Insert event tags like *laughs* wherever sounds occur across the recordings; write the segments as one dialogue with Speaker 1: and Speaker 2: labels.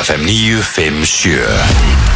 Speaker 1: FM 957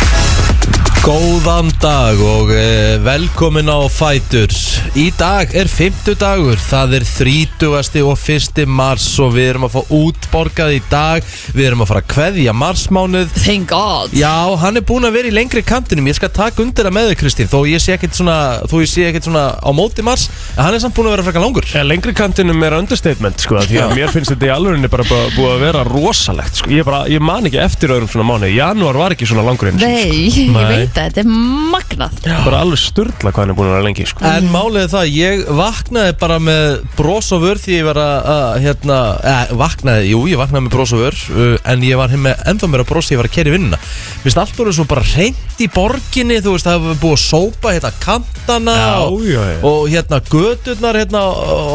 Speaker 2: Góðan dag og eh, velkomin á Fighters Í dag er 50 dagur, það er 30. og 1. mars og við erum að fá útborgað í dag Við erum að fara að kveðja marsmánuð
Speaker 3: Thank God
Speaker 2: Já, hann er búinn að vera í lengri kantinum, ég skal taka undir það með þig Kristín Þó ég sé ekkert svona, þó ég sé ekkert svona á móti mars En hann er samt búinn að vera frekar langur
Speaker 4: Ja, lengri kantinum er understatement sko, því að mér finnst þetta í alvörinni bara bú- búið að vera rosalegt sko. ég, bara, ég man ekki eftir öðrum svona mánu Janúar var ekki svona langur einu sinni,
Speaker 3: Nei, ég
Speaker 4: Nei.
Speaker 3: veit að þetta er magnað
Speaker 4: sko. bara alveg styrla hvað hann er búin að vera lengi sko.
Speaker 2: En málið er það, ég vaknaði bara með bros og vör því ég var að, að hérna, eh, vaknaði, jú, ég vaknaði með bros og vör uh, en ég var hér með ennþá meira bros því ég var að keri vinnuna. Mér finnst allt voru svo bara reynd í borginni, þú veist, það hefur búið að sópa hérna kantana
Speaker 4: Já,
Speaker 2: og,
Speaker 4: já, já.
Speaker 2: og hérna gödurnar, hérna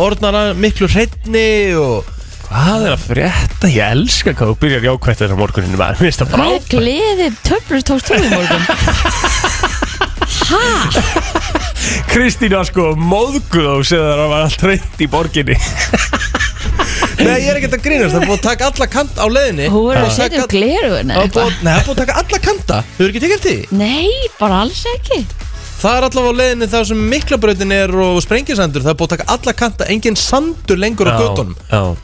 Speaker 2: orðnar að miklu hreinni og
Speaker 4: hvað er að frétta, ég elska hvað þú byrjar jákvætt þessar morguninu maður, mér finnst það
Speaker 3: Hvað er
Speaker 4: frábært
Speaker 3: gleði töflur tókst þú í
Speaker 4: *laughs*
Speaker 3: morgun? Hæ?
Speaker 4: Kristín var sko móðguð og segði að hann var allt reynd í borginni
Speaker 2: Nei, ég er ekkert að grínast, það er búið að taka alla kant á leiðinni
Speaker 3: Þú
Speaker 2: Það
Speaker 3: verður
Speaker 2: er
Speaker 3: að setja upp
Speaker 2: taka-
Speaker 3: glerugun
Speaker 2: það er búið- Nei, það er búið að taka alla kanta, þau eru ekki tekið eftir því?
Speaker 3: Nei, bara alls ekki
Speaker 2: Það er allavega á leiðinni þar sem miklabrautin er og sprengisandur, það er búið að taka alla kanta, engin sandur lengur á göttunum.
Speaker 4: já.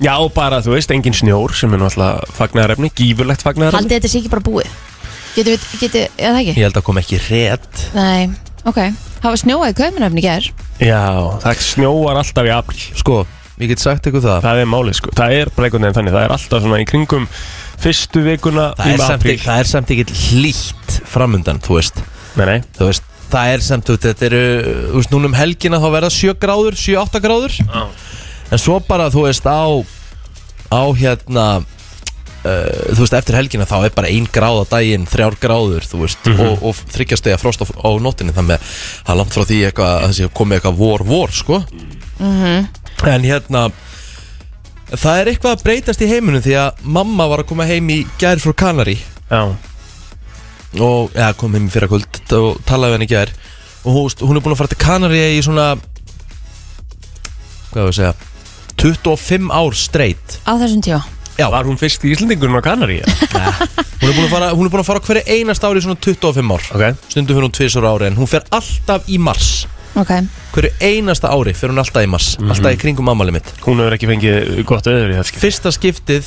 Speaker 4: já, og bara þú veist, engin snjór sem er náttúrulega fagnaðarefni, gífurlegt fagnaðarefni
Speaker 3: Haldið þetta sé ekki bara búið Getur við, getur, eða það ekki?
Speaker 2: Ég held að kom ekki rétt.
Speaker 3: Nei, ok Það var snjóað í kauminöfni gær
Speaker 4: já, það snjóar alltaf í april
Speaker 2: Sko, ég get sagt ykkur það.
Speaker 4: Það er málið sko, það er bara einhvern veginn þannig Það er alltaf svona í kringum fyrstu vikuna
Speaker 2: Það er,
Speaker 4: um
Speaker 2: samt,
Speaker 4: apríl.
Speaker 2: ekki- það er samt ekki hlýtt framundan, þú veist.
Speaker 4: Nei, nei,
Speaker 2: Þú veist, það er samt, þú veist, þetta eru, þú veist, núna um helgina þá verða 7 gráður, 7-8 gráður.
Speaker 4: Já.
Speaker 2: En svo bara, þú veist, á, á hérna, uh, þú veist, eftir helgina þá er bara 1 gráð á daginn, 3 gráður, þú veist, og, og þryggjastega frost á, á nóttinni, þannig að það er langt frá því eitthvað, að það sé komið eitthvað vor-vor, sko. En hérna, það er eitthvað að breytast í heiminum því að mamma var að koma heim í gær frá Kanari
Speaker 4: já,
Speaker 2: og ja, kom heim í fyrra kvöld og talaði við henni í gær og hún, hún er búin að fara til Kanari í svona hvað er það að segja 25 ár straight
Speaker 3: á þessum tíu
Speaker 2: Já,
Speaker 4: var hún fyrst í Íslendingurinn á Kanarí?
Speaker 2: hún er búin að fara, hún er búin að fara á hverju einast ári í svona 25 ár
Speaker 4: ok,
Speaker 2: stundum fyrir hún tvisur ári en hún fer alltaf í mars
Speaker 3: Ok,
Speaker 2: hverju einasta ári fer hún alltaf í mars alltaf í kringum ammali mitt
Speaker 4: *laughs* hún hefur ekki fengið gott öður í þessu
Speaker 2: fyrsta skiptið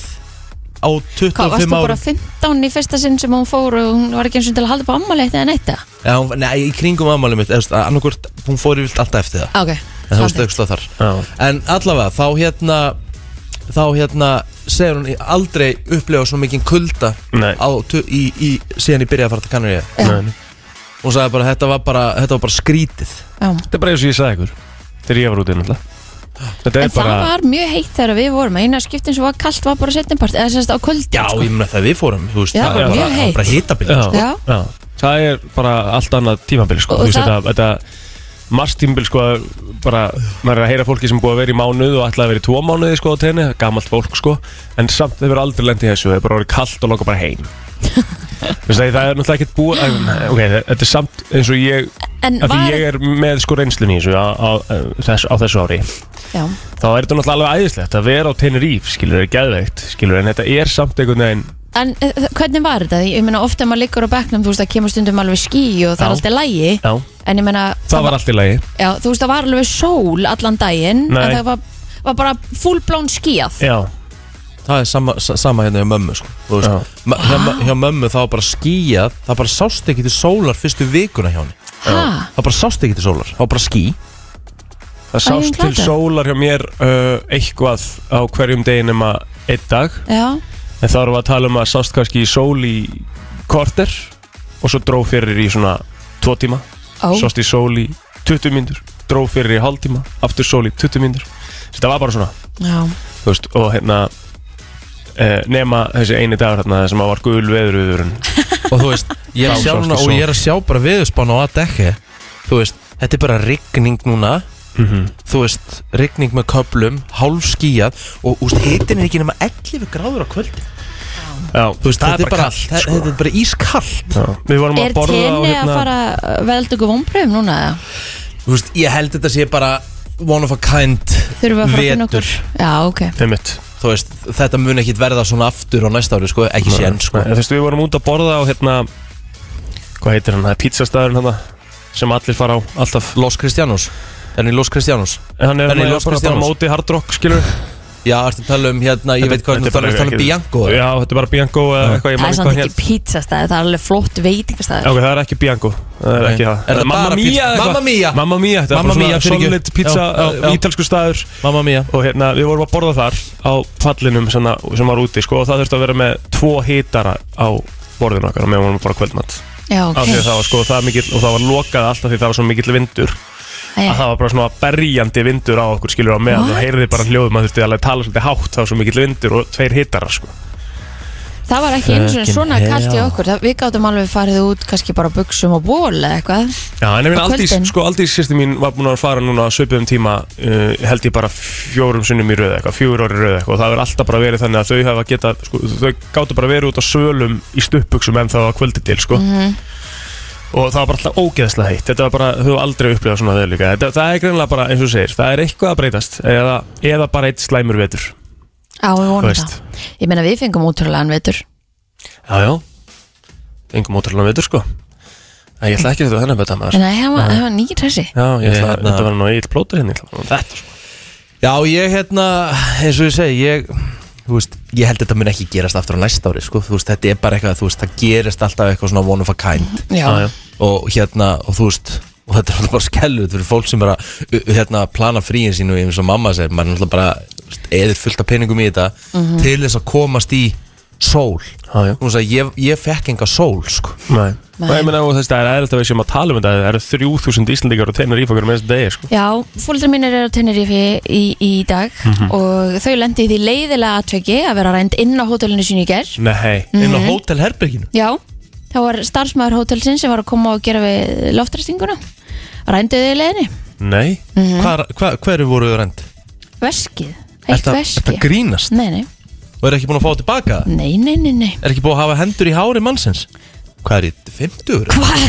Speaker 2: á 25
Speaker 3: hvað, varstu
Speaker 2: árum
Speaker 3: bara 15 í fyrsta sinn sem hún fór og hún var ekki eins og til að halda upp ammaliðt eða neitt eða?
Speaker 2: Já, hún- nei, í kringum ammali mitt annarkvort, hún fór yfir alltaf eftir það
Speaker 3: Ah, Ok,
Speaker 2: en það var
Speaker 3: Haldið.
Speaker 2: stöksla þar
Speaker 4: Já.
Speaker 2: en allavega þá hérna þá hérna segir hún ég aldrei upplefa svona mikið kulda
Speaker 4: Nei.
Speaker 2: á, tu- í, í, síðan ég byrjaði að fara til Kanaríu
Speaker 3: Já.
Speaker 4: Nei, nei.
Speaker 2: hún sagði bara þetta var bara, þetta var bara skrítið
Speaker 3: Já.
Speaker 4: Þetta er bara eins og ég sagði ykkur Þegar ég var úti náttúrulega Þetta
Speaker 3: En
Speaker 4: er bara
Speaker 3: það var mjög heitt þegar við vorum eina skiptin sem var kallt var bara setnimpart eða semst á kvöldin
Speaker 2: já
Speaker 3: sko.
Speaker 2: ég meina það við fórum þú veist,
Speaker 3: Já,
Speaker 2: það
Speaker 3: bara
Speaker 2: var
Speaker 3: mjög
Speaker 2: bara, það var bara hitabili
Speaker 4: já,
Speaker 2: sko.
Speaker 3: Já.
Speaker 4: já. Það er bara allt annað tímabili sko.
Speaker 3: Og
Speaker 4: Þú veist,
Speaker 3: það-
Speaker 4: Þetta, þetta marstímbil sko, bara, maður er að heyra fólki sem er búið að vera í mánuð og ætlaði að vera í tvo mánuði sko, á tenni, gamalt fólk sko. en samt hefur aldrei lendið í þessu það er bara orðið kallt og langar bara
Speaker 3: *laughs*
Speaker 4: heim Þú veist, það það er náttúrulega ekkert búið en, ok, þetta er samt eins og ég
Speaker 3: En
Speaker 4: af því
Speaker 3: var,
Speaker 4: ég er með sko reynslun í þessu á, á, á, þess, á þessu ári
Speaker 3: já,
Speaker 4: þá er þetta náttúrulega alveg æðislegt að vera á Tenerife skilur, er geðveikt, skilur, en þetta er samt einhvern veginn
Speaker 3: en eh, hvernig var þetta? Ég meina ofta maður liggur á bekknum, þú veist, það kemur stundum alveg ský og það
Speaker 4: Já.
Speaker 3: er alltaf lægi
Speaker 4: Já,
Speaker 3: En ég meina,
Speaker 4: það var allt í lagi
Speaker 3: já, þú veist, það var alveg sól allan daginn
Speaker 4: Nei.
Speaker 3: En það var, var bara fullblón skýjað
Speaker 4: Já,
Speaker 2: það er sama, sa- sama hérna hjá mömmu sko. Þú
Speaker 4: Já.
Speaker 2: veist, ma- hjá, mö- hjá mömmu það var bara skýjað það bara sást ekki til sólar fyrstu vikuna hjá henni
Speaker 3: Hæ?
Speaker 2: það bara sást ekki til sólar, það var bara ský
Speaker 3: Æ,
Speaker 4: það
Speaker 3: ég um
Speaker 4: sást til
Speaker 3: glata.
Speaker 4: sólar hjá mér uh, eitthvað á hverjum degi nema einn dag
Speaker 3: Já,
Speaker 4: en þá erum við að tala um að sást kannski í sól í korter og svo dró fyrir í svona tvo tíma
Speaker 3: ó,
Speaker 4: sást í sól í 20 mínútur dró fyrir í hálftíma, aftur sól í 20 mínútur þetta var bara svona
Speaker 3: já,
Speaker 4: þú veist, og hérna eh, nema þessi eini dagur hérna sem að var gul veðurviðurinn
Speaker 2: og þú veist, ég er að
Speaker 4: Þá
Speaker 2: sjá
Speaker 4: sástu
Speaker 2: núna og
Speaker 4: sól.
Speaker 2: ég er að sjá bara viðurspána á að dekki þú veist, þetta er bara rigning núna
Speaker 4: Mhm.
Speaker 2: þú veist, rigning með köplum hálf skíjað og úst, hitin er ekki nema 11 gráður á kvöldin
Speaker 4: Já,
Speaker 2: þú veist,
Speaker 4: það
Speaker 2: þetta er bara,
Speaker 4: kallt,
Speaker 2: það-
Speaker 4: sko.
Speaker 2: þetta er bara ískallt
Speaker 4: Já, Við vorum
Speaker 3: Er
Speaker 4: að borða á
Speaker 3: tenni að
Speaker 4: hérna
Speaker 3: fara eh, veldu ykkur vombröfum núna? eða?
Speaker 2: þú veist, ég held þetta sé bara one of a kind
Speaker 3: Þurfum við að fara að finna
Speaker 2: Vetur.
Speaker 3: okkur? Já, ok
Speaker 4: Einmitt.
Speaker 2: þú veist, þetta mun ekkit verða svona aftur á næsta ári, sko, ekki sér sko.
Speaker 4: Nei, Þú veist, við vorum út að borða á hérna Hvað heitir hann? Það er pizzastæðurinn hann sem allir fara á alltaf
Speaker 2: Los Cristianos, er hann í Los Cristianos?
Speaker 4: Hann er
Speaker 2: Hann er
Speaker 4: hann
Speaker 2: Los
Speaker 4: bara, bara
Speaker 2: Cristianos.
Speaker 4: móti hard rock, skilur
Speaker 2: Já, ertu að tala um hérna, ég veit hvað,
Speaker 4: Þetta
Speaker 2: þú
Speaker 4: er bara
Speaker 2: tala um
Speaker 4: ekki-
Speaker 2: Bianco eða? Ah.
Speaker 4: Já, þetta er bara Bianco eða eitthvað, ég
Speaker 3: Það er
Speaker 4: man ekki hvað
Speaker 3: samt
Speaker 4: hann
Speaker 3: ekki
Speaker 4: hér
Speaker 3: pizzastæði, það er alveg flott veitingastæði
Speaker 4: Ok, það er ekki Bianco, það er
Speaker 2: Nei.
Speaker 4: ekki
Speaker 2: Er það
Speaker 4: það
Speaker 2: bara
Speaker 4: Mamma
Speaker 2: pizza-
Speaker 4: Mia eða eitthvað?
Speaker 2: Mamma Mia.
Speaker 4: Mamma Mia, þetta er
Speaker 2: Mamma
Speaker 4: bara
Speaker 2: Mia,
Speaker 4: svona
Speaker 2: fyrirgefðu.
Speaker 4: solid pizza,
Speaker 2: Já, já, já.
Speaker 4: ítalsku staður
Speaker 2: Mamma mía
Speaker 4: og hérna, við vorum að borða þar á pallinum sem, sem var úti sko, og það þurfti að vera með tvo hítara á borðinu okkar og við vorum bara kvöldmatt
Speaker 3: Já, ok
Speaker 4: af því að það var sko, það mikill og það var lokað alltaf því það var svo mikill vindur að
Speaker 3: Æ,
Speaker 4: það var bara svona berjandi vindur á okkur skilur á meðan
Speaker 3: What?
Speaker 4: og heyrði bara hljóðum að þurfti alveg að tala svolítið hátt það var svo mikill vindur og tveir hítara sko.
Speaker 3: Það var ekki einu svona
Speaker 2: Fucking
Speaker 3: svona kallt í
Speaker 2: hell.
Speaker 3: okkur það, Við gátum alveg farið út kannski bara á buksum og ból eða eitthvað
Speaker 4: Já, en ég meina
Speaker 3: Á
Speaker 4: Aldís,
Speaker 3: kvöldin?
Speaker 4: sko Aldís sýsti mín var búin að fara núna að söpum tíma uh, held ég bara fjórum sinnum í röð eitthvað, fjóru orði röð eitthvað og það verður alltaf bara verið þannig að þau hafa geta, sko, þau gátu bara verið út á svölum í stuppuksum en það var kvöldi til, sko
Speaker 3: Mhm.
Speaker 4: og það var bara alltaf ógeðslega heitt þetta var bara, þau hafa aldrei upplifað svona þau líka þetta, það er greinlega bara, eins og þú segir, það er eitthvað að breytast eða, eða bara eitt slæmur vetur
Speaker 3: Á, við
Speaker 4: Þú
Speaker 3: vonum
Speaker 4: veist.
Speaker 3: það Ég meina við fengum útrúlegan vetur
Speaker 4: Já, já, engum ótrúlega vetur, sko en ég ætla ekki að þetta þennan betta maður
Speaker 3: Nei, það var, það var nýr hressi
Speaker 4: Já, ég ætla,
Speaker 2: Ég, hérna-
Speaker 4: þetta var nú eitt plótur hérna, ég ætla að fara með þetta, sko.
Speaker 2: Já, ég hérna, eins og ég segi, ég, þú veist, ég held þetta mun ekki gerast aftur á næsta ári, sko, þú veist, þetta er bara eitthvað, þú veist, það gerist alltaf eitthvað svona one of a kind
Speaker 3: Já,
Speaker 4: Já, já.
Speaker 2: og hérna, og þú veist, og þetta er alltaf bara skellut fyrir fólk sem er að, uh, uh, hérna, plana fríin sín og eins og mamma segir, maður er alltaf bara, þú veist, eður fullt af peningum í þetta til þess að komast í sól.
Speaker 4: Já, já.
Speaker 2: Þú veist að ég, ég fekk enga sól, sko.
Speaker 4: Nei,
Speaker 3: Nei.
Speaker 4: Nei. ég meina og þess að það er eðlilt að við séum að tala um þetta Það eru 3000 Íslandingar og teinar ífokkar með þessu degi sko.
Speaker 3: já fólkdrar mínir eru á Tenerife í, í dag
Speaker 4: Mhm.
Speaker 3: og þau lendi í því leiðilega atveki að vera rænt inn á hótelinu sínu í ger
Speaker 4: Nei,
Speaker 3: Mm.
Speaker 2: Inn á hótelherberginu.
Speaker 3: Já, það var starfsmæður hótelsinn sem var að koma og gera við loftræstinguna Rændiði í leiðinni
Speaker 4: Nei
Speaker 2: Hvar, hva, hverju voru þau rend?
Speaker 3: Veskið, eitt
Speaker 2: Þetta
Speaker 3: veski
Speaker 2: grínast
Speaker 3: Nei, nei,
Speaker 2: og er ekki búin að fá tilbaka það?
Speaker 3: nei, nei, nei, nei.
Speaker 2: Er ekki búið að hafa hendur í hári mannsins? Hvað er í 50?
Speaker 3: Hvað?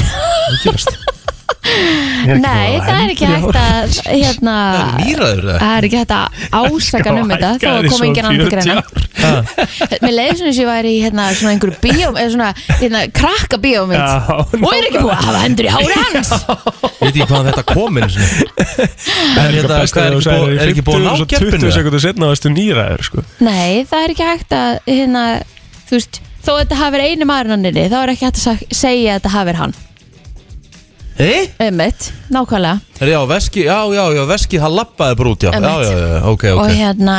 Speaker 4: Ég er ekki
Speaker 3: Nei,
Speaker 4: búin að
Speaker 3: það er ekki
Speaker 4: hendi
Speaker 3: hægt að hérna,
Speaker 2: Það er nýraður það
Speaker 3: það er ekki hægt *laughs* að ásaka um þetta þá að koma enginn andur greina *laughs* Mér leiði svona sem ég væri í hérna, svona einhverju bíóm eða svona hérna, krakka bíómynd
Speaker 4: Já,
Speaker 3: og er ekki búið að hafa hendur *laughs* í hári hans
Speaker 2: Ég veit ekki hvaðan þetta komin En hérna, hvað er ekki búið Er ekki búið að ná gerpinu
Speaker 4: 20
Speaker 2: það?
Speaker 4: sekundu setna varstu nýraður sko.
Speaker 3: Nei, það er ekki hægt að hérna, þú veist, þó að þetta hafi verið einu maðurinn anninni, þá er ekki hægt að sa- segja að þetta hafi verið hann
Speaker 2: Eh?
Speaker 3: Einmitt, nákvæmlega
Speaker 2: Er- Já, veski, já, já, já, veski, það lappaði bara út Já, já,
Speaker 3: Einmitt.
Speaker 2: já, já, ok,
Speaker 3: og
Speaker 2: ok
Speaker 3: hérna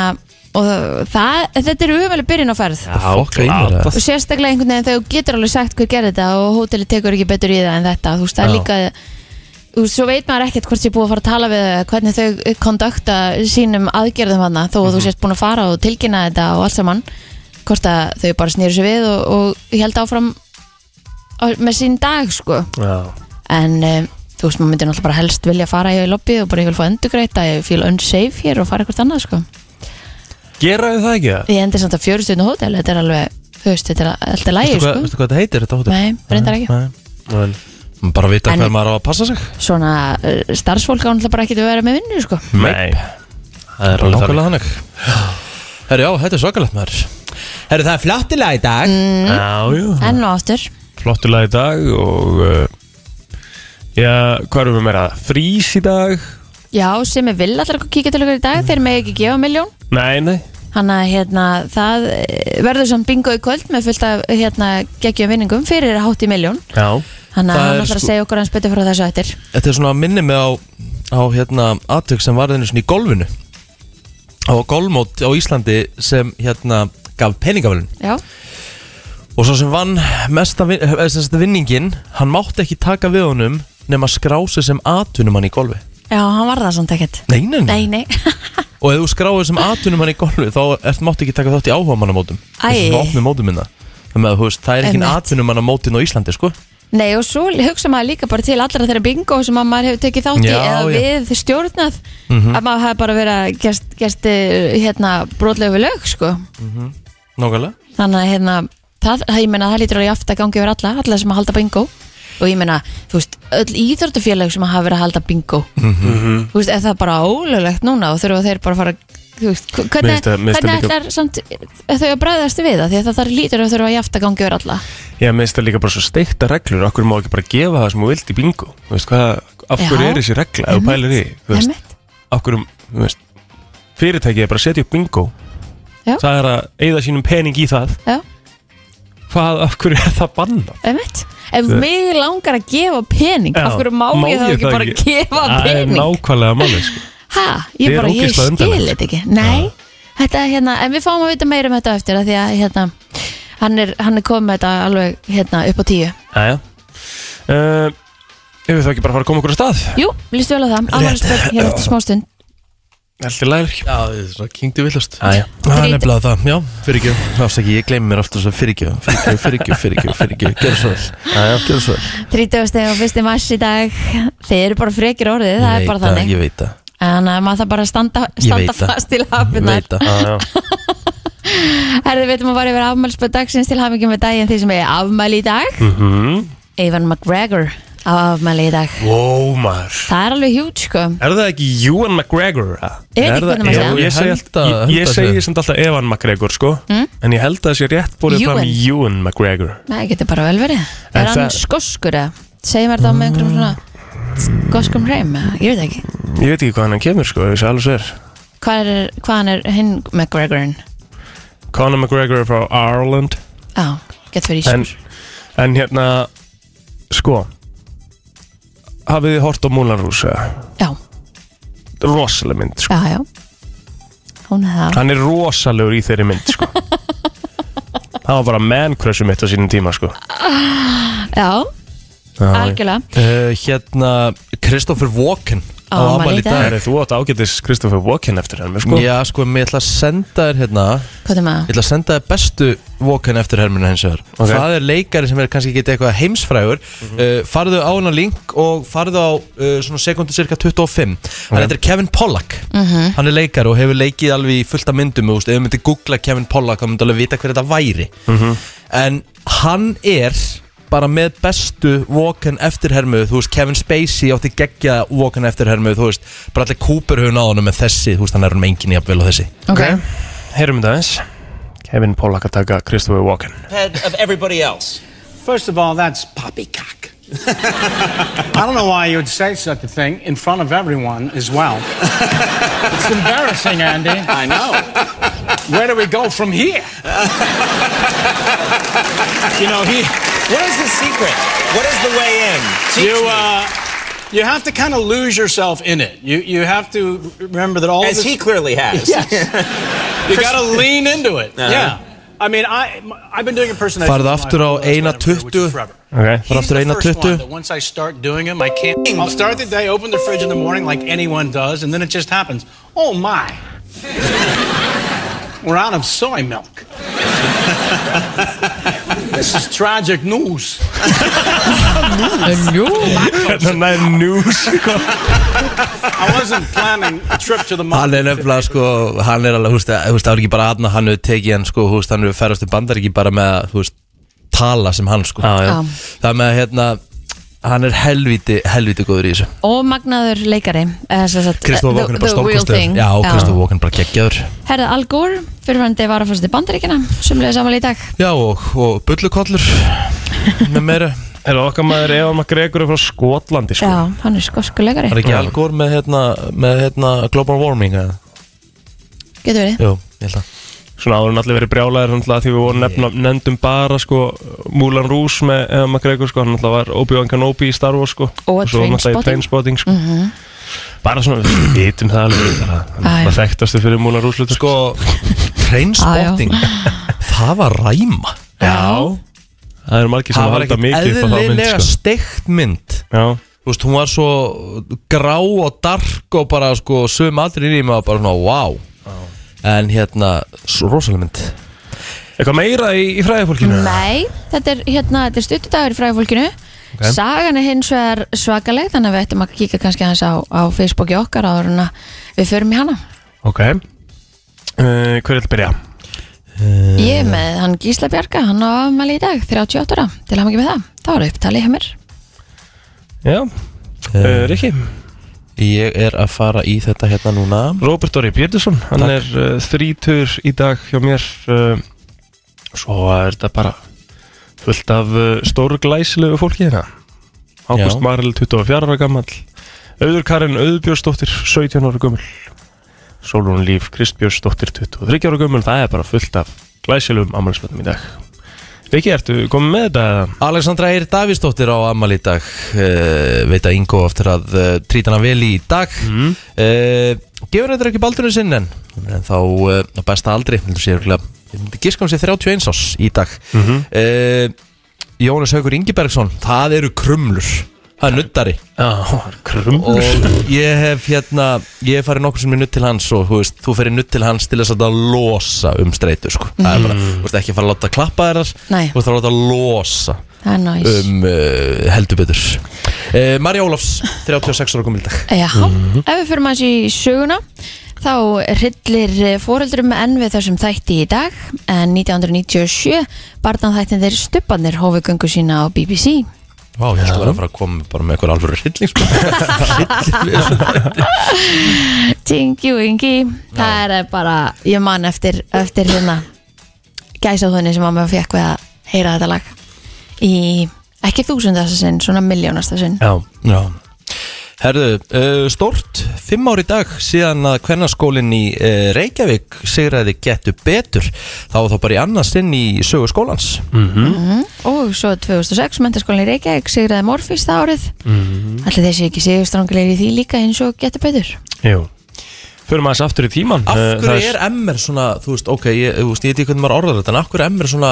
Speaker 3: og það, þetta er umvæli byrjun á ferð
Speaker 2: Já, glatað.
Speaker 3: og sérstaklega einhvern veginn þegar þú getur alveg sagt hver gerði þetta og hóteli tekur ekki betur í það en þetta þú veist, það er
Speaker 2: Já.
Speaker 3: líka þú veist, svo veit maður ekkert hvort ég er búið að fara að tala við þau, hvernig þau kondökta sínum aðgerðum hana þó að
Speaker 2: Mhm.
Speaker 3: þú sért búin að fara og tilkynna þetta og allt saman hvort að þau bara snýru sér við og, og held áfram á, með sín dag sko
Speaker 4: Já,
Speaker 3: en um, þú veist, maður myndir náttúrulega bara helst vilja fara í lobby og bara ég vil fá endurgreita ég feel unsafe hér og fara eitthvað annað sko
Speaker 4: geraðu það ekki það?
Speaker 3: Ég endur samt að fjörustjónu hótel, þetta er alveg, þú veist, þetta er alltaf lægi,
Speaker 2: Veistu hvað
Speaker 3: sko.
Speaker 2: veistu hvað þetta heitir, þetta hóttur?
Speaker 3: Nei, reyndar ekki.
Speaker 4: Nei.
Speaker 2: Bara vita
Speaker 3: En-
Speaker 2: hver maður á að passa sig
Speaker 3: Svona uh, starfsfólk án alltaf bara ekki að vera með vinnu, sko.
Speaker 4: Nei, það er alveg
Speaker 2: Nákvæmlega þannig Herri, já, þetta er svakalegt maður Herri, það er flattilega í
Speaker 3: Mm.
Speaker 2: dag
Speaker 4: þannig Já, já,
Speaker 3: Enn og aftur.
Speaker 4: flottur lag í dag og uh, Já, hvað erum við meira? Frís í dag?
Speaker 3: Já, sem er vill alltaf að kíkja til okkur í dag, þeir með ekki gefa miljón.
Speaker 4: Nei, nei
Speaker 3: Hanna, hérna, það eh, verður samt bingo í kvöld með fullt af, hérna, geggjum vinningum fyrir hátt í miljón.
Speaker 4: Já,
Speaker 3: Hanna,
Speaker 2: Það
Speaker 3: hann
Speaker 2: er
Speaker 3: ætlar að
Speaker 2: sko-
Speaker 3: segja okkur hans betur frá þessu eftir.
Speaker 2: Þetta er svona að minni mig á, á hérna, aðtök sem varði einu svona í golfinu á golfmót á Íslandi sem hérna gaf peningavölun
Speaker 3: Já,
Speaker 2: og svo sem vann mesta vin, eh, sem sagt vinningin hann mátti ekki taka við honum nema skrási sem atvinnum hann í golfi
Speaker 3: já, hann var það samt ekkert.
Speaker 2: Nei, nei, nei.
Speaker 3: Nei, nei.
Speaker 2: og ef þú skráir sem atvinnum hann í golfi þá ert, mátti ekki taka þátt í áhuga manna mótum
Speaker 3: Æ.
Speaker 2: þessum opnum mótum minna þannig að þú veist, það er ekki
Speaker 3: Einmitt.
Speaker 2: atvinnum manna mótin á Íslandi sko
Speaker 3: *laughs* Nei og svo hugsa maður líka bara til allra þeirra bingo sem að maður hefur tekið þátt í
Speaker 2: Já,
Speaker 3: eða
Speaker 2: já. Mhm.
Speaker 3: við stjórnað að maður hafi bara verið að gerst, gerst eh, hérna brotlegu við lög sko
Speaker 2: Nókvælega
Speaker 3: þannig að hérna það, það, ég meina það lítur alveg aftur að gangi yfir alla alla sem að halda bingo og ég meina þú veist öll
Speaker 4: Mhm.
Speaker 3: íþjórtufélag sem að hafa verið að halda bingo þú veist er það bara ólöglegt núna og þurfa þeir bara að fara að þú veist, hv- hvernig,
Speaker 4: finnst það- mér finnst það
Speaker 3: hvernig
Speaker 4: líka-
Speaker 3: ætlar samt, þau að bregðast við það því að það þar lítur að þurfa að jafta gangi verið alla
Speaker 4: Já, mér finnst það líka bara svo steikta reglur Okkur má ekki bara gefa það sem þú vilt í bingo Þú veist hvað, af
Speaker 3: Já.
Speaker 4: hverju
Speaker 3: Mhm.
Speaker 4: er þessi regla Ef þú pælir í, því? þú veist,
Speaker 3: Einmitt.
Speaker 4: af hverju þú veist, Fyrirtækið er bara að setja upp bingo
Speaker 3: Já.
Speaker 4: Það er að eigða sínum pening í það
Speaker 3: Já.
Speaker 4: Hvað, af hverju er það bannað?
Speaker 3: Einmitt. ef
Speaker 4: Það-
Speaker 3: mig langar að gefa pening
Speaker 4: Já,
Speaker 3: af hverju má ég þá ekki bara gefa
Speaker 4: Það er
Speaker 3: pening
Speaker 4: nákvæmlega máli
Speaker 3: *laughs*
Speaker 4: sko.
Speaker 3: hæ, ég
Speaker 4: Þið er
Speaker 3: bara, ég
Speaker 4: ógeðslega
Speaker 3: skil
Speaker 4: undarlegt.
Speaker 3: þetta
Speaker 2: sko.
Speaker 3: ekki nei, þetta er hérna en við fáum að vita meira um þetta á eftir að því að hérna, hann er, hann er komið með þetta alveg hérna upp á tíu
Speaker 4: Jæja uh, Ef við þá ekki bara fara að koma okkur á stað
Speaker 3: jú, lístu vel á það, afmælisbörn hér eftir smástund
Speaker 4: Heldur lægir
Speaker 2: Já, það er svona kynkti villast
Speaker 3: *laughs*
Speaker 4: Jæja
Speaker 2: Það er nefnilega það, já, fyrirgjöf Afsaki, ég gleymi mér aftur þess að fyrirgjöf Fyrirgjöf, fyrirgjöf, fyrirgjöf, fyrirgjöf Gjör svo vel, já, já, gjör svo vel
Speaker 3: 30. og 1. mars í dag þeir eru bara frekir orðið, það er
Speaker 2: Ég
Speaker 3: bara
Speaker 2: veit að-
Speaker 3: þannig
Speaker 2: Ég veit það,
Speaker 3: en að maður það bara að standa, standa
Speaker 2: veit það.
Speaker 3: fast til
Speaker 2: ég
Speaker 3: hafinnar
Speaker 2: veit það
Speaker 3: Herði, við veitum að fara yfir afmælspöð dagsins til hafingjum með daginn því sem er afmæli í dag
Speaker 2: Hm.
Speaker 4: Mhm.
Speaker 3: Evan McGregor á afmæli í dag
Speaker 4: Wow maður
Speaker 3: Það er alveg hjút sko
Speaker 4: Er það ekki Ewan McGregor? eða?
Speaker 3: Ég veit ekki hvernig maður
Speaker 4: Jú,
Speaker 3: segja
Speaker 2: Ewan?
Speaker 4: ég, segi
Speaker 2: Held
Speaker 4: alltaf-
Speaker 2: að-
Speaker 4: ég, ég
Speaker 2: held að
Speaker 4: segi
Speaker 2: sé.
Speaker 4: samt alltaf Evan McGregor sko En ég held að það sé rétt búið
Speaker 3: Hmm?
Speaker 4: fram
Speaker 3: Ewan.
Speaker 4: Ewan McGregor
Speaker 3: Nei, það getur bara vel verið
Speaker 4: En
Speaker 3: Er hann
Speaker 4: það-
Speaker 3: skoskur eða? Segir maður það með einhverjum svona skoskum hreim? eða? Ég veit ekki
Speaker 4: Ég veit ekki hvaðan hann kemur sko Ég sé alveg sér
Speaker 3: Hvað er, hvaðan er hinn McGregorinn?
Speaker 4: Conor McGregor er frá Ireland
Speaker 3: Á, getur verið í
Speaker 4: en,
Speaker 3: sjúr
Speaker 4: en hérna Sko Hafið þið hort á Moulin Rouge? eða?
Speaker 3: Já,
Speaker 4: Rosaleg mynd sko
Speaker 3: já, já Hún er það
Speaker 4: Hann er rosalegur í þeirri mynd
Speaker 3: *laughs*
Speaker 4: sko. Það var bara man-crushu mitt á sínum tíma sko.
Speaker 3: Já, algjörlega
Speaker 2: Uh, Hérna, Kristoffer Walken
Speaker 3: Á afmæli í dag.
Speaker 4: Er þú átt ágætis Kristoffer Walken eftir henni sko?
Speaker 2: Sko? Já, sko, mér ætla að senda þér hérna
Speaker 3: Hvað er
Speaker 2: Ég
Speaker 3: maður?
Speaker 2: ætla að senda þér bestu Walken eftir hermina hins vegar
Speaker 4: Ok.
Speaker 2: Það er leikari sem er kannski getið eitthvað heimsfrægur uh, Farðu á hennar link og farðu á uh, svona sekundu cirka 25 Hann heitir Kevin Pollack Hann er leikari og hefur leikið alveg í fullta myndum og, veist, Ef við myndið googla Kevin Pollack þá myndið alveg vita hver þetta væri En hann er bara með bestu Walken eftirhermu Þú veist, Kevin Spacey átti geggja Walken eftirhermu Þú veist, bara allir Cooper hefur náðunum með þessi Þú veist, hann er um enginn jafnvel á þessi
Speaker 3: Ok,
Speaker 4: Heyrum þetta eins Kevin Pollak að taka Kristoffer Walken
Speaker 1: head of everybody else.
Speaker 5: First of all, that's poppycock. I don't know why you would say such a thing in front of everyone as
Speaker 1: *laughs*
Speaker 5: well. it's embarrassing, Andy. I know. Where do we go from here? you know, he,
Speaker 1: What is the secret? What is the way in? Teach
Speaker 5: you,
Speaker 1: me.
Speaker 5: uh, you have to kind of lose yourself in it. You, you have to remember that all
Speaker 1: As
Speaker 5: this
Speaker 1: he clearly has.
Speaker 5: *laughs* you got to lean into it. Yeah. I mean, I, I've been doing impersonations.
Speaker 2: Farðu
Speaker 5: my
Speaker 2: aftur á
Speaker 5: whole life,
Speaker 2: 1.20.
Speaker 5: which is forever.
Speaker 2: Farðu
Speaker 4: okay.
Speaker 5: He's
Speaker 2: aftur
Speaker 5: the
Speaker 2: á
Speaker 5: first one
Speaker 2: 1.20.
Speaker 5: that Once I start doing them, I can't. I'll start the day, open the fridge in the morning like anyone does, and then it just happens. Oh *laughs* my. We're out of soy *laughs* milk. this is tragic news.
Speaker 4: Þannig að news sko.
Speaker 5: I wasn't planning a trip to the
Speaker 2: Hann
Speaker 5: mall.
Speaker 2: er nefnilega sko, hann er alveg, húst, húst, það er ekki bara aðna, hann hefur tekið hann sko, húst, hann hefur ferðast til bandar ekki bara með að, húst, tala sem hann sko.
Speaker 4: Já, já.
Speaker 3: Já.
Speaker 2: Það með að, hérna, hann er helviti, helviti góður í þessu.
Speaker 3: og magnaður leikari eða sem sagt,
Speaker 2: Kristof
Speaker 3: the-
Speaker 2: Walken er bara
Speaker 3: the real
Speaker 2: stórkostur.
Speaker 3: thing.
Speaker 2: Já, Kristof Walken er bara geggjaður.
Speaker 3: Herðið Al Gore, fyrirvændi varafórsti bandaríkina sumlega saman í dag
Speaker 2: Já, og, og *laughs* bullukollur með meira.
Speaker 4: Er okkar maður Evan McGregor er frá Skotlandi sko.
Speaker 3: Já, hann er skosku leikari
Speaker 2: Það er ekki algór með, hérna, með, hérna, global warming, eða?
Speaker 3: Getur verið
Speaker 2: Jú, ég held að.
Speaker 4: Svona áður en allir verið brjálæðir þannig að því við vorum nefna, nefndum bara sko, Moulin Rouge með Evan McGregor sko. hann alltaf var Obi-Wan Kenobi í Star Wars sko.
Speaker 3: Og Mhm.
Speaker 4: svo náttúrulega í Trainspotting sko. Bara svona, við vitum það alveg bara,
Speaker 3: Já, já.
Speaker 4: Hann var þekktastu fyrir Moulin Rouge hlutur
Speaker 2: Sko, trainspotting, það var ræma.
Speaker 4: Já Það eru margir sem
Speaker 2: Það var
Speaker 4: halda
Speaker 2: ekki
Speaker 4: mikið upp á þá mynd
Speaker 2: eðlilega
Speaker 4: sko.
Speaker 2: steikt mynd.
Speaker 4: Já,
Speaker 2: þú veist, hún var svo grá og dark og bara sko söm aldrei í mig og bara svona, wow en hérna, svo rosalega mynd
Speaker 4: Eitthvað meira í, í fræðifólkinu?
Speaker 3: Nei, þetta er, hérna, þetta er stuttudagur í fræðfólkinu Sagan er hins vegar svakaleg þannig að við ættum að kíka kannski aðeins á, á Facebooki okkar áður en að við förum í hana
Speaker 4: Ok uh, Hver vil byrja?
Speaker 3: Ég er með hann Gísla Bjarka, hann á afmæli í dag 38 ára, til hann ekki með það Það var upptalið hjá mér
Speaker 2: Eh,
Speaker 4: Eh, Já, uh, Rikki
Speaker 2: Ég er að fara í þetta hérna núna
Speaker 4: Robert Dóri Pétursson, hann
Speaker 2: Takk.
Speaker 4: er uh, þrítur í dag hjá mér uh, Svo er þetta bara fullt af uh, stóru glæsilegu fólki hérna Ágúst
Speaker 2: Já.
Speaker 4: Marel, 24 ára gammal Auður Karin Auðbjörnsdóttir, 17 ára gömul Sólun Líf Kristbjörnsdóttir, 23 ára gömul Það er bara fullt af glæsilegum ammælisböndum í dag Viki, ertu komið með þetta? eða?
Speaker 2: Alexandra Eir Davíðsdóttir á Amal í dag uh, Veit að Ingo aftur að uh, trýta hana vel í dag mm. Gefur þetta ekki baldurinn sinn en Hún er þá uh, á besta aldri Heldur sér örugglega- Ég myndi Giska hún sér 31 ás í dag mm Jónas Haugur Ingibergsson Það eru krumlur Það er nuttari
Speaker 4: Já, krummur
Speaker 2: og ég hef hérna ég hef farið nokkur sem er nutt til hans og þú veist, þú ferir nutt til hans til þess að það losa um streitu sko, það er bara, þú veist, ekki að fara að láta klappa þér þar,
Speaker 3: Nei.
Speaker 2: þú veist, það er að láta losa
Speaker 3: það er næs um,
Speaker 2: um uh, heldur betur uh, Marja Ólafs, 36 ára komil dag
Speaker 3: Já, Eh, ef við fyrir maður í söguna þá hryllir fóröldrum enn við þessum þætti í dag en 1997 barnanþættin þeir stuppanir hófugöngu sína á BBC
Speaker 2: Vá, ég ætla að vera að fara að koma bara með eitthvað alvöru hrylling sko.
Speaker 3: Tingi Wingi Það er bara, ég man eftir, eftir hérna gæsaðhunni sem að maður fekk við að heyra þetta lag í ekki þúsundasta sinn, svona miljónasta sinn
Speaker 4: Já,
Speaker 2: *laughs* Já Herðu, uh, stort, fimm ár í dag síðan að kvennaskólinn í uh, Reykjavík sigraði getu betur þá var þá bara í annarsinn í sögu skólans
Speaker 3: og svo 2006 mentaskólinni Reykjavík sigraði Morfís það árið mm. Allir þessi ekki sigurstrangilegir í því líka eins og getur betur
Speaker 4: jú Förum aðeins aftur í Eh, tíman
Speaker 2: Af hverju Eh, er MR svona, þú veist, ok, ég, þú veist, ég veit ekki hvernig maður orðar þetta, en af hverju er MR svona,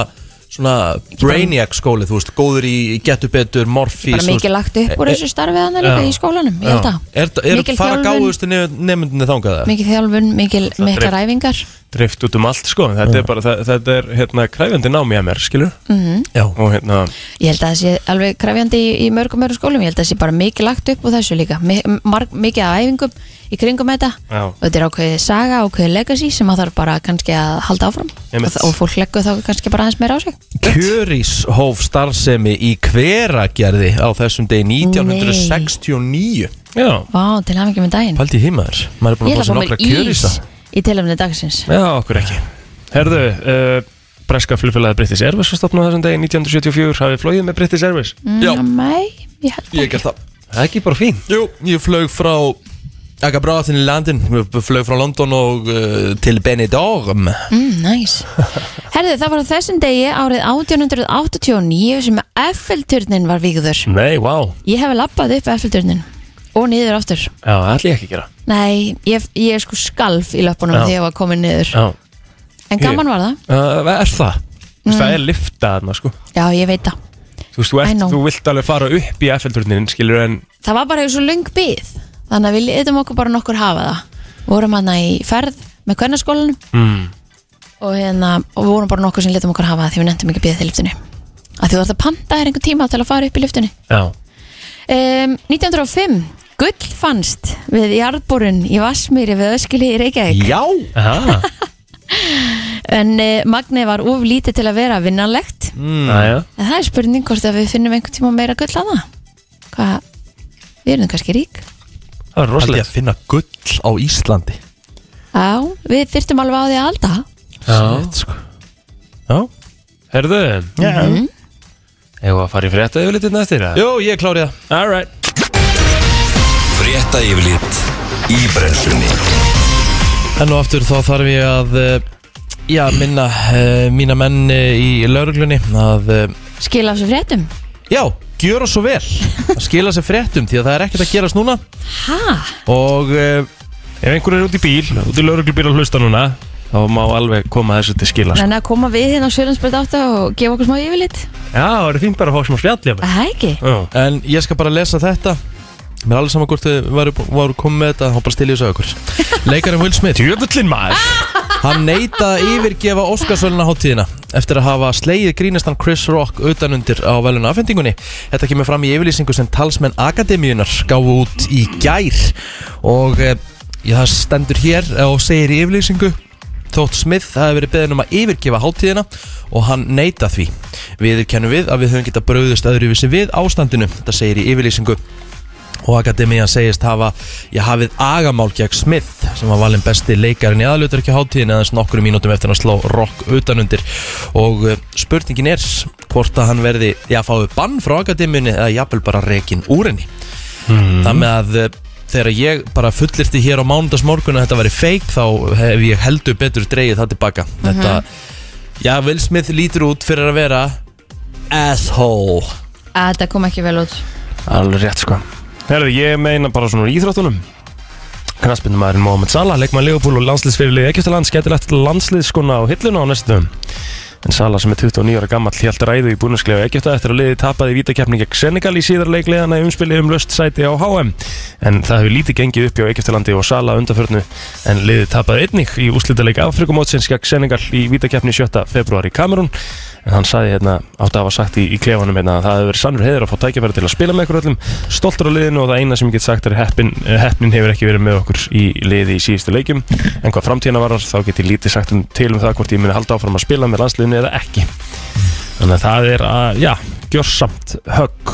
Speaker 2: svona brainiac skóli, þú veist, góður í getur betur, morfís,
Speaker 3: Bara mikið lagt upp úr þessu starfið hann líka í skólanum, ég held að
Speaker 2: Er, er
Speaker 3: Mikil
Speaker 2: fara
Speaker 3: þjálfun.
Speaker 2: gáðustu nefndinni þangað það?
Speaker 3: Mikið þjálfun, mikil, mikla
Speaker 4: dreif-
Speaker 3: ræfingar
Speaker 4: dreift út um allt sko þetta er bara, þa- þetta er hérna kræfjandi námi að mér skilur
Speaker 3: Mhm.
Speaker 2: Já,
Speaker 4: og hérna,
Speaker 3: Ég held að það sé alveg krefjandi í, í mörgum mörgum skólum, ég held að það sé bara mikið lagt upp úr þessu líka, Mi, marg, mikið af æfingum í kringum þetta
Speaker 4: Já.
Speaker 3: og þetta er ákveðið saga, ákveðið legacy sem að þarf bara kannski að halda áfram og,
Speaker 4: Einmitt.
Speaker 3: þa- og fólk leggur þá kannski bara aðeins meira á sig
Speaker 2: Kjörís hóf starfsemi í hveragerði á þessum degi 1969
Speaker 4: já,
Speaker 3: Vá, til hafingjum með daginn
Speaker 2: Paldi hímaður, maður er búin
Speaker 3: Ég ætla
Speaker 2: að fá
Speaker 3: að
Speaker 2: sér
Speaker 3: fá
Speaker 2: nokkra
Speaker 3: mér ís
Speaker 2: kjörísa
Speaker 3: í tilöfni dagsins
Speaker 4: já, okkur ekki herðu, uh, breska flugfélagið British Airways var stopnað þessum degi 1974 hafið flóið með British Airways
Speaker 2: Já,
Speaker 3: Nei, Mm, ég held
Speaker 2: ég gert það
Speaker 4: það er ekki bara fín
Speaker 2: Jú, ég flög frá Agabráðin í landin, flög frá London og uh, til Benidorm
Speaker 3: Mm, næs.
Speaker 2: *laughs*
Speaker 3: Herðu, það var á þessum degi árið 1889 sem Eiffelturnin var vígður.
Speaker 4: nei, wow,
Speaker 3: Ég hef lappað upp Eiffelturnin og niður aftur.
Speaker 4: já, það ætla ég ekki að gera
Speaker 3: Nei, ég, ég sko skalf í löpunum
Speaker 4: Já.
Speaker 3: þegar ég var komin niður
Speaker 4: já,
Speaker 3: En gaman var það,
Speaker 4: uh, er það mm. það er lifta þarna sko
Speaker 3: já ég veit það
Speaker 4: þú, veist, þú,
Speaker 3: I
Speaker 4: ert,
Speaker 3: know.
Speaker 4: þú vilt alveg fara upp í FL-turnin skilur en
Speaker 3: Það var bara svo löng byð Þannig að við letum okkur bara nokkur hafa það Vorum hann í ferð með kvennaskólanum
Speaker 4: mm.
Speaker 3: og, hérna, og vorum bara nokkur sem letum okkur hafa það Því við nefntum ekki að byða til lyftunni Af því þú ert að panta þér einhver tíma til að fara upp í lyftunni
Speaker 4: já,
Speaker 3: um, 1905 Gull fannst við jarðborun í Vassmýri við Öskili í Reykjavík
Speaker 2: Já
Speaker 4: aha, *laughs*
Speaker 3: En uh, magnið var of lítið til að vera vinnanlegt
Speaker 4: aðja
Speaker 3: En það er spurning hvort að við finnum einhvern tíma meira gull að það. Hvað, við erum kannski rík.
Speaker 4: það er
Speaker 2: Paldi að
Speaker 4: rosalegt
Speaker 2: finna gull á Íslandi
Speaker 3: Já, við þyrftum alveg á því að halda.
Speaker 4: Já.
Speaker 2: Shit, sko. Já
Speaker 4: herðu, Mhm.
Speaker 2: yeah.
Speaker 4: hefur að fara í frétta yfirlitið næstir
Speaker 2: Jó, ég klárið það
Speaker 4: alright
Speaker 6: Frétta yfirlit í brennslunni
Speaker 2: Enn og aftur þá þarf ég að eh, Já, minna uh, Mína menn eh, í lauruglunni Að, uh,
Speaker 3: Skil af þessu fréttum.
Speaker 2: já, gjöra svo *laughs* vel Að skila sér fréttum Því að það er ekkert að gerast núna
Speaker 3: Hæ?
Speaker 2: Og uh,
Speaker 4: Ef einhver er út í bíl, út í lauruglubíl að hlusta núna þá má alveg koma þessu til skila sko.
Speaker 3: Þannig að koma við hérna á Sjölandsbreyt 8 og gefa okkur smá yfirlit.
Speaker 4: Já, það er fínt bara að fá smá spjall jafnvel.
Speaker 3: Það ekki.
Speaker 4: Já,
Speaker 2: En ég skal bara lesa þetta Mér er alveg saman hvort þið varu, varu komið með þetta Há bara stilja þessu að ykkur Leikarinn Will Smith
Speaker 4: Djöfullin maður
Speaker 2: Hann neita að yfirgefa Óskarsvöluna hátíðina eftir að hafa slegið grínistan Chris Rock utanundir á veluna afhendingunni. Þetta kemur fram í yfirlýsingu sem talsmenn Akademíunar gáfu út í gær og eh, ég, það stendur hér og segir í yfirlýsingu Þótt Smith hafi verið beðin um að yfirgefa hátíðina og hann neita því. Við kennum við að við höfum getað bröðust öðruvísi við ástandinu, þetta segir í yfirlýsingu. og Akademian segist hafa ég hafið agamál gegn Smith sem var valinn besti leikarinn í aðlutur ekki hátíðin eða nokkru mínútum eftir að slá rock utanundir og eh, spurningin er hvort að hann verði já, fáið bann frá Akademiunni eða jafnvel bara rekin úr henni mm. það með að eh, þegar ég bara fullirti hér á mánudasmorgun að þetta væri fake þá hef ég heldur betur dreigið það tilbaka þetta, já, Will Smith lítur út fyrir að vera asshole
Speaker 3: að þetta kom ekki vel út
Speaker 4: Alveg rétt sko Herðu, ég meina bara svona úr íþróttunum Knaspindumæðurinn Mohamed Salah leikmann Leopold og landsliðsfyrirlið Egyptaland skætilegt landsliðskona á hilluna á næstum En Salah sem er 29 ára gammal hjált ræðu í búnusklega Egypta eftir að liði tapaði vítakeppni gegn Senegal í síðar leikliðana í umspili um löst sæti á HM en það hefur lítið gengið upp hjá Egyptalandi og Salah undanförnu en liði tapaði einnig í úslitaleik Afrikumótsins gegn Senegal í vítakeppni 7. februar í Kamerún en hann sagði hérna, átt að hafa sagt í, í klefanum hérna að það hefur verið sannur heiður að fá tækifæri til að spila með ykkur öllum, stoltur á liðinu og það eina sem ég get sagt er heppin, eh, heppnin hefur ekki verið með okkur í liði í síðustu leikjum en hvað framtíðina varar þá get ég lítið sagt um, til um það hvort ég muni halda áfram að spila með landsliðinu eða ekki þannig að það er að, já, gjörsamt högg,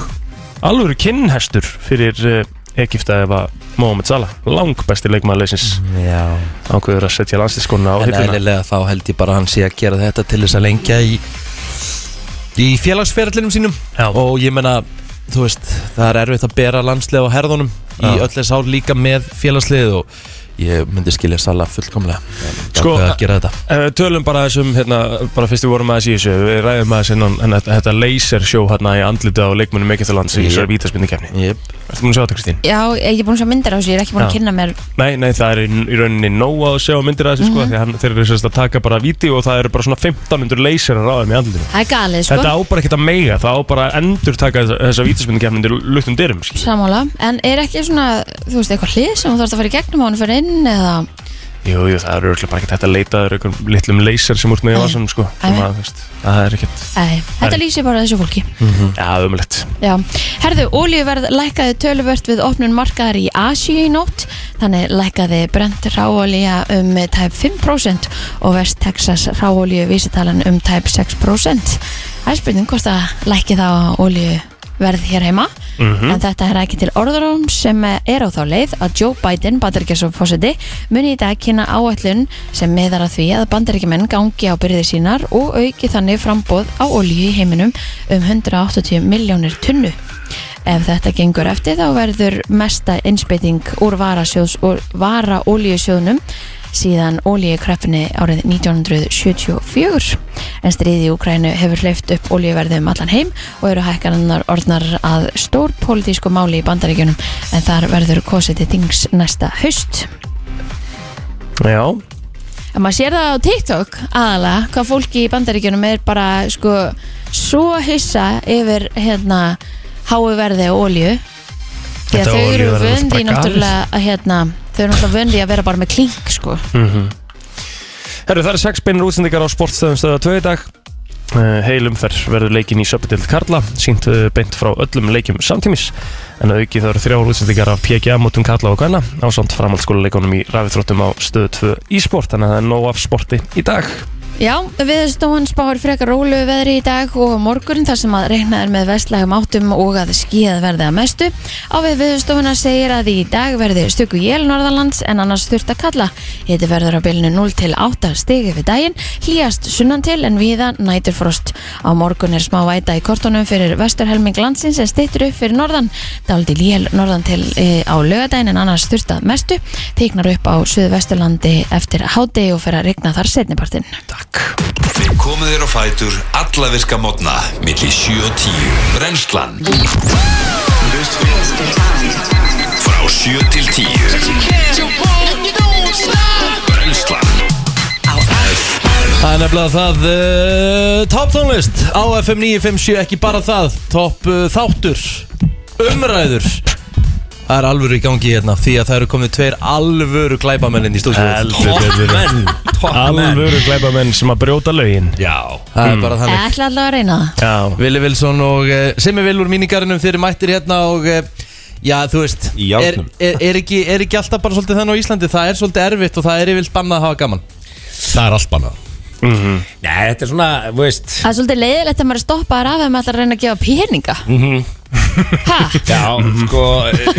Speaker 4: alvöru kinnhestur fyrir uh, Egipta ef að Mohamed Salah, langbæsti leikmaður leysins
Speaker 2: já
Speaker 4: ákveður að setja landslískona á
Speaker 2: En
Speaker 4: hilluna
Speaker 2: eðlilega þá held ég bara að hann sé að gera þetta til þess að lengja í, í félagsferðlinum sínum
Speaker 4: Já.
Speaker 2: Og ég menna, þú veist, það er erfitt að bera landslið á herðunum Í
Speaker 4: Já.
Speaker 2: öll þess ár líka með félagslið og ég myndi skilja Sala fullkomlega
Speaker 4: Sko,
Speaker 2: Það er að gera þetta
Speaker 4: Ef við tölum bara þessum, hérna, bara fyrst við vorum aðeins í þessu, við ræðum aðeins innan en þetta, þetta lasersjó hérna í andlita á leikmunum Egyptalands í
Speaker 2: Jep.
Speaker 4: þessari vítaspindikefni.
Speaker 2: yep.
Speaker 4: Ertu múin að sjá þetta, Kristín?
Speaker 3: já, ég er búin að sjá myndir á þessu, ég er ekki búin að
Speaker 4: Já.
Speaker 3: kynna mér
Speaker 4: Nei, nei, það er í, í rauninni nóg að sjá myndir að þessu, sko, því hann, þeir eru sérst að taka bara víti og það eru bara svona 15 myndur laserar á þeim í andlitinu.
Speaker 3: það er galið sko
Speaker 4: Þetta á bara ekkert að meiga, það á bara að endur taka þessa, þessa vítaspindikefni til luktum dyrum, skil.
Speaker 3: Sammála, en er ekki svona, þú veist, eitthvað hlið sem þú þarfst að fara í gegnum á hann fyrir inn eða
Speaker 4: Jú, jú, það eru örugglega bara ekkert hægt að leita að einhverjum litlum laser sem úr með í vasanum, sko, sem
Speaker 3: Æi.
Speaker 4: að, þú veist, það er ekkert,
Speaker 3: Nei, þetta
Speaker 4: Nei.
Speaker 3: lýsir bara þessu fólki
Speaker 4: ja, ömurlegt.
Speaker 3: Já, herðu, ólíuverð lækkaði töluvert við opnun markaðar í Asi í nótt þannig lækkaði brent ráolía um tæp 5% og West Texas ráolíu vísitalan um tæp 6% Það er spurning hvort að lækki það á ólíuverð hér heima en þetta er ekki til orðurón sem er á þá leið að Joe Biden, bandaríkjarsfósiti, muni í dag kynna áætlun sem meðar að því að bandaríkjumenn gangi á byrði sínar og auki þannig frambóð á olíu í heiminum um 180 miljónir tunnu. Ef þetta gengur eftir þá verður mesta innspeiting úr varasjóðs og vara olíusjóðnum síðan olíukreppunni árið 1974 en stríði í Ukrænu hefur hleyft upp olíuverði um allan heim og eru hækkarinnar orðnar að stór pólitísku máli í bandaríkjunum en þar verður kosið til dings næsta haust
Speaker 4: Já,
Speaker 3: en maður sér það á TikTok aðalega hvað fólki í bandaríkjunum er bara sko svo hissa yfir hérna háu verði og olíu því að
Speaker 4: Þetta
Speaker 3: þau eru
Speaker 4: olíuverð er
Speaker 3: vöndi
Speaker 4: bara galið.
Speaker 3: náttúrulega að hérna, þau eru náttúrulega vöndi að vera bara með klink sko
Speaker 4: Mhm. Herru, það eru sex beinir útsendingar á sportstöðum stöða 2 í dag Uh, heil umferð verður leikin í Söpudeld Karla sínt uh, beint frá öllum leikjum samtímis en að auki það eru þrjár útsendingar af PGA mótum Karla og Gvæna ásamt framhaldsskóla í ræfiþróttum á stöðu 2 í sport þannig að það er nóg af sporti í dag
Speaker 3: Já, viðstofan spáir frekar rólu veðri í dag og á morgun þar sem að reikna er með vestlægum áttum og að skíðað verði að mestu. Á við viðstofuna segir að í dag verði stöku jél norðalands en annars þurft að kalla. Hiti verður á bylnu 0 til 8 stigi við daginn, hlýjast sunnan til en viða næturfrost. Á morgun er smá væta í kortunum fyrir vesturhelming landsins en stittur upp fyrir norðan. Daldi jél norðan til e, á lögadaginn en annars þurft að mestu. Tegnar upp á suðvesturlandi eftir hádegi og fer að regna þar setnipartinn.
Speaker 6: Við komum þér á fætur alla virka mótna milli 7 og 10 Brennslan Frá 7 til 10 Brennslan
Speaker 2: Það er nefnilega það uh, Top tónlist á FM 957 ekki bara það, top uh, þáttur umræður Það er alvöru í gangi hérna því að það eru komið tveir alvöru glæbamennin í stúdíu
Speaker 4: Alvöru gleipamenn sem að brjóta lögin Já
Speaker 7: Mm.
Speaker 2: Það er bara þannig
Speaker 3: ætla allavega að reyna það
Speaker 4: Já,
Speaker 2: Vili Vilsson og uh, Simmi Vil úr míningarinnum þeir eru mættir hérna og uh, já þú veist
Speaker 1: Í
Speaker 2: er,
Speaker 1: járnum.
Speaker 2: er, er, ekki, er ekki alltaf bara svolítið þannig á Íslandi það er svolítið erfitt og það er yfirlt bannað að hafa gaman
Speaker 1: Það er allt bannað Nei, þetta er svona, þú veist
Speaker 3: Það er svolítið leiðilegt að maður er stoppaður af ef maður ætlar að reyna að gefa peninga
Speaker 1: mhm,
Speaker 3: Hæ?
Speaker 7: Já, sko,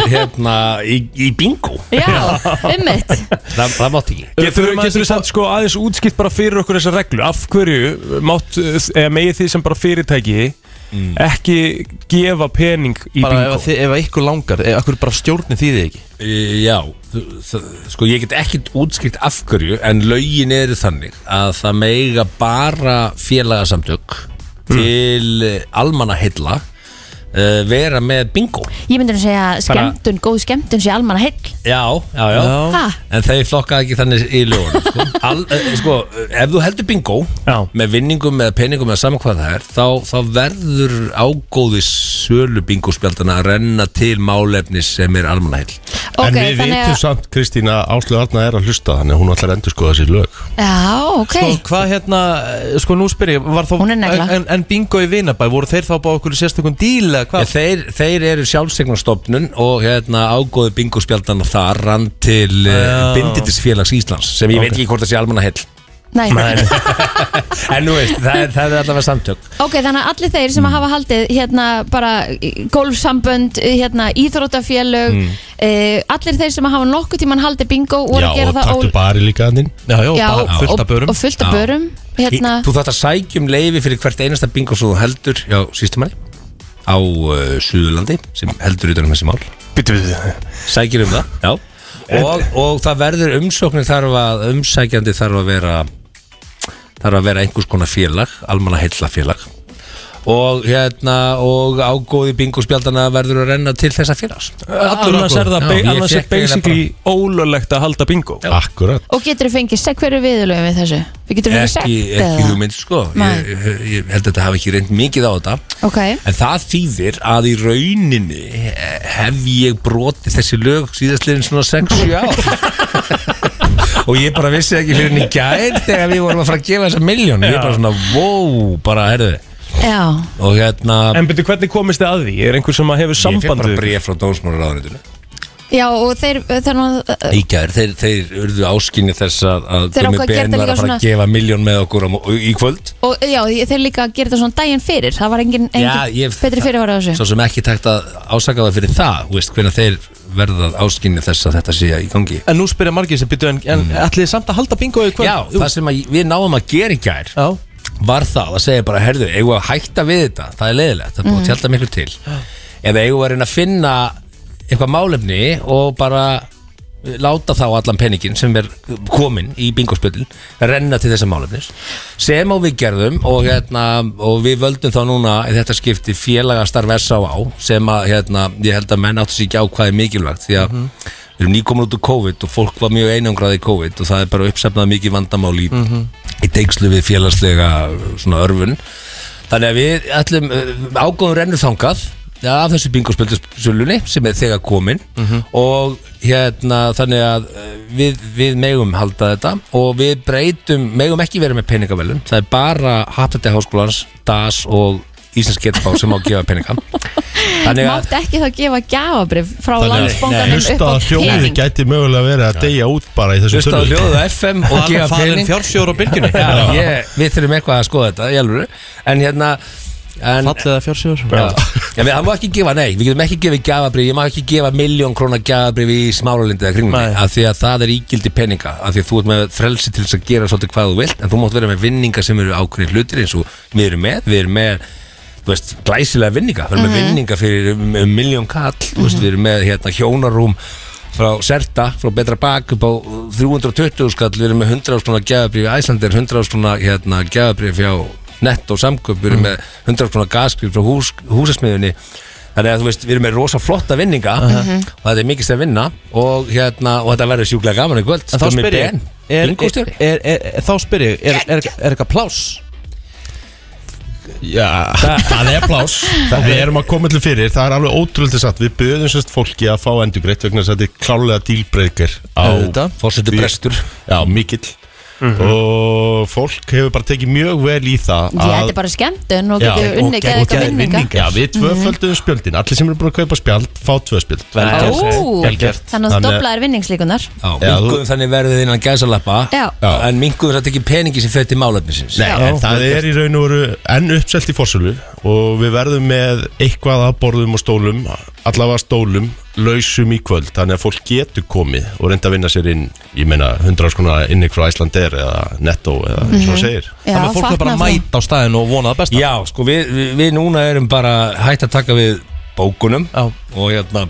Speaker 7: hérna, í, í bingo
Speaker 3: Já, um ummitt
Speaker 7: Það, það mátt ekki
Speaker 4: Getur,
Speaker 2: maður
Speaker 4: getur við samt sko aðeins útskipt bara fyrir okkur þessa reglu Af hverju eh, mátt, eða megið þið sem bara fyrirtæki Mm. Ekki gefa pening í
Speaker 2: Bara
Speaker 4: bingo
Speaker 2: ef, þið, ef ykkur langar, ef ykkur bara stjórnir því þið ekki
Speaker 7: Í- Já, þú- það- sko, ég get ekki útskipt af hverju En lögin eru þannig að það meiga bara félagasamtök
Speaker 2: Hmm.
Speaker 7: Til eh, almanna heilla uh, Vera með bingo
Speaker 3: Ég myndi að segja skemmtun, góð skemmtun sé almanna heill
Speaker 7: Já, já, já,
Speaker 2: Já.
Speaker 3: Ha?
Speaker 7: En þeir flokkaði ekki þannig í lögunum *laughs* sko. Al, eh, sko, ef þú heldur bingo
Speaker 4: Já.
Speaker 7: með vinningum eða peningum eða saman hvað það er þá, þá verður ágóði sölu bingospjaldana að renna til málefni sem er almanaheill
Speaker 3: Ok,
Speaker 8: en við
Speaker 3: þannig
Speaker 8: vitum
Speaker 3: að
Speaker 8: samt Kristína Áslu Arna er að hlusta þannig að hún ætlar að endur skoða sér lög
Speaker 3: Já, ok
Speaker 2: Sko, hvað hérna, eh, sko nú spyr ég var þá,
Speaker 3: Hún er negla.
Speaker 2: en, en bingo í vinabæ, voru þeir þá bá okkur í sérstökum díl eða
Speaker 7: Ég,
Speaker 2: hvað?
Speaker 7: þeir, þeir eru sjálfsegnarstofnun og hérna, ágóði bingospjaldana þar rann til uh, Binditisfélags Íslands sem ég veit ekki hvort það sé almanaheill
Speaker 3: Nei.
Speaker 7: en nú veist, það er, það er allavega samtök
Speaker 3: Ok, þannig að allir þeir sem
Speaker 8: Mm.
Speaker 3: hafa haldið hérna bara í- golfsambönd hérna íþróttafélög eh, allir þeir sem hafa nokkuð tíman haldið bingo voru
Speaker 8: Mm. Já,
Speaker 3: að gera
Speaker 8: og
Speaker 3: það
Speaker 8: taktu bari líka hann inn
Speaker 2: Já, já,
Speaker 3: Já,
Speaker 2: bara fullt af
Speaker 3: og,
Speaker 2: börum
Speaker 3: og fullt af börum hérna,
Speaker 7: Í- Þú þátt að sækjum leifi fyrir hvert einasta bingo sem þú heldur já, sístumanni á uh, Suðurlandi sem heldur utan um þessi mál
Speaker 4: Býttu við þið
Speaker 7: Sækjum um það, já og, og það verður umsóknir þarf að umsækjandi þarf að vera þarf að vera einhvers konar félag almanna heilla félag og hérna og ágóði bingo spjaldana verður að renna til þessa félags
Speaker 4: Annars er það
Speaker 7: Já,
Speaker 4: ba-
Speaker 7: ég
Speaker 4: annars er
Speaker 7: fékk eiginlega
Speaker 4: basically ólöglegt að halda bingo
Speaker 8: Akkurat
Speaker 3: og getur fengið sekt hverju viðlögum við þessu? Við getur fengið
Speaker 7: ekki,
Speaker 3: sekt
Speaker 7: ekki hugmynd sko
Speaker 3: Nei.
Speaker 7: ég, ég, ég held að þetta hafi ekki reynd mikið á þetta
Speaker 3: Ok,
Speaker 7: En það þýðir að í rauninni eh, hef ég brotið þessi lög síðastliðin svona 6-7 ár *laughs* og ég bara vissi það ekki fyrir henni gær þegar við vorum að fara að gefa þessa miljón ég bara svona, wow, bara herðu
Speaker 3: já
Speaker 7: og hérna,
Speaker 4: En betur hvernig komist þið að því? Er einhver sem að hefur
Speaker 7: ég fekk bara
Speaker 4: sambandu?
Speaker 7: bref frá dómsmálaráðunitinu
Speaker 3: Já, og þeir, þannig að
Speaker 7: í gær, þeir, þeir urðu áskinni þess að, að
Speaker 3: Þeir ákvað að gera
Speaker 7: Ben
Speaker 3: þetta
Speaker 7: var
Speaker 3: líka
Speaker 7: að fara
Speaker 3: svona-
Speaker 7: að gefa miljón með okkur á, mó- í kvöld
Speaker 3: og já, þeir líka að gera þetta svona daginn fyrir það var engin, engin
Speaker 7: Já, ég-
Speaker 3: betri fyrirvara á þessu
Speaker 7: svo sem ekki tækt að ásaka það fyrir það þú veist, hvernig þeir verða áskinni þess að þetta sé í gangi
Speaker 2: En nú spyrja margir sem byttu en, en ætlið þið samt að halda bingo í kvöld?
Speaker 7: Já, það sem að við náum að gera í gær
Speaker 2: Já,
Speaker 7: var það að segja bara, herðu, eigum við að hætta við þetta það er leiðilegt, það er búið að tjálta miklu til eða eigum við að reyna að finna eitthvað málefni og bara láta þá allan peningin sem er komin í bingospillin renna til þessa málefnis sem og við gerðum og, hérna, og við völdum þá núna í þetta skipti félagastarf S.A.A. sem að hérna, ég held að menn áttu sér ekki á hvað er mikilvægt því að Við erum nýkomin út úr COVID og fólk var mjög einangrað í COVID og það er bara uppsefnað mikið vandamál í, í teikslu við félagslega svona örfun. Þannig að við ætlum ágóðum rennur þangað ja, af þessu bingospöldusölunni sem er þegar komin og hérna þannig að eh, við, við megum halda þetta og við breytum, megum ekki vera með peningavelun. Það er bara Hattati Háskólans, DAS og Íslands Getbá sem á að gefa peninga. Þannig að
Speaker 3: Mátti ekki þá gefa gjafabrif frá
Speaker 8: Þannig að-
Speaker 3: landsbónganum upp
Speaker 8: Hlusta
Speaker 3: á
Speaker 8: að hljóðið
Speaker 3: pening
Speaker 8: gæti mögulega verið að deyja út bara í þessum
Speaker 7: hlusta á
Speaker 8: tölum
Speaker 7: hljóðu á FM og
Speaker 2: það
Speaker 7: gefa
Speaker 2: er farin
Speaker 7: pening.
Speaker 2: fjársjóður á byrginu
Speaker 7: *laughs* Já, ég, við þurfum eitthvað að skoða þetta, ég alveg En hérna en,
Speaker 2: Fallið að fjársjóður
Speaker 7: Já, já við, það má ekki gefa, nei, við getum ekki gefið gjafabrif Ég má ekki gefa miljón krónar gjafabrif í smáralindi eða kringum
Speaker 2: Nei.
Speaker 7: Af því að það er ígildi peninga Af því að þú ert með frelsi til þess að gera svolítið hvað þú vilt En þú mátt vera með vinninga sem eru ákveðni hlutir eins og við erum með Við erum með, þú veist, glæsilega vinninga Við erum
Speaker 2: Mhm.
Speaker 7: með vinninga fyrir um, um miljón kall Þú veist, við erum með hérna hjónarúm frá Serta, frá Betra Bak upp á 320 skall, við erum með 100 áskona gjafabrif, Æslandir 100 áskona hérna, gjafabrif hjá nett og samköp,
Speaker 2: Mhm.
Speaker 7: við erum með 100 konar gaskrið frá hús, húsasmiðunni þannig að þú veist, við erum með rosa flotta vinninga
Speaker 2: Mhm.
Speaker 7: og þetta er mikið sem vinna og, hérna, og þetta verður sjúklega gaman í kvöld
Speaker 2: En þá spyr ég, er, er,
Speaker 7: Bingostjóri
Speaker 2: er, er, er, þá spyr ég, er, er, er, er eitthvað plás?
Speaker 8: Já, *laughs* það er plás Við erum að koma til fyrir, það er alveg ótrúlega satt Við böðum sérst fólki að fá endugreitt vegna þess að þetta er klálega dílbreyker á
Speaker 2: Auðvitað.
Speaker 7: Fórsetu brestur
Speaker 8: Já, mikill og fólk hefur bara tekið mjög vel í það
Speaker 3: Já, þetta er bara skemmtun og
Speaker 8: Já,
Speaker 3: getur
Speaker 8: og
Speaker 3: unnið
Speaker 8: gegn-
Speaker 3: geða
Speaker 8: og Mhm.
Speaker 3: eitthvað
Speaker 8: gegn-
Speaker 3: vinninga
Speaker 8: Já, við tvöföldum spjöldin Allir sem eru búin að kaupa spjald, fá tvö spjöld
Speaker 2: Vel
Speaker 4: Já.
Speaker 2: gert
Speaker 3: Ó,
Speaker 2: Vel gert
Speaker 3: þannig að þú
Speaker 8: Þannig að-
Speaker 3: doblaðir vinningslíkunar
Speaker 7: Já,
Speaker 8: Já, þú-
Speaker 7: minguðum þannig verðið innan gæsalappa
Speaker 3: Já.
Speaker 8: Já.
Speaker 7: En minguðum satt ekki peningi sem fyrir til málefnisins
Speaker 8: Nei, en það er í raun og veru enn uppselt í fórsölu og við verðum með eitthvað að borðum og stólum, allavega stólum, lausum í kvöld, þannig að fólk getur komið og reynda að vinna sér inn, ég meina, 100 skona inni frá Æslandeir eða Netto eða eins og það segir.
Speaker 3: Já,
Speaker 2: Þannig að fólk er bara að
Speaker 3: fatnaði
Speaker 2: mæta á staðinu og vona það besta
Speaker 7: Já, sko, við, við, við núna erum bara hægt að taka við bókunum
Speaker 2: Já.
Speaker 7: og hérna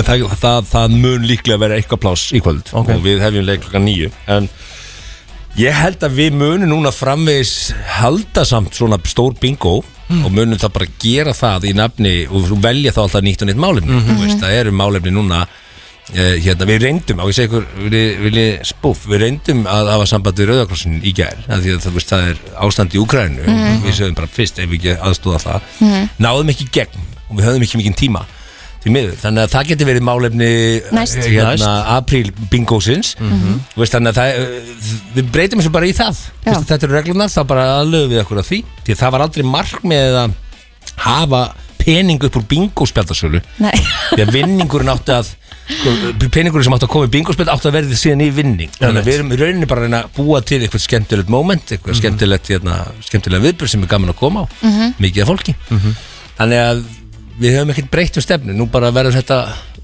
Speaker 7: það, það, það mun líklega vera eitthvað pláss í kvöld
Speaker 2: Ok.
Speaker 7: og við hefjum leik klokkan nýju en ég held að við munum núna framvegis halda samt svona stór bingo og munum það bara gera það í nafni og velja þá alltaf nýtt og nýtt málefni mm veist, það eru málefni núna Uh, hérna, við reyndum, á ég segi ykkur við, við, spúf, við reyndum að hafa samband við Rauðakrossin í gær, af því að það, veist, það er ástand í Ukrænu, við sögum bara fyrst ef við ekki aðstóða það, náðum ekki í gegn og við höfðum ekki mikinn tíma því miður, þannig að það getur verið málefni
Speaker 3: Næst.
Speaker 7: eh, hérna,
Speaker 2: Næst.
Speaker 7: apríl bingósins veist, þannig að það, eh, við breytum þessu bara í það
Speaker 3: Já.
Speaker 7: veist, þetta eru reglunar, þá bara aðlöfum við okkur að því, því að það var aldrei markmið að hafa pening upp úr bingóspjaldarsölu
Speaker 3: Nei,
Speaker 7: því að vinningurinn átti að sko, peningurinn sem átti að koma í bingospill átti að verði síðan í vinning þannig að við erum í rauninni bara að reyna að búa til eitthvað skemmtilegt moment, eitthvað skemmtilegt hérna, skemmtilega viðbjörn sem er gaman að koma á mikið af fólki þannig að við höfum ekkert breytt um stefnu nú bara verður þetta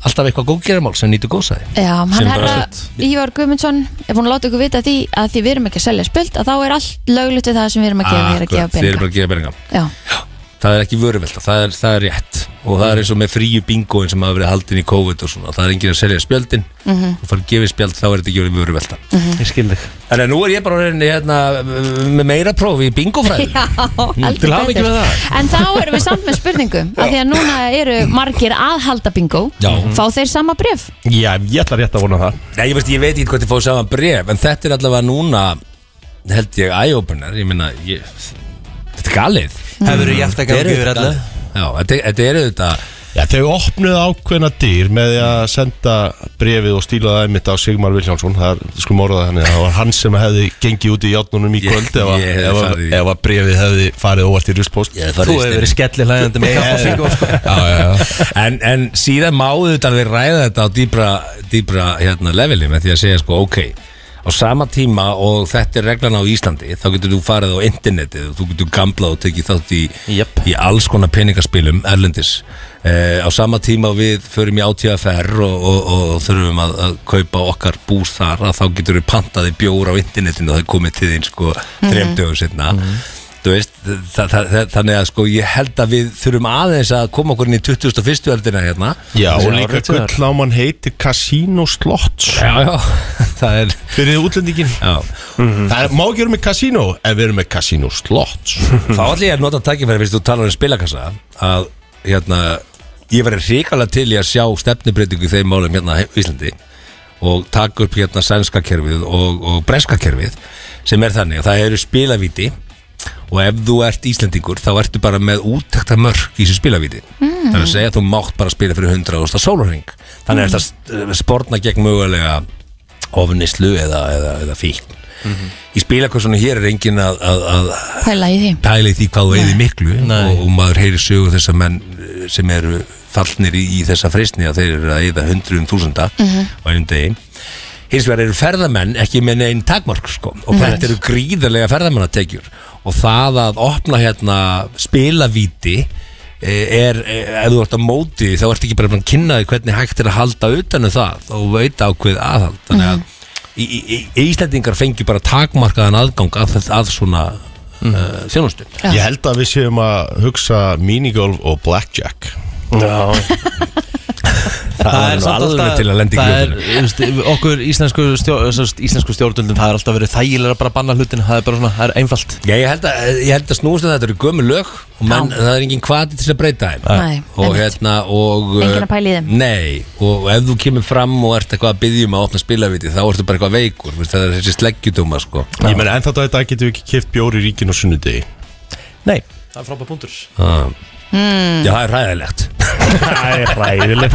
Speaker 7: alltaf eitthvað góðgeramál sem nýtur góðsæði
Speaker 3: já,
Speaker 7: Sem
Speaker 3: hann
Speaker 7: bara-
Speaker 3: herra Ívar Guðmundsson er búin að láta ykkur vita því að því við erum ekki að selja spjöld að þá er allt löglegt við það sem við erum að gefa, við erum að gefa
Speaker 7: Þið
Speaker 3: peninga
Speaker 7: erum bara að Mm, gefa peninga
Speaker 3: Já,
Speaker 7: það er ekki vöruvelta, það er, það er rétt og það er eins og með fríu bingoin sem hafa verið haldin í COVID og svona, það er enginn að selja spjöldin mm
Speaker 3: Mhm.
Speaker 7: -hmm. og fara að gefa spjöld, þá er þetta ekki verið vöruvelta mm -hmm. ég skil þig en nú er ég bara orðin, hérna, með meira prófi í
Speaker 3: *laughs*
Speaker 7: bingofræðin
Speaker 3: já heldur
Speaker 7: til hamingju
Speaker 3: betur.
Speaker 7: með það.
Speaker 3: En þá erum við samt með spurningum af því að núna eru margir að halda bingo
Speaker 7: Já.
Speaker 3: Fá þeir sama bref?
Speaker 8: Já, ég ætla rétt að vona það.
Speaker 7: Nei, ég, veist, ég veit ekki hvað þið fóðu saman bref en þetta er allavega núna held ég eye-opener, ég meina ég, þetta er galið
Speaker 2: Hefur ég eftir að ganga yfir
Speaker 7: þetta
Speaker 2: allu
Speaker 7: galið. Já, þetta, þetta er auðvitað
Speaker 8: Já, þau opnuðu ákveðna dyr með því að senda brefið og stíla það einmitt á Sigmar Viljánsson, það er sko morðað henni, það var hann sem hefði gengið út í játnunum í
Speaker 7: Ég-
Speaker 8: kvöld ef, að-
Speaker 7: ég hefði
Speaker 8: ef,
Speaker 7: farið
Speaker 8: að-
Speaker 7: í-
Speaker 8: ef að brefið hefði farið óvart í ruslpost.
Speaker 7: Ég hefði
Speaker 2: Þú hefur verið skellir hlægandi með kaffa sig
Speaker 7: *laughs*
Speaker 2: og sko
Speaker 8: Já, já, já.
Speaker 7: en, en síðan máðu þetta við ræða þetta á dýbra, dýbra hérna, leveli með því að segja sko ok á sama tíma og þetta er reglan á Íslandi þá getur þú farið á internetið og þú getur gamblað og tekið þátt í,
Speaker 2: Jöp.
Speaker 7: í alls konar peningaspilum erlendis eh, á sama tíma og við förum í átíðaferr og, og, og, þurfum að, að kaupa okkar bús þar að þá getur við pantaði bjór á internetinu og það er komið til þín sko þremdögum setna Þú veist, þa þa þa þannig að sko ég held að við þurfum aðeins að koma okkur inn í 21. öldina hérna
Speaker 8: Já, og
Speaker 2: Þessi
Speaker 8: líka
Speaker 2: áratugar.
Speaker 8: gullnáman heitir Casino Slots
Speaker 7: Já, já, *laughs* það er
Speaker 8: fyrir útlendingin
Speaker 7: já.
Speaker 8: Það er, má ekki vera með Casino en við erum með Casino Slots
Speaker 7: Þá allir ég að nota tækifæri fyrst þú talar um spilakassa að hérna ég verið hrikalega til í að sjá stefnubreitingu í þeim málum hérna á Íslandi og taka upp hérna sænska kerfið og, og breska kerfið sem er þannig að það eru spilavíti og ef þú ert Íslendingur þá ertu bara með úttekta mörk í þessu spilavíti mm. þannig að segja að þú mátt bara spila fyrir 100.000 sólarhing þannig mm. er þetta spórna gegn mögulega ofnislu eða, eða, eða fíkn í spilakossunum hér er engin að, að, að
Speaker 3: Pæla í því
Speaker 7: pæla í því hvað þú eigði miklu
Speaker 2: Nei.
Speaker 7: og, og maður heyri sögu þess að menn eh, sem eru fallnir í, í þessa freysni að þeir eru að eigða hundruðum þúsunda á einum degi hins vegar eru ferðamenn ekki með neginn takmark sko, og þetta eru gríðarlega ferðamannatekjur og það að opna hérna spilavíti eh, er, eh, ef þú ert að móti því, þá ert ekki bara búin að kynna því hvernig hægt er að halda utanum það og veita ákveð aðhald þannig að í, í, í, Íslandingar fengi bara takmarkaðan aðgang að, að svona mm. uh, þjónustu
Speaker 3: Já.
Speaker 8: Ég held að við séum að hugsa minigolf og blackjack
Speaker 2: Það
Speaker 7: er
Speaker 2: er
Speaker 7: nú
Speaker 2: samt
Speaker 7: alveg
Speaker 2: alltaf
Speaker 7: til að lenda í
Speaker 2: það er,
Speaker 7: grjótinu.
Speaker 2: þú veist, Okkur íslensku, stjó, þessast íslensku stjórnvöldum Það er alltaf verið þægilega bara að banna hlutin Það er bara svona, það er einfalt
Speaker 7: Já, ég held að, eh, ég held að snúast að þetta eru gömul lög og menn, það er engin kvati til að breyta þeim
Speaker 3: Nei,
Speaker 7: og
Speaker 3: einmitt.
Speaker 7: hérna og uh,
Speaker 3: Enginn að pæla í þeim.
Speaker 7: Nei, og ef þú kemur fram og ert eitthvað að byggjum að opna spilaviti þá ertu bara eitthvað veikur, veist, það er þessi sleggjudóma sko.
Speaker 8: Ég menn en þetta getum við ekki kipt bjóri í ríkinu og sunnudegi
Speaker 2: Nei, það er frábæð punktur
Speaker 7: ah.
Speaker 3: Mm.
Speaker 7: Já, það er ræðilegt
Speaker 4: Það er ræðilegt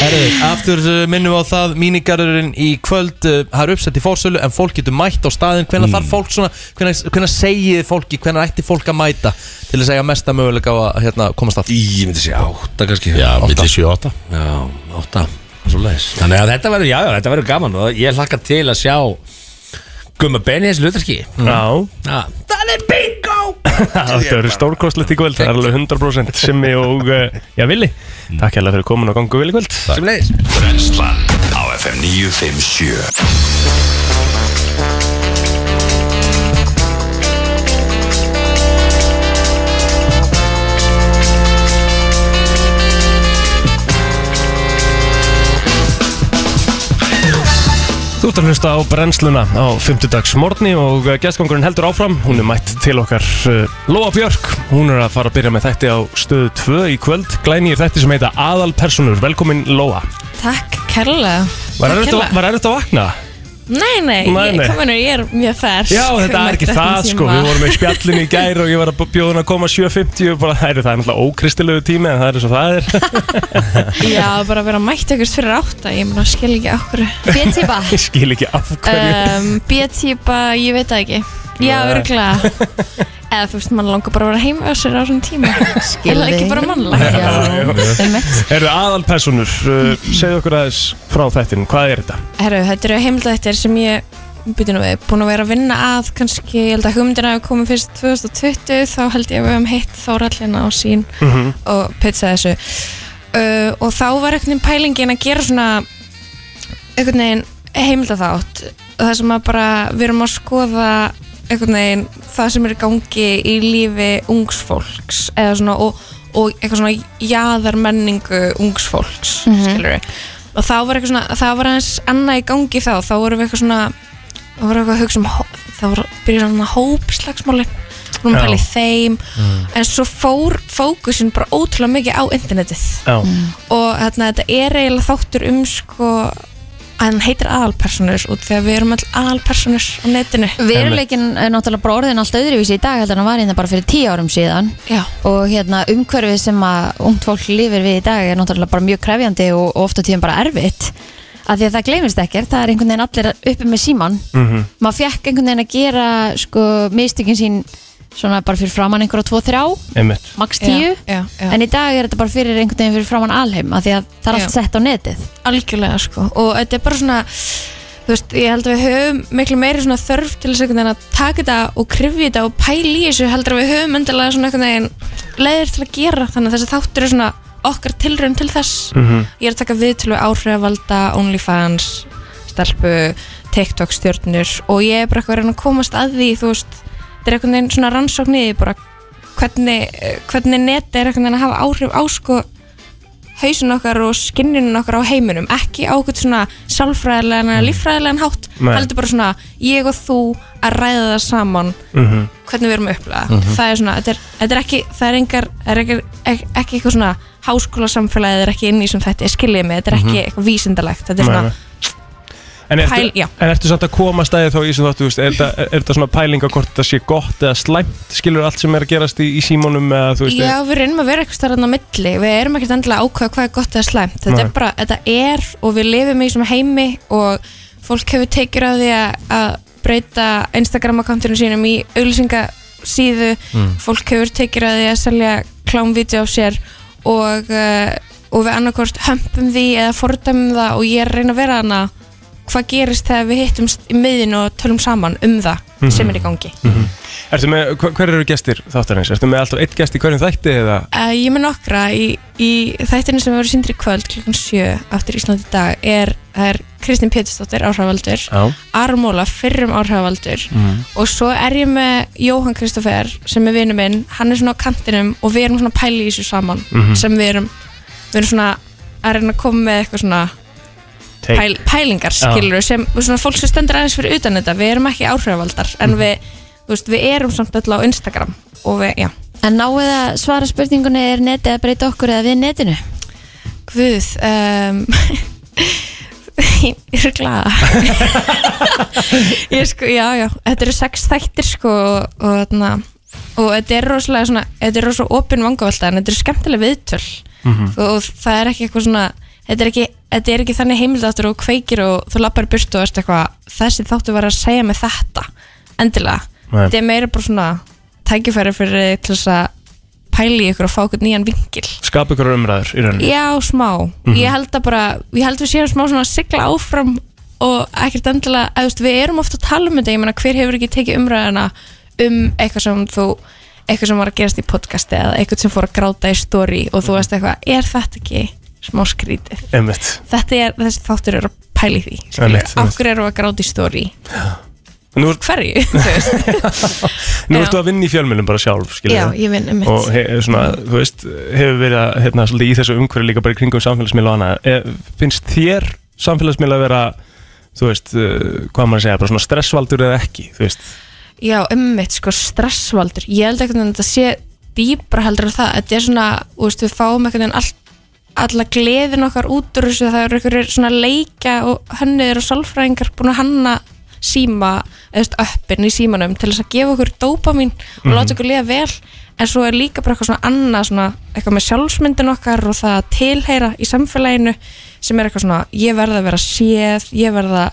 Speaker 2: Herri, aftur uh, minnum við á það mínigarurinn í kvöld uh, það er uppsett í fórsölu en fólk getur mætt á staðin hvenær
Speaker 7: Mm.
Speaker 2: þarf fólk svona, hvenær, hvenær segið þið fólki, hvenær ætti fólk að mæta til þess að eiga mesta möguleika á að hérna, komast að
Speaker 7: Ég myndi segja átta kannski
Speaker 8: Já,
Speaker 7: Átta.
Speaker 8: milli 7-8
Speaker 7: Já, átta Svoleiðis. Þannig að þetta verður, já, já, þetta verður gaman og ég hlakka til að sjá Gumma Benny þessi hlutarki
Speaker 8: Mm.
Speaker 4: Já,
Speaker 7: Það er bingo
Speaker 4: það verður stórkostlegt í kvöld Það er alveg 100% Simmi og, uh, já, Vili Takk hérlega fyrir komin og gangu vel í kvöld
Speaker 7: Sem leiðis
Speaker 6: Brennslan á FM 957
Speaker 4: Þú ert að hlusta á brennsluna á 50 dags morgni og gæstgangurinn heldur áfram. Hún er mætt til okkar uh, Lóa Björk. Hún er að fara að byrja með þætti á stöðu 2 í kvöld. Glænýr þætti sem heita Aðalpersonur. Velkomin Lóa.
Speaker 9: Takk kærlega
Speaker 4: Var
Speaker 9: Takk
Speaker 4: erfitt að-
Speaker 9: kærlega.
Speaker 4: var erfitt að vakna?
Speaker 9: Nei, nei,
Speaker 4: Nei,
Speaker 9: ég,
Speaker 4: nei.
Speaker 9: kom hennar, ég er mjög færs
Speaker 4: Já, þetta er ekki það sko. Við vorum með spjallin í gær og ég var að bjóða hún að koma 7.50 og bara það er, það er náttúrulega ókristilegu tími en það er eins og það er.
Speaker 9: Já, bara að vera mætt ykkur fyrir átta Ég mun að skil ekki okkur
Speaker 3: B-típa
Speaker 4: *laughs* Ég skil ekki af hverju.
Speaker 9: um, B-típa, ég veit það ekki Já,
Speaker 4: Nei. *laughs*
Speaker 9: örgulega Eða þú veist, mann langar bara að vera heima á sér á svona tíma
Speaker 3: Skil
Speaker 9: Eða ekki
Speaker 3: þig.
Speaker 9: bara mannlega
Speaker 3: Já, einmitt.
Speaker 4: Eh, Eru aðalpersonur, uh, segðu okkur aðeins frá þættinum, hvað er þetta?
Speaker 9: Herru, þetta eru heimildættir sem ég byrju nú við, búin að vera að vinna að kannski, ég held að hugmyndina hafi komið fyrst 2020, þá held ég að við höfum heitt Þórallina á sín og pizza þessu uh, og þá var einhvern veginn pælingin að gera svona einhvern veginn heimildaþátt það sem að bara við erum að skoða einhvern veginn það sem er í gangi í lífi ungs fólks eða svona og, og eitthvað svona jaðar menningu ungs fólks mm og þá var eitthvað svona það var aðeins annað í gangi þá þá vorum við eitthvað svona þá vorum við eitthvað að hugsa um hó- þá voru byrjað svona hópslagsmáli vorum að
Speaker 4: Já. Mm.
Speaker 9: pæla í þeim en svo fór fókusin bara ótrúlega mikið á internetið Mm.
Speaker 4: Já.
Speaker 9: og þarna, þetta er eiginlega þáttur um sko að hann heitir aðalpersonur út því að við erum all aðalpersonur á netinu
Speaker 3: Veruleikin er náttúrulega bara orðin allt öðruvísi í dag heldur en hann var hérna bara fyrir tíu árum síðan
Speaker 9: Já,
Speaker 3: og hérna umhverfið sem að ungt fólk lifir við í dag er náttúrulega bara mjög krefjandi og, og ofta tíðan bara erfitt af því að það gleymist ekkert, það er einhvern veginn allir uppi með síman, -hmm. maður fekk einhvern veginn að gera sko mistökin sín svona bara fyrir framann einhverja tvo þrjá,
Speaker 4: Einmitt.
Speaker 3: max tíu
Speaker 9: já, já.
Speaker 3: en í dag er þetta bara fyrir einhvern veginn fyrir framann alheim af því að það er allt
Speaker 9: Já.
Speaker 3: sett á netið
Speaker 9: algjörlega sko og þetta er bara svona þú veist, ég held að við höfum miklu meiri svona þörf til þess einhvern veginn að taka þetta og krifja þetta og pæla í þessu heldur að við höfum endilega svona einhvern veginn leiðir til að gera þannig að þessi þáttur er svona okkar tilraun til þess ég er að taka við til við áhrifavalda OnlyFans, stelpu TikTok stjórnur og ég er bara eitthvað að reyna að komast að því þú veist, þetta er einhvern veginn svona rannsókn í því bara hvernig, eh, hvernig neti er einhvern veginn að hafa áhrif á sko hausin okkar og skinnin okkar á heiminum ekki á ákveð svona sálfræðilegan eða líffræðilegan hátt
Speaker 4: Nei.
Speaker 9: heldur bara svona ég og þú að ræða það saman hvernig við erum að upplega það er svona, þetta er, þetta er ekki það er engar, það er ekki, ekki, ekki eitthvað svona háskólasamfélagið er ekki inn í sem þetta skiljiði mig, þetta er ekki eitthvað vísindalegt þetta er
Speaker 4: Nei,
Speaker 9: svona,
Speaker 4: nei. En ertu,
Speaker 9: Pæl- já.
Speaker 4: en ertu samt að koma stæði þá í sem þáttu, veist, er þetta- er þetta svona pæling að hvort það sé gott eða slæmt, skilur allt sem er að gerast í, í símónum eða þú veist,
Speaker 9: já við reynum að vera eitthvað starðan á milli við erum ekkert endilega að ákveða hvað er gott eða slæmt þetta
Speaker 4: Nei.
Speaker 9: er bara, þetta er og við lifum í þessum heimi og fólk hefur tekjur á því að- að breyta Instagram-akkantinu sínum í auglýsingasíðu
Speaker 4: Mm.
Speaker 9: fólk hefur tekjur á því að selja klámvídeó á sér og, uh, og við annarkort hömpum því eða fordæmum það og ég er að reyna að vera hana hvað gerist þegar við hittumst í miðin og tölum saman um það sem
Speaker 4: Mhm.
Speaker 9: er í gangi
Speaker 4: ertu með, hver, hver eru gestir þáttarins, ertu með alltaf eitt gest í hverjum þætti eða,
Speaker 9: Uh, ég með nokkra í, í þættinu sem verður sindri kvöld klukkan 7 aftur Íslandi í dag er, það er Kristinn Pétursdóttir áhrifavaldur,
Speaker 4: já,
Speaker 9: Aron Óla fyrrum áhrifavaldur og svo er ég með Jóhann Kristoffer sem er vinur minn, hann er svona á kantinum og við erum svona að pæla í þessu saman sem við erum, við erum svona að reyna að koma með eitthvað svona
Speaker 4: Take.
Speaker 9: pæl, pælingar skilur sem og svona fólk sem stendur aðeins fyrir utan þetta við erum ekki áhrifavaldar en við, þú veist, við erum samt öll á Instagram og við, já
Speaker 3: en náið að svara spurningunni er netið að breyta okkur eða við netinu
Speaker 9: Guð um, *laughs* Ég er glada Ég sko, já, já Þetta eru sex þættir sko og, og þarna og þetta er rosalega svona, þetta er rosalega opin vangavelta en þetta er skemmtilega viðtöl og, og það er ekki eitthvað svona þetta er ekki, þetta er ekki þannig heimildáttur og kveikir og þú lappar í burtu og veist eitthvað þessi þáttu var að segja mig þetta endilega,
Speaker 4: Nei.
Speaker 9: þetta er meira bara svona tækifæri fyrir þig til þess að pæli ykkur og fá ykkur nýjan vingil
Speaker 4: Skapa ykkur umræður í rauninni
Speaker 9: Já, smá.
Speaker 4: Mhm.
Speaker 9: Ég held að bara, ég held við séum smá svona að sigla áfram og ekkert endilega, eða þú veist, við erum ofta að tala um þetta, ég meina hver hefur ekki tekið umræðina um eitthvað sem þú, eitthvað sem var að gerast í podcasti eða eitthvað sem fór að gráta í story og
Speaker 4: Mhm.
Speaker 9: þú veist eitthvað, er þetta ekki smá skrítið?
Speaker 4: Einmitt
Speaker 9: Þetta er, þessi þáttur eru að pæli því,
Speaker 4: Einmitt,
Speaker 9: skilur,
Speaker 4: einmitt.
Speaker 9: okkur eru að gráta í story,
Speaker 4: Nú, ert- *laughs*
Speaker 9: hverju, þú veist?
Speaker 4: nú
Speaker 9: Já.
Speaker 4: ertu að vinna í fjölmjölum bara sjálf skilur
Speaker 9: Já,
Speaker 4: við.
Speaker 9: ég vinn um
Speaker 4: og he, svona, þú veist, hefur verið að, hérna, svolítið í þessu umhverju líka bara í kringum samfélagsmiðla og annað e, finnst þér samfélagsmiðla að vera þú veist, uh, hvað maður að segja, bara svona stressvaldur eða ekki, þú veist
Speaker 9: Já, ummitt, sko, stressvaldur Ég held ekkert að þetta sé dýbra heldur en það, þetta er svona, þú veist, við fáum ekkert en all, alla gleðin okkar út úr þessu, það eru einhverjir svona leikja og hönniðir og sálfræðingar búin að hanna síma, eða veist, öppin í símanum til þess að gefa okkur dópamín og láta okkur liða vel, en svo er líka bara eitthvað svona annað, svona eitthvað með sjálfsmyndin okkar og það að tilheyra í samfélaginu sem er eitthvað svona, ég verða að vera séð, ég verða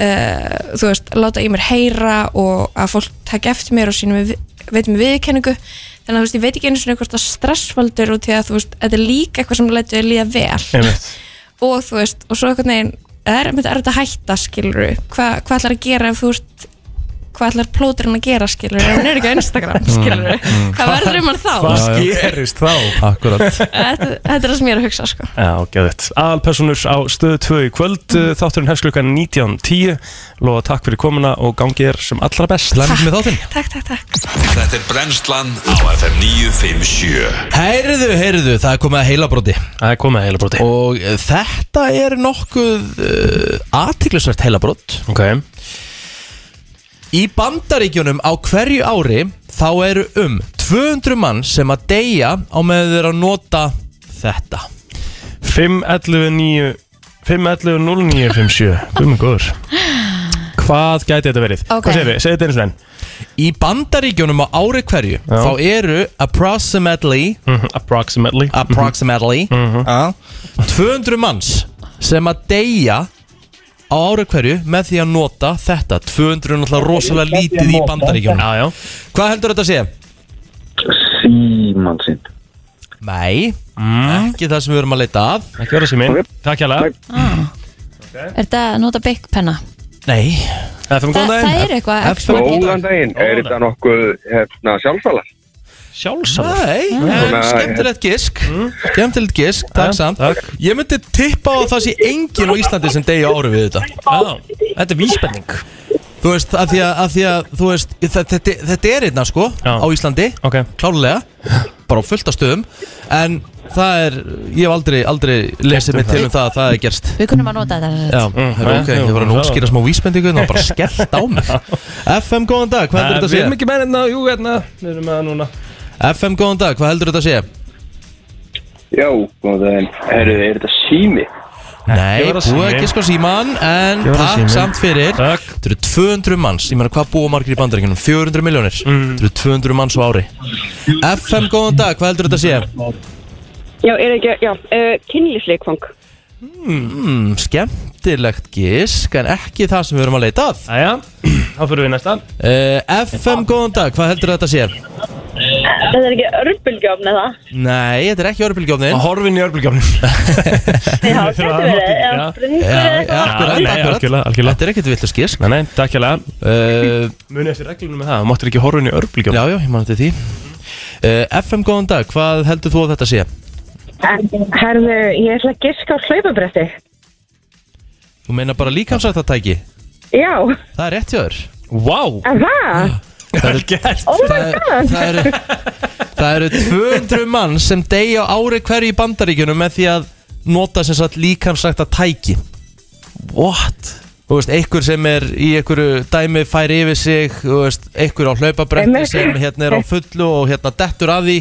Speaker 9: uh, þú veist, láta í mér heyra og að fólk taka eftir mér og sínum við, veit mér viðkenningu þannig að þú veist, ég veit ekki einu svona hvort að stressfaldur út í að þú veist, þetta er líka eitthvað sem lætur þér líða vel
Speaker 4: einmitt,
Speaker 9: og þú veist, og svo eitthvað neginn það er myndið erfitt að hætta, skilur Hva, hvað ætlar að gera ef þú veist hvað ætlar plóturinn að gera, skilur ef hann er ekki á Instagram, skilur hvað verður um hann þá?
Speaker 4: hvað gerist þá?
Speaker 7: *laughs*
Speaker 2: Akkurat
Speaker 9: Þetta, þetta er það sem ég er að hugsa, sko
Speaker 4: Já, geðið, aðalpersonur á stöðu 2 í kvöld, mm. þátturinn hefst klukkan 19.10, lofa takk fyrir komuna og gangi þér sem allra best
Speaker 2: Læmum við þáttinn
Speaker 9: Takk, takk, takk
Speaker 6: Þetta er brennslan á FM 957
Speaker 2: Heyrðu, heyrðu, það er komið að heilabróti
Speaker 4: Það er komið að heila broti
Speaker 2: Og eh, þetta er nokkuð uh, aðtiklisvert heilabrót
Speaker 4: okay.
Speaker 2: Í bandaríkjunum á hverju ári þá eru um 200 mann sem að deyja á með þeir að nota þetta
Speaker 4: 5.11.9 5.11.09.57 Guð minn góður Hvað gæti þetta verið?
Speaker 3: Ok.
Speaker 4: Hvað segir við? Segðu þetta einu svona enn
Speaker 2: Í bandaríkjunum á ári hverju þá eru approximately
Speaker 4: Mhm, Approximately
Speaker 2: approximately uh, 200 manns sem að deyja á ári hverju með því að nota þetta 200 er náttúrulega rosalega lítið í bandaríkjunum
Speaker 4: Já, já
Speaker 2: Hvað heldur þetta að segja?
Speaker 10: Síman sinn
Speaker 2: Nei, ekki það sem við erum að leita að
Speaker 4: Ekki orða sér minn Takk hjá lega
Speaker 3: Er þetta að nota byggpenna?
Speaker 2: Nei,
Speaker 4: FM
Speaker 3: Þa,
Speaker 4: góðan
Speaker 3: það
Speaker 4: daginn
Speaker 3: er eitthvað
Speaker 2: F-
Speaker 3: ekki sem að geta-
Speaker 10: Góðan daginn, er þetta nokkuð hérna, sjálfsalar?
Speaker 4: Sjálfsagt
Speaker 2: Nei, en
Speaker 10: Svona,
Speaker 2: skemmtilegt
Speaker 4: eh,
Speaker 2: gisk
Speaker 4: mm.
Speaker 2: Skemmtilegt gisk, takk samt Ég myndi tippa á að það sé engin á Íslandi sem degi ári við þetta
Speaker 4: Já, þetta er víspenning
Speaker 2: Þú veist, að því að, að, því að þú veist, þetta, þetta, þetta er einna sko
Speaker 4: Já.
Speaker 2: á Íslandi,
Speaker 4: Ok
Speaker 2: klálega bara á fullt af stöðum en það er, ég hef aldrei, aldrei lesið mig til um það að það er gerst
Speaker 3: Við kunum að nota þetta
Speaker 2: Já, það er ok, ég var
Speaker 4: já,
Speaker 2: að
Speaker 4: Mm-hmm. já.
Speaker 2: útskýra smá vísbendingu en það var bara skellt á mig
Speaker 4: *laughs*
Speaker 2: FM, góðan dag, hvað heldur þetta að
Speaker 4: Við
Speaker 2: segja?
Speaker 4: erum ekki með hérna, jú hérna Við erum með það núna
Speaker 2: FM, góðan dag, hvað heldur þetta að segja?
Speaker 10: Já, góðan daginn, er, er þetta sími?
Speaker 2: Nei,
Speaker 4: vera
Speaker 2: búið
Speaker 4: sími.
Speaker 2: ekki sko síman En
Speaker 4: vera
Speaker 2: takk
Speaker 4: sími.
Speaker 2: samt fyrir
Speaker 4: Takk.
Speaker 2: Þetta eru 200 manns Ég meina hvað búa margir í bandaríkjunum 400 miljónir
Speaker 4: Mm.
Speaker 2: Þetta eru 200 manns á ári FM, góðan dag, hvað heldur þetta að sé?
Speaker 11: Já, er ekki, já, uh, kynlífsleikfang.
Speaker 2: Mm, skemmtilegt gísk En ekki það sem við erum að leita að
Speaker 4: Æja, þá fyrir við í næsta
Speaker 2: uh, FM, góðan dag, hvað heldur þetta að sé?
Speaker 11: Þetta er ekki örbulgjöfn eða?
Speaker 2: Nei, þetta er ekki
Speaker 4: Að
Speaker 2: orðbylgjófnin
Speaker 4: horfin í örbulgjáfnum *laughs*
Speaker 11: Já,
Speaker 4: Við þurfum
Speaker 11: þetta
Speaker 4: að
Speaker 11: verið,
Speaker 4: nota-
Speaker 11: já,
Speaker 4: já.
Speaker 11: springur
Speaker 2: Já,
Speaker 11: eða
Speaker 2: ja,
Speaker 11: eitthvað.
Speaker 2: akkurat,
Speaker 4: nei,
Speaker 2: akkurat.
Speaker 4: algjörlega, algjörlega.
Speaker 2: Þetta er ekkert villust gísk
Speaker 4: Nei, nei, takk hjá lega
Speaker 2: uh,
Speaker 4: Munið eftir reglunum með það Máttir ekki horfin í örbulgjáfnum
Speaker 2: Já, já, ég mann til því uh, FM, góðan dag, hvað heldur þú að þetta sé?
Speaker 11: Herðu, ég ætla að giska á hlaupabretti.
Speaker 2: Þú meina bara líkamsættatæki
Speaker 11: Já,
Speaker 2: Það er rétt hjá þér
Speaker 4: Vá,
Speaker 11: en það?
Speaker 4: vel gert
Speaker 11: Oh my
Speaker 2: það, er-
Speaker 11: god!
Speaker 2: það eru Það eru 200 mann sem deyja á ári hverju í bandaríkjunum með því að nota sem sagt líkamsrækt að tæki What? Þú veist, einhver sem er í einhverju dæmi fær yfir sig Þú veist, einhver á hlaupabretti
Speaker 11: Einmitt.
Speaker 2: sem hérna er á fullu og hérna dettur að því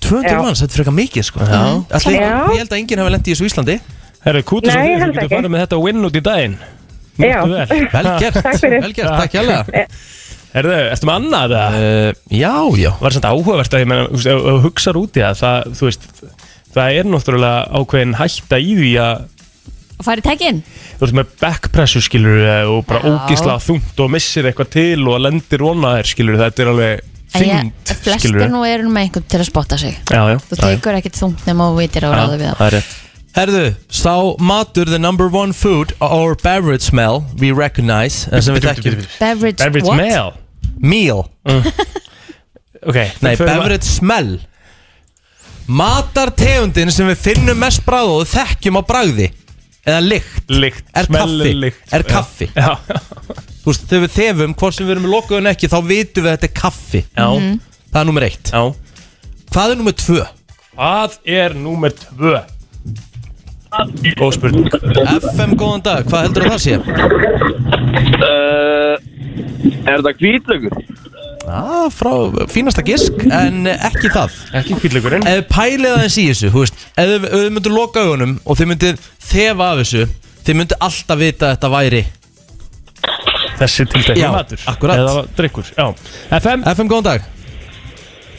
Speaker 2: 200
Speaker 11: Já.
Speaker 2: manns, þetta er frekar mikið sko Já Allt,
Speaker 11: Já.
Speaker 2: Ég held að enginn hefði lendið í þessu í Íslandi
Speaker 4: Herru, kútur
Speaker 11: Nei,
Speaker 4: sem þú
Speaker 11: heldur
Speaker 4: getur
Speaker 11: ekki.
Speaker 4: farið með þetta win út í daginn
Speaker 11: Já,
Speaker 4: Vel
Speaker 2: Vel gert,
Speaker 11: Takk fyrir. Eh.
Speaker 2: vel gert, takk hjálpa
Speaker 4: Erðu, ertu með annað það?
Speaker 2: Uh, já, já
Speaker 4: Var þetta áhugavert að ég menna, þú veist, ef ef þú hugsar út í það, það, þú veist, það er náttúrulega ákveðin hætta í því að
Speaker 3: Og farið tekin
Speaker 4: þú veist með backpressu skilur og bara
Speaker 3: Já.
Speaker 4: ógisla þungt og missir eitthvað til og lendir vona þér skilur, þetta er alveg
Speaker 3: En ég-
Speaker 4: þungt
Speaker 3: Flestir
Speaker 4: skilur.
Speaker 3: nú eru með einhvern til að spotta sig
Speaker 4: Já, já,
Speaker 3: Þú tekur ekkert þungt nema og vitir á ráðu við það
Speaker 4: er rétt
Speaker 2: Herðu, sá matur the number one food or beverage smell we recognize eh, sem við
Speaker 4: Bíddu, bíddu,
Speaker 2: þekkjum
Speaker 4: bíddu,
Speaker 3: Beverage,
Speaker 4: Beverage
Speaker 3: what?
Speaker 4: mail
Speaker 2: Meal
Speaker 4: Ok,
Speaker 2: Nei,
Speaker 4: förum að-
Speaker 2: beverage smell Matartegundin sem við finnum mest bráð og þekkjum á bragði eða lykt
Speaker 4: Lykt,
Speaker 2: er
Speaker 4: smell,
Speaker 2: kaffi,
Speaker 4: lykt,
Speaker 2: er
Speaker 4: já.
Speaker 2: kaffi.
Speaker 4: Já.
Speaker 2: Þú veist, þegar við þefum, hvort sem við erum lokaðun ekki þá vitum við að þetta er kaffi
Speaker 4: Já. Mhm.
Speaker 2: það er nummer eitt
Speaker 4: Já.
Speaker 2: hvað er nummer tvö?
Speaker 4: Hvað er númer tvö? Góð spurning
Speaker 2: FM, góðan dag, hvað heldur að það sé?
Speaker 10: Uh, er það hvítlaugur?
Speaker 2: Já, frá fínasta gisk En ekki það
Speaker 4: Ekki kvíðleikurinn
Speaker 2: Ef pælið aðeins í þessu, þú veist Ef ef þið myndu loka augunum og þið myndu þefa af þessu Þið myndu alltaf vita að þetta væri
Speaker 4: Þessi til dæmis
Speaker 2: Já,
Speaker 4: matur
Speaker 2: akkurat.
Speaker 4: Eða drikkur, já FM
Speaker 2: FM, góðan dag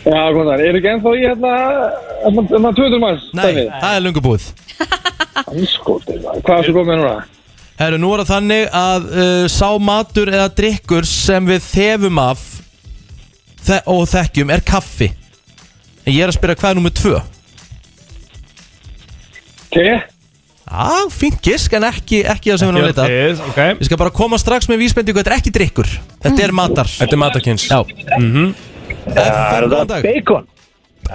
Speaker 10: Já, góðan dag. Er ekki ennþá í hérna, hérna, hérna 200 manns?
Speaker 2: Nei, það er lungu búið
Speaker 10: Anskotir, hvað er svo komið núna?
Speaker 2: Herru, nú er það þannig að uh, sá matur eða drikkur sem við þefum af þe og þekkjum er kaffi En ég er að spyrja hvað er nummer tvö
Speaker 10: Te?
Speaker 2: Á, fínt gisk en ekki, ekki það sem við erum að leita að.
Speaker 4: Þið, ok
Speaker 2: Ég skal bara koma strax með vísbendingu, þetta er ekki drikkur Þetta er matar
Speaker 4: Þetta er Mhm. matakynns
Speaker 2: Já FM, góðan dag
Speaker 10: Bacon?
Speaker 2: Ó,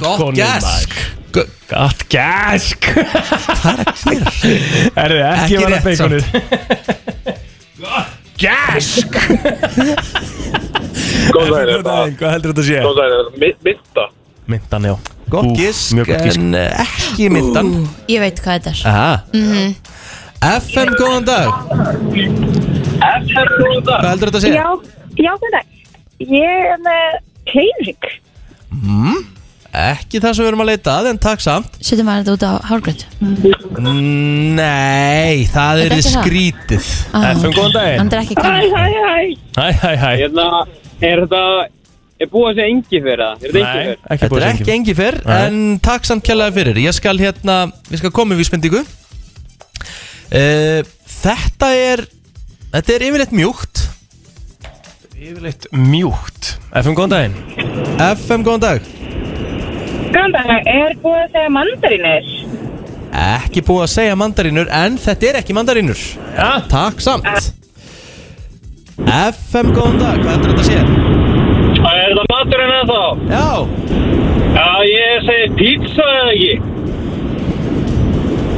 Speaker 2: gott gæsk Gu-
Speaker 4: Gott gæsk *laughs*
Speaker 2: Hvað er að gera?
Speaker 4: Er þið
Speaker 2: Ekki
Speaker 4: ekki verið
Speaker 2: rétt
Speaker 4: beikonið? *laughs* Gott *laughs* gæsk
Speaker 10: Góðan dag, er
Speaker 4: Góðan
Speaker 10: það?
Speaker 4: daginn, Hvað heldur þetta að sé?
Speaker 10: Góðan dag, er það mi- mynda?
Speaker 4: Myndan, já
Speaker 2: Gott
Speaker 4: Ú,
Speaker 2: gísk,
Speaker 4: Mjög gott gísk
Speaker 2: en eh, ekki myndan
Speaker 3: Ég veit hvað þetta er
Speaker 2: Aha FM, góðan dag
Speaker 10: FM, góðan dag.
Speaker 2: Hvað heldur þetta að segja?
Speaker 11: Já, já, góðan dag. Ég er með Heinrich.
Speaker 2: Ekki það sem við erum að leita að, en takk samt
Speaker 3: Setjum maður þetta út á hárgrönd
Speaker 2: Nei, það
Speaker 3: Þetta
Speaker 2: er
Speaker 3: er ekki það.
Speaker 2: skrítið
Speaker 4: FM, góðan daginn
Speaker 3: Hann er ekki
Speaker 11: Hæ,
Speaker 3: kann
Speaker 11: hæ, hæ.
Speaker 4: Hæ, hæ, hæ
Speaker 10: Hérna, er þetta, er búið að segja engi fyrir það? Er þetta engi
Speaker 4: Nei,
Speaker 10: fyrir?
Speaker 4: ekki
Speaker 2: Þetta
Speaker 4: búið
Speaker 2: er
Speaker 4: að
Speaker 2: ekki
Speaker 4: syngja
Speaker 2: engi fyrr,
Speaker 4: Nei.
Speaker 2: en takk samt kjærlega fyrir Ég skal hérna, ég skal koma í vísbendingu uh, Þetta er Þetta er yfirleitt mjúkt
Speaker 4: Yfirleitt mjúkt FM, góðan daginn
Speaker 2: FM, góðan dag
Speaker 11: Góðan dag, er búið að segja mandarinir?
Speaker 2: Ekki búið að segja mandarínur, en þetta er ekki mandarínur
Speaker 4: Já,
Speaker 2: Takk samt FM, góðan dag, hvað heldur þetta að sé?
Speaker 10: Er það maturinn eða þá?
Speaker 2: Já,
Speaker 10: Já, ég segi pizza eða ekki?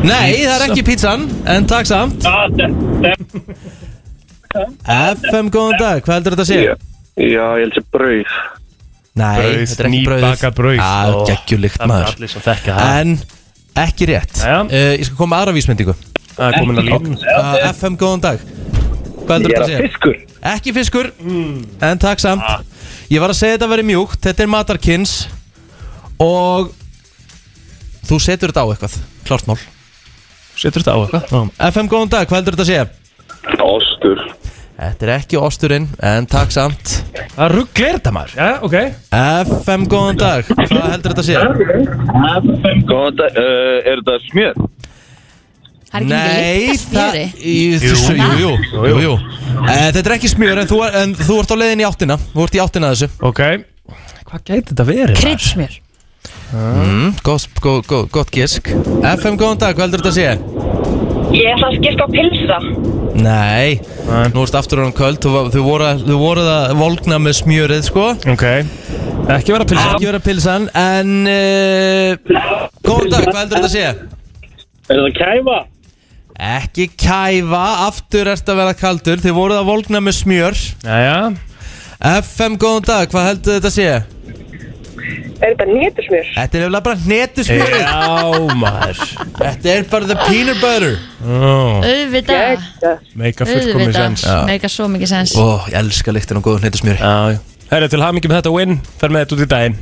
Speaker 2: nei, það er ekki pizzan, en takk samt
Speaker 10: Já, þetta er...
Speaker 2: FM, góðan dag, hvað heldur þetta að sé?
Speaker 10: Já, ég held sér brauð.
Speaker 2: Nei,
Speaker 4: Brauð,
Speaker 2: þetta er ekki brauð
Speaker 4: nýbakað brauð.
Speaker 2: Það
Speaker 4: Ó,
Speaker 2: er geggjulíkt
Speaker 4: það er
Speaker 2: maður
Speaker 4: allir sem þekkja það.
Speaker 2: En ekki rétt
Speaker 4: Jæja.
Speaker 2: uh, Ég skal koma með aðra vísmyndingu uh,
Speaker 4: það er komin að línu
Speaker 2: FM, Uh, góðan dag Hvað heldur þetta að segja?
Speaker 10: fiskur. Hmm. Ah.
Speaker 2: Ekki fiskur En takk samt Ég var að segja þetta að vera mjúkt Þetta er matarkins Og Þú setur þetta á eitthvað Klart mál
Speaker 4: Setur þetta á eitthvað?
Speaker 2: FM, góðan dag, hvað heldur þetta að segja?
Speaker 10: Ostur.
Speaker 2: Þetta er ekki osturinn En takk samt
Speaker 4: Það rugglir þetta maður Já, ok
Speaker 2: FM, góðan dag, hvað heldur þetta að segja?
Speaker 10: Góðan dag, uh, er það smjör?
Speaker 3: Það er ekki mikið
Speaker 2: Nei,
Speaker 3: líka
Speaker 2: það
Speaker 3: smjöri
Speaker 2: í- þessu- Jú, jú, jú, jú, jú. Eh, Þetta er ekki smjör en þú, er, en þú ert á leiðin í áttina Þú ert í áttina að þessu
Speaker 4: Ok Hvað gæti þetta verið? maður?
Speaker 3: Kryddsmjör
Speaker 2: mm, gott, gott, gott, gott gisk FM, góðan dag, hvað heldur þetta að sé?
Speaker 11: Ég ætla að skipta á pilsa.
Speaker 2: Nei,
Speaker 4: Nei.
Speaker 2: nú erst aftur orðan köld Þú, var- þú voru, þú voru að volgna með smjörið, sko
Speaker 4: Ok Ekki vera pilsa
Speaker 2: Ekki vera pilsan, en uh, Góðan dag, hvað heldur þetta að sé?
Speaker 10: Er það kæfa?
Speaker 2: Ekki kæfa, aftur ert að vera kaldur Þið voruð að volgna með smjör
Speaker 4: Jæja
Speaker 2: FM, góðan dag, hvað heldur þetta að sé?
Speaker 11: Er þetta nétusmjör?
Speaker 2: Þetta er nefnilega bara hnetu smjörið
Speaker 4: Já maður
Speaker 2: Þetta er bara the peanut butter
Speaker 4: oh,
Speaker 3: Auðvitað
Speaker 4: Meika fullkomis ens
Speaker 3: Auðvitað
Speaker 2: Já.
Speaker 3: Meika svo mikið sens
Speaker 2: Ó, ég elska lyktin og góðum hnetusmjöri
Speaker 4: Já Herra til hamingi með þetta win Fer með þetta út í daginn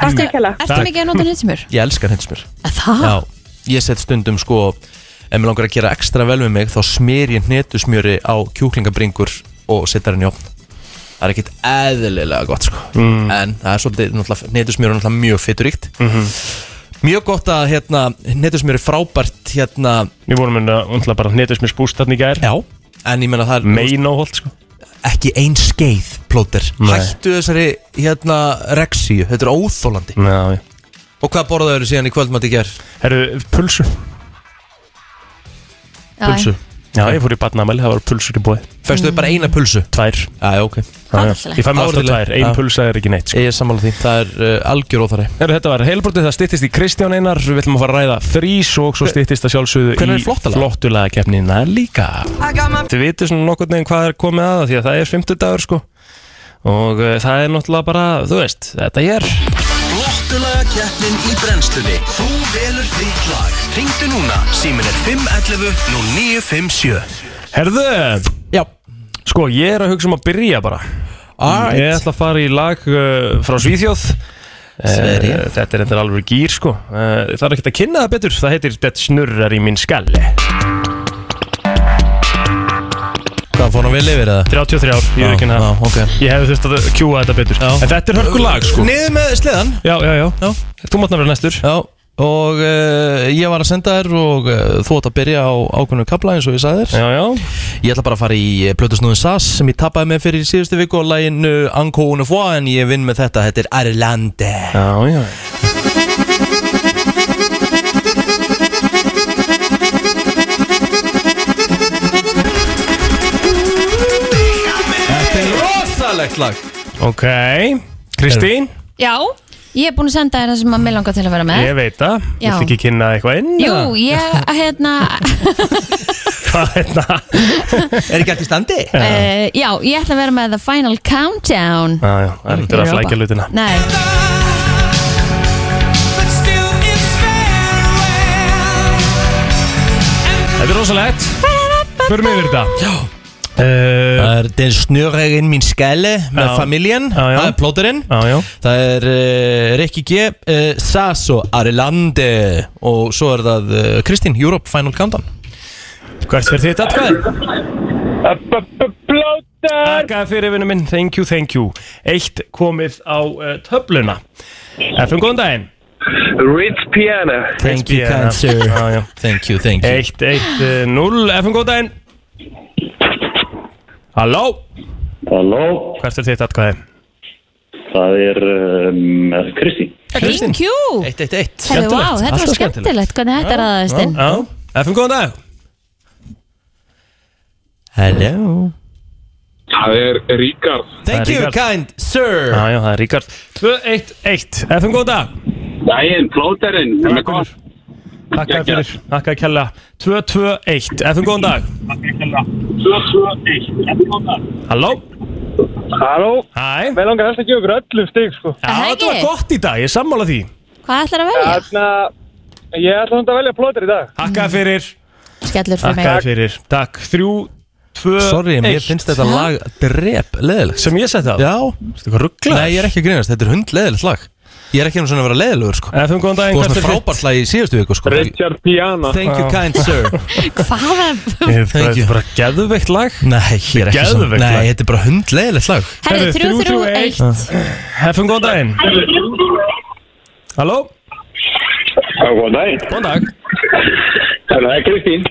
Speaker 11: Aftur ekki hella.
Speaker 3: Ertu
Speaker 4: Takk.
Speaker 3: mikið að nota hnetumjör?
Speaker 2: Ég elska hnetusmjör
Speaker 3: Það?
Speaker 2: Já, ég set stundum sko Ef mér langar að gera ekstra vel við mig Þá smér ég hnetusmjöri á kjúklingabringur Og setar henni í opn það er ekkit eðlilega gott sko.
Speaker 4: Mm.
Speaker 2: en það er svolítið, náttúrulega, netusmjör er náttúrulega mjög fituríkt
Speaker 4: Mhm.
Speaker 2: mjög gott að hérna, netusmjör er frábært hérna
Speaker 4: Við vorum með náttúrulega bara netusmjör spúst þarna í gær
Speaker 2: Já, en ég menna það er
Speaker 4: Meinóholt sko
Speaker 2: ekki ein skeið plóter
Speaker 4: Nei.
Speaker 2: hættu þessari hérna reksíu, þetta er óþólandi
Speaker 4: Já, já
Speaker 2: og hvað borðaðu þau síðan í kvöldmætti ger?
Speaker 4: Herru, pulsu Pulsu Já, ég fór í barnamæli, það var pulsur í bóði
Speaker 2: Fæstu þau bara eina pulsu?
Speaker 4: Tvær
Speaker 2: Já, já, ok
Speaker 4: já. Ég fæ mér alltaf tvær, ein pulsa er ekki neitt
Speaker 2: sko. Ég er sammála því, það er uh, algjör óþari
Speaker 4: Herru, þetta var heilbrotið, það styttist í Kristján Einar Við ætlum að fara að ræða þrís og svo styttist að sjálfsögðu
Speaker 2: Hvenær er
Speaker 4: í
Speaker 2: flottalag?
Speaker 4: flottulega kefnina líka Þið vitið svona nokkurn veginn hvað er komið að því að það er 50 dagur sko Og uh, það er náttúrulega bara, þú veist, þetta ég er
Speaker 12: Flottulega keppnin í brennslunni Þú velur þitt lag Ringdu núna, símin er 511 0957
Speaker 4: Herðu
Speaker 2: Já
Speaker 4: Sko, ég er að hugsa um að byrja bara
Speaker 2: Alright.
Speaker 4: Ég ætla að fara í lag uh, frá Svíþjóð
Speaker 2: Sverige.
Speaker 4: Eh, Þetta er endur alveg gýr sko uh, Það er ekkert að kynna það betur Það heitir Det snurrar í minn skalli
Speaker 2: Hvað fór hann vel yfir það?
Speaker 4: 33 ár, ég
Speaker 2: Já,
Speaker 4: er ekki hérna
Speaker 2: já, ok.
Speaker 4: Ég hefði þurft að kjúa þetta betur já. En þetta er hörku lag sko
Speaker 2: Niður með sleðan
Speaker 4: Já, já, já, já. Þú mátt náttúrulega næstur
Speaker 2: Já Og uh, ég var að senda þér og uh, þú átt að byrja á ákveðnu kapla eins og ég sagði þér
Speaker 4: Já, já
Speaker 2: Ég ætla bara að fara í eh, plötusnúðin SAS sem ég tappaði með fyrir í síðustu viku og læginu Anko Unifua en ég vinn með þetta, þetta er Arlande
Speaker 4: Já, já
Speaker 2: Þetta er rosalegt lag
Speaker 4: Ok, Kristín,
Speaker 3: Já, ég er búin að senda þér það sem að mig langar til að vera með
Speaker 4: ég veit það
Speaker 3: Já.
Speaker 4: Viltu ekki kynna eitthvað inn?
Speaker 3: Jú, ég, hérna,
Speaker 4: *laughs* Hvað hérna?
Speaker 2: Er ekki allt í standi?
Speaker 3: uh, já, ég ætla að vera með The Final Countdown
Speaker 4: Já, já, það er eftir að
Speaker 3: Europa.
Speaker 4: flækja lutina
Speaker 3: Nei
Speaker 4: Þetta er rosalegt Förum yfir þetta Eh, Já
Speaker 2: Það er Den snurregin mín skæli með
Speaker 4: Já.
Speaker 2: familjen,
Speaker 4: Já, já.
Speaker 2: það er plóterinn
Speaker 4: Já, já
Speaker 2: Það er uh, Rikki G, uh, Sas og Ari Lande og svo er það uh, Kristín, Europe Final Countdown
Speaker 4: Hvert fyrir þitt atkvæði? Blóter Takk fyrir vinnu minn, thank you, thank you Eitt komið á uh, töfluna Efum góðan daginn
Speaker 13: Rich Piana
Speaker 2: Thank you,
Speaker 4: Piana.
Speaker 2: kind *laughs* sir
Speaker 4: Já, já.
Speaker 2: Thank you, thank you
Speaker 4: Eitt, eitt, uh, null Efum góðan daginn Halló
Speaker 14: Halló,
Speaker 4: Hvert fyrir þitt atkvæði?
Speaker 14: það er um, Kristi.
Speaker 3: Thank you
Speaker 2: Eitt, eitt, eitt
Speaker 3: Herðu, vá, þetta var
Speaker 4: alltaf
Speaker 3: skemmtilegt Hvernig þetta er aðeins inn
Speaker 4: Já, já. Efum góðan dag
Speaker 2: Hello
Speaker 13: Það er Ríkard
Speaker 2: Thank you, kind sir
Speaker 4: Já, já, það er Ríkard 2-1-1, efum góðan dag
Speaker 13: Dæin, plóterinn, það er gott
Speaker 4: Takk að fyrir, takk að kella 2-2-1, efum góðan dag
Speaker 13: 2-2-1, þetta er gott
Speaker 4: Halló
Speaker 13: Halló
Speaker 4: Hæ
Speaker 13: Mér langar helst að gefa ykkur öllum stig, sko
Speaker 4: Já, þetta var gott í dag, ég er sammála því
Speaker 3: Hvað ætlar að velja?
Speaker 13: Þannig að ég ætla samt að velja plóter í dag
Speaker 4: Takk að fyrir,
Speaker 3: Skellur fyrir
Speaker 4: takk
Speaker 3: mig
Speaker 4: að fyrir Takk, 3-2-1
Speaker 2: Sorry, en mér finnst þetta lag drep leðilegt
Speaker 4: Sem ég setja á
Speaker 2: Já
Speaker 4: Þetta er rugglaður?
Speaker 2: Nei, ég er ekki að grínast, þetta er hund leðilegt lag Ég er ekki einu svona að vera leðilegur sko
Speaker 4: Efum góðan dag
Speaker 2: Þú varst með frábært lag í síðustu viku sko
Speaker 13: Richard Piana
Speaker 2: Thank you, kind sir
Speaker 3: Hvaða?
Speaker 4: Þetta er bara geðveikt lag
Speaker 2: Nei, ég er ekki
Speaker 4: Geðveikt
Speaker 2: svona
Speaker 4: lag.
Speaker 2: Nei, þetta er bara hund leðilegt lag
Speaker 3: Herðu, þrjú, þrjú, eitt
Speaker 2: Ah.
Speaker 4: Efum góðan daginn Halló
Speaker 13: Góðan daginn Hérna,
Speaker 4: Góðan dag
Speaker 13: Það er Kristín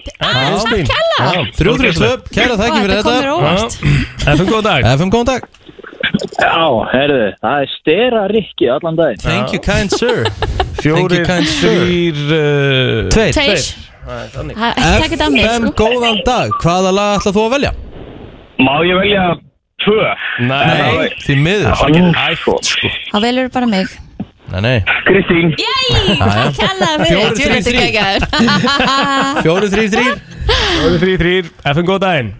Speaker 3: Ah.
Speaker 4: Kristín
Speaker 3: Kella
Speaker 2: Þrjú, þrjú, tvö, kæra þakki fyrir
Speaker 3: Þetta komur
Speaker 2: þetta
Speaker 3: óvart
Speaker 4: Efum góðan dag
Speaker 2: FM, góðan dag
Speaker 14: Já, herðu, það er stera rikki allan daginn.
Speaker 2: Thank you, kind sir Thank you,
Speaker 4: Fjórir,
Speaker 2: kind sir
Speaker 4: þrýr uh,
Speaker 2: Tveir.
Speaker 3: Tveir Ha- Takk þetta að mér
Speaker 2: FM,
Speaker 3: sko.
Speaker 2: góðan dag Hvaða lag ætlað þú að velja?
Speaker 13: Má ég velja 2?
Speaker 4: Nei,
Speaker 2: Því miður
Speaker 4: það er ekki hægt sko
Speaker 3: Þá velur bara mig
Speaker 2: Nei, nei
Speaker 13: Kristín
Speaker 3: Jæj,
Speaker 2: Jæja.
Speaker 3: kella fyrir
Speaker 2: Fjórir,
Speaker 3: Þetta er
Speaker 2: þrír, *laughs*
Speaker 3: geggjör
Speaker 2: Fjóru, þrjú, þrjú
Speaker 4: Fjórir, þrýr, þrýr Efum góðan daginn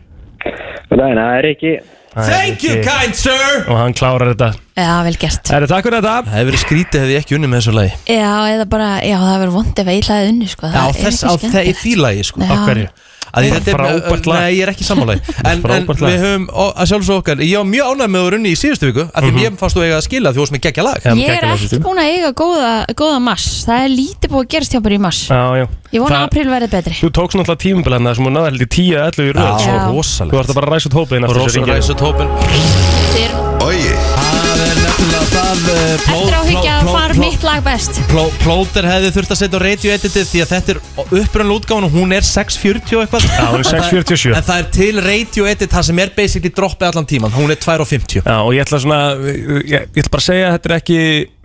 Speaker 14: Daginn, það er rikki.
Speaker 2: Thank you, kind sir
Speaker 4: Og hann klárar þetta
Speaker 3: Já, vel gert
Speaker 4: Það er takk fyrir þetta
Speaker 2: Það hefur verið skrítið hefði ég ekki unni með þessu lagi
Speaker 3: Já, eða bara, já, það verður vond ef að ég hlaði unni sko
Speaker 2: Já,
Speaker 3: Það er ekki
Speaker 2: þess á þe- í
Speaker 3: skemmtilegt.
Speaker 2: því lagi sko
Speaker 3: Já.
Speaker 4: Á hverju?
Speaker 2: Að því þetta er-
Speaker 4: Frábært lag.
Speaker 2: Nei, ég er ekki sammála því. en, en
Speaker 4: Frábært lag.
Speaker 2: við höfum, ó, að sjálfsög okkar Ég var mjög ánægð með að runni í síðustu viku Af því
Speaker 4: Mhm.
Speaker 2: mér fannst þú eiga að skila því þú varst með geggja lag
Speaker 3: Ég er ekki búin að eiga góða, góða mass Það er lítið búið að gerast hjá bara í mass
Speaker 4: Já, já
Speaker 3: Ég vona
Speaker 4: Það-
Speaker 3: að april verði betri
Speaker 4: Þú tókst náttúrulega tímubil hann sem hún náði heldur 10 eða 11 í röð
Speaker 2: Já,
Speaker 4: sko.
Speaker 2: Já. rosalegt.
Speaker 4: Þú ert að bara ræsa út hópin
Speaker 2: Og rosa- ræsa út hópin
Speaker 6: Ogi
Speaker 2: Það er nefnilega það eh, pló-
Speaker 3: Eftir á higgja
Speaker 2: pló-
Speaker 3: að
Speaker 2: pló-
Speaker 3: fara
Speaker 2: pló-
Speaker 3: mitt lag best
Speaker 2: Pló- Plóter hefði þurft að setja á radio editið því að þetta er upprönnlu útgáfan og hún er 6.40 og eitthvað
Speaker 4: Já, hún er 6.47.
Speaker 2: En það er til radio edit það sem er basically droppið allan tíman hún er 2.50
Speaker 4: Já, og ég ætla svona ég, ég ætla bara að segja að þetta er ekki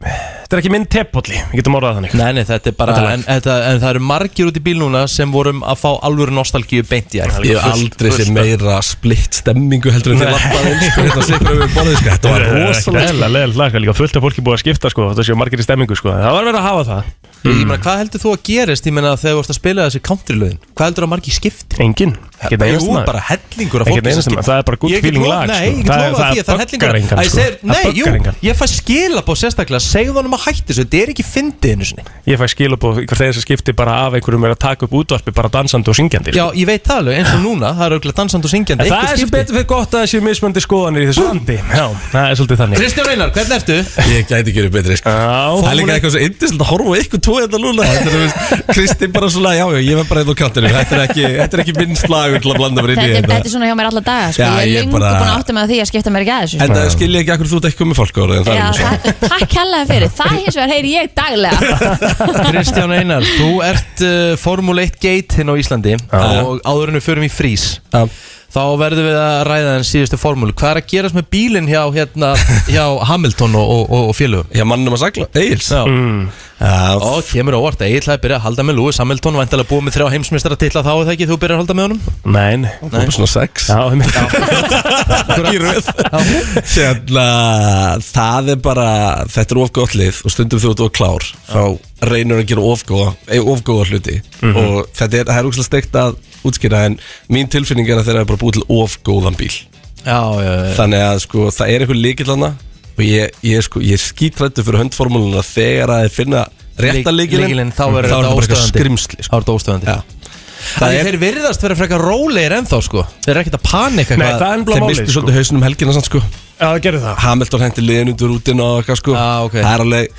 Speaker 4: þetta er ekki minn teppolli Við getum orðað þannig
Speaker 2: Nei, nei, þetta er bara
Speaker 4: Þetta er
Speaker 2: en, þetta, en það eru margir út í bíl núna sem vorum að fá alvöru nostalgíu beint í ætt
Speaker 4: Ég hef aldrei séð
Speaker 2: meira splitt stemmingu heldur
Speaker 4: en þið labbaði inn,
Speaker 2: *laughs*
Speaker 4: sko, hérna sigraðu við borðið, sko. Þetta var rosalega Leðilega lag, líka fullt af fólki búið að skipta sko, þetta séu margir í stemmingu sko. Það var verið að hafa það
Speaker 2: Ég meina, hvað heldur þú að gerist, ég meina, þegar þú ert að spila þessi country-löðin? Hvað heldur þú að margir skipti?
Speaker 4: Engin, ekki einn einasta
Speaker 2: Jú,
Speaker 4: maður.
Speaker 2: bara hellingur af
Speaker 4: Ekki
Speaker 2: fólki
Speaker 4: einn
Speaker 2: sem
Speaker 4: einasta
Speaker 2: skiptir.
Speaker 4: maður. Það er bara good
Speaker 2: Ég get
Speaker 4: feeling
Speaker 2: lofa-
Speaker 4: lag,
Speaker 2: Nei,
Speaker 4: sko.
Speaker 2: ég get
Speaker 4: Það-
Speaker 2: lofað
Speaker 4: það
Speaker 2: því að það er
Speaker 4: buggar
Speaker 2: hellingur
Speaker 4: engan,
Speaker 2: Æ, ég
Speaker 4: sko.
Speaker 2: segir,
Speaker 4: Það
Speaker 2: nei, jú,
Speaker 4: buggar engan.
Speaker 2: ég fæ skilabóð sérstaklega Segðu honum að hætti þessu, þetta er ekki fyndið einu sinni
Speaker 4: Ég fæ skil upp og hvert þegar þessi skipti bara af einhverjum er að taka upp útvarpi bara dansandi og syngjandi
Speaker 2: Já, ég veit það alveg, eins og núna, það er auðvitað dansand og syngjandi
Speaker 4: En það
Speaker 2: eitthvað
Speaker 4: er sem
Speaker 2: skipti.
Speaker 4: betur fyrir gott að það séu mismöndi skoðanir í þessu landi Já, það er svolítið þannig
Speaker 2: Kristján Einar, hvernig ertu?
Speaker 4: *laughs*
Speaker 15: Ég gæti ekki verið betri sko. Það er líka eitthvað svo indislegt að horfa á ykkur tvo hérna núna Þetta er, þú veist, Kristinn bara svona, já, já, ég var bara hérna á kantinu Þetta er ekki, þetta er ekki minn slagur til að blanda mér inn
Speaker 3: Þetta
Speaker 15: í
Speaker 3: er,
Speaker 15: hérna. þetta
Speaker 3: þetta er svona hjá mér alla daga sko.
Speaker 15: Já,
Speaker 3: Ég
Speaker 15: ég
Speaker 3: er lengur
Speaker 15: bara-
Speaker 3: búin að átta með því að skipta mér ekki að þessu sko.
Speaker 15: En það skilja ekki akkur þú ert ekki komið fólk ára en
Speaker 3: Já,
Speaker 15: það er nú svo.
Speaker 3: það, takk hella fyrir, það hins vegar heyri ég daglega
Speaker 2: Kristján Einar, þú ert uh, Formule 1 gate hinn á Íslandi og áður en við förum í frís þá verðum við að ræða þenn síðustu formúlu hvað er að gerast með bílinn hjá, hérna, hjá Hamilton og, og, og, og félögum
Speaker 15: hjá mannum að sagla, Egils
Speaker 2: mm. og kemur óvart, Egil það er byrjað að halda með Lewis Hamilton vantilega búið með þrjá heimsmyndstara til að þá er það ekki þú byrjar að halda með honum
Speaker 4: Nein
Speaker 15: Bara svona sex
Speaker 4: Já, ég myndi
Speaker 15: í röð hérna, það er bara þetta er ofgóð lið og stundum þú ert of klár þá reynur að gera ofgóða ofgóða hluti
Speaker 4: Mhm.
Speaker 15: og þetta er, það er úkslega steikt að útskýra en mín tilfinning er að þeirra er bara búið til ofgóðan bíl
Speaker 2: já, já, já.
Speaker 15: þannig að sko, það er eitthvað líkillana og ég, ég, er, sko, ég er skítrættu fyrir höndformúluna þegar að þeir finna rétta
Speaker 2: Lyk-
Speaker 15: líkilinn
Speaker 2: lykilinn, þá
Speaker 15: þá
Speaker 2: verður
Speaker 15: er
Speaker 2: þetta
Speaker 15: bara eitthvað
Speaker 2: óstöðandi.
Speaker 15: skrimsli sko.
Speaker 2: þá er þetta óstöðandi
Speaker 15: já.
Speaker 2: Það er... Þeir virðast vera frekar rólegir ennþá sko Þeir eru ekkert að panika
Speaker 15: Nei, það er ennblá málið Þeir mistu svolítið hausinn um helgina samt sko
Speaker 4: Já, það gerðu það
Speaker 15: Hamilton hendi liðin undir rútin og eitthvað sko ah, okay. Það er alveg,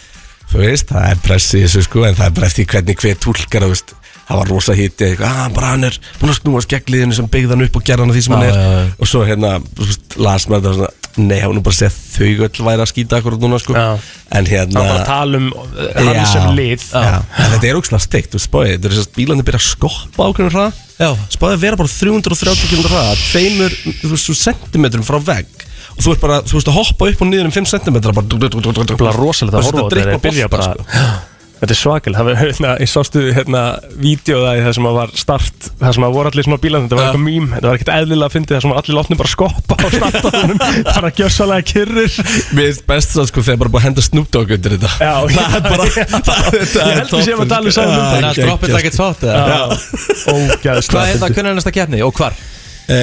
Speaker 15: þú veist, það er pressi í þessu sko En það er bara eftir hvernig hver túlkar, þú veist Það var rosa hiti, eitthvað, ah, bara hann er búin að snúast gegn liðinu sem byggði hann upp og gerði hann að því sem hann
Speaker 2: Já,
Speaker 15: er
Speaker 2: já, já.
Speaker 15: Og svo hérna, þú veist, las maður það svona Nei, hann er bara að segja að þau öll væri að skýta akkur núna sko En hérna
Speaker 4: Hann var að tala um, uh, hann sem lið.
Speaker 15: já. En þetta er ógslag steikt, þú spáði, þetta er þess að bílandi byrja að skoppa ákveðin hraða spáði að vera bara 330 km hraða tveimur, þú veist, þú sentimetrum frá vegg og þú ert bara, þú veist, að hoppa upp og niður um 5 cm bara
Speaker 4: Bara rosalega að horfa á
Speaker 15: þetta sko.
Speaker 4: þetta þegar þeir byrja bara Þetta er svakil, það var, hérna, ég sástu hérna vídeoðaði það sem að var start það sem að voru allir svona bílan, þetta var eitthvað mím þetta var ekkert eðlilega að fyndi það sem að allir látni bara skoppa á startaðunum, bara gjössalega kyrrir
Speaker 15: Mér finnst best það sko þegar bara búið að henda Snoop Dogg undir þetta
Speaker 4: Já,
Speaker 15: það er
Speaker 4: *laughs*
Speaker 15: bara
Speaker 4: Ég held við séum að tala um sæðum
Speaker 2: Þannig að droppið það
Speaker 15: sko.
Speaker 2: ekkert sátt
Speaker 4: Ógæðslega
Speaker 2: Hvað er það, hvernig er næsta keppni og hvar?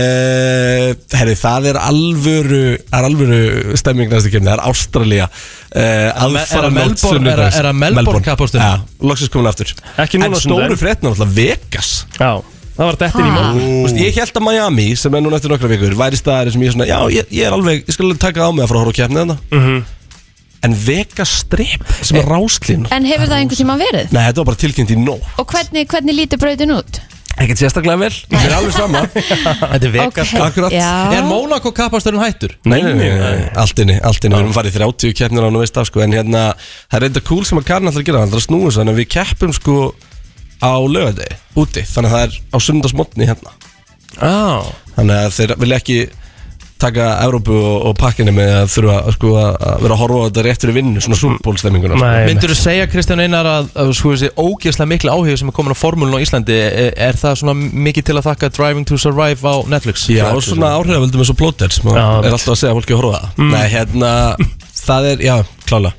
Speaker 15: Uh, herri, það er alvöru, það er alvöru stemming næstu kemni, það er Ástralía uh,
Speaker 2: Me- er að Melbourne- er að- er að Melbourne kappaksturin?
Speaker 15: Já, loksins komin aftur
Speaker 4: Ekki núna
Speaker 15: En
Speaker 4: sunnudaginn.
Speaker 15: stóru fréttina alltaf Vegas
Speaker 4: Já, það var dettin í morgun.
Speaker 15: Þú veist, Ég held að Miami, sem er núna eftir nokkra vikur, væri staðarinn sem ég svona, já, ég, ég er alveg, ég skal alveg taka á mig að fara að horfa á kemni þarna
Speaker 4: Mhm.
Speaker 15: En Vegas strip, sem
Speaker 2: Eh.
Speaker 15: er ráslín
Speaker 3: En hefur það einhvern tíma verið?
Speaker 15: Nei, þetta var bara tilkynnt í nóg
Speaker 3: Og hvernig, hvernig lítur brautin út?
Speaker 15: Ekkert sérstaklega vel, það er alveg sama Þetta
Speaker 2: er Vegas. Ok,
Speaker 15: Akkurat
Speaker 3: já.
Speaker 2: Er Mónako kappasturinn hættur?
Speaker 15: Nei, nei, nei, nei, allt inni, allt inni, við erum farið í 30 keppnir á hann og veist af sko, en hérna, það er eitthvað cool sem að Karin ætlar að gera, hann ætlar að snúa þessu, þannig að við keppum sko á lögadegi, úti, þannig að það er á sundarsmotni hérna,
Speaker 4: ah.
Speaker 15: þannig að þeir vilja ekki taka Evrópu og, og pakkinni með að þurfa sko að að vera að horfa á þetta rétt fyrir vinnu, svona súlbólstemminguna sko.
Speaker 2: Myndur þú segja Kristján Einar að, að sko þessi ógeðslega mikla áhug sem er komin á formúlun á Íslandi er, er það svona mikið til að þakka Driving to Survive á Netflix?
Speaker 15: Já, og svona áhrifavöldum eins og plóter sem
Speaker 2: Já,
Speaker 15: er
Speaker 2: mitt.
Speaker 15: alltaf að segja að fólki að horfa á það
Speaker 2: Mm.
Speaker 15: Nei, hérna, það er, já, klála,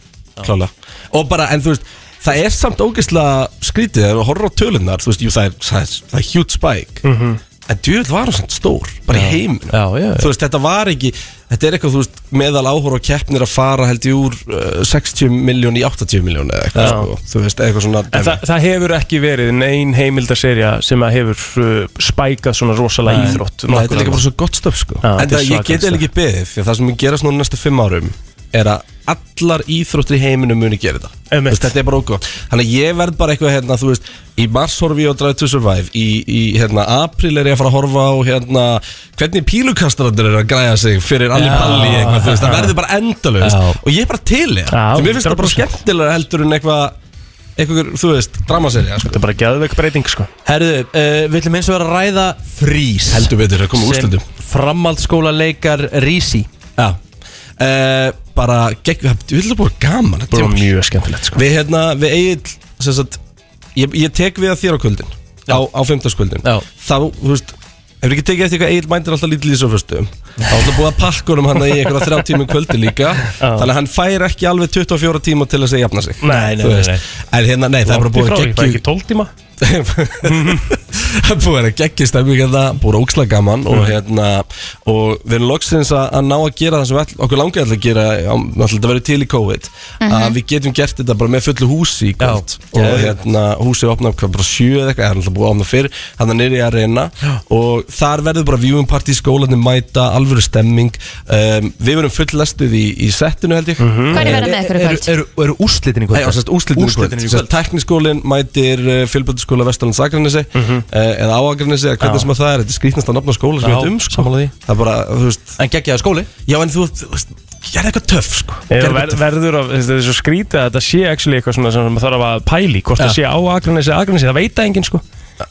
Speaker 15: klála Og bara, en þú veist, það er samt ógeðslega skrítið Þegar þú horfir á tölunar, þú veist, jú, það er, það er, það er huge spike
Speaker 4: Mhm.
Speaker 15: en djöfull var hún samt stór bara í heiminu
Speaker 2: já, já.
Speaker 15: þú veist þetta var ekki þetta er eitthvað þú veist meðal áhóru og keppnir að fara held ég úr uh, 60 miljón í 80 miljón eða eitthvað
Speaker 4: Já.
Speaker 15: sko, þú veist eitthvað svona
Speaker 4: En það, það hefur ekki verið nein heimildaserja sem að hefur uh, spækað svona rosalega
Speaker 15: Nei.
Speaker 4: íþrótt
Speaker 15: Nei, þetta er líka bara svo gott stöf sko
Speaker 4: Já,
Speaker 15: en
Speaker 4: þetta er
Speaker 15: það ég
Speaker 4: svakalegt
Speaker 15: get eða ekki beðið fyrir það sem mun gerast núna næstu fimm árum er að allar íþróttir í heiminu muni gera þetta Þú veist, þetta er bara okkur þannig að ég verð bara eitthvað hérna þú veist í mars horfi ég á Drive to Survive í, í hérna april er ég að fara að horfa á hérna hvernig pílukastrandur er að græja sig fyrir allir
Speaker 2: Já.
Speaker 15: balli í eitthvað þú veist það verður bara endalaust
Speaker 2: Já.
Speaker 15: og ég er bara til ég því mér finnst það bara skemmtilega heldur en eitthvað eitthvað þú veist dramaserja sko.
Speaker 4: þetta er bara gæðveik breyting sko
Speaker 2: Herðu, uh, við ætlum eins og vera að ræða frís
Speaker 15: Heldur betur, það kom úr úrslitum.
Speaker 2: Framhaldsskóla leikar rísi
Speaker 15: Já uh, Bara gegn, við ætlum að búa gaman
Speaker 4: Bara mjög skemmtilegt sko
Speaker 15: Við hérna, við eigið sem sagt, ég, ég tek við að þér á kvöldin Á, á fimmtagskvöldin Þá, þú veist Hefur ekki tekið eftir eitthvað Egil mændir alltaf lítið í þessu fyrstu Það er alltaf búið að pakka honum hann í eitthvað þrjá tími kvöldi líka Þannig að hann fær ekki alveg 24 tíma til þess að jafna sig
Speaker 4: Nei, nei,
Speaker 15: Þú
Speaker 4: nei,
Speaker 15: veist.
Speaker 4: nei.
Speaker 15: En hérna, nei, það er bara
Speaker 4: Langt í
Speaker 15: búið
Speaker 4: frá
Speaker 15: að
Speaker 4: því, það er
Speaker 15: geggju
Speaker 4: ekki 12 tíma
Speaker 15: Það er búið að vera geggjur stemming hérna, búið að óksla gaman
Speaker 2: Mhm.
Speaker 15: og, hérna, og við erum loksins að, að ná að gera það sem við ætl, okkur langar alltaf að gera á- náttúrulega þetta verið til í COVID að
Speaker 2: Mhm.
Speaker 15: við getum gert þetta bara með fullu húsi í kvöld og
Speaker 2: Geðveikt.
Speaker 15: hérna, húsið opna hvað, bara sjö eða eitthvað, það er alltaf búið að opna fyrr þannig að niður í arena og þar verður bara viewing party, skólanir mæta alvöru stemming um, við verum fulllestuð í, í settinu held ég mm
Speaker 2: Mhm.
Speaker 15: -hmm.
Speaker 3: Hverjir verða með ykkur í kvöld?
Speaker 2: Eru, eru úrslitin í
Speaker 15: Nei, og sérst úrslitin í kvöld Sérst, Tekniskólinn mætir uh, fjölbjöldaskóla Vestalans Akranesi uh, eða á Akranesi eða hvernig
Speaker 2: Já.
Speaker 15: sem að það er, þetta er skrýtnast að nafna skóla sem
Speaker 2: Já,
Speaker 15: við veit um, sko
Speaker 2: sammála því.
Speaker 15: Það er bara, þú veist
Speaker 2: En geggjaði skóli
Speaker 15: Já, en þú, þú veist, gerði eitthvað töff, sko
Speaker 4: Ef
Speaker 15: Gerðu
Speaker 4: ver,
Speaker 15: eitthvað töff.
Speaker 4: verður að, þetta er svo skrítið að þetta sé actually eitthvað svona sem maður þarf að pæli hvort
Speaker 15: Já.
Speaker 4: það sé á Akranesi eða Akranesi, það veit það enginn sko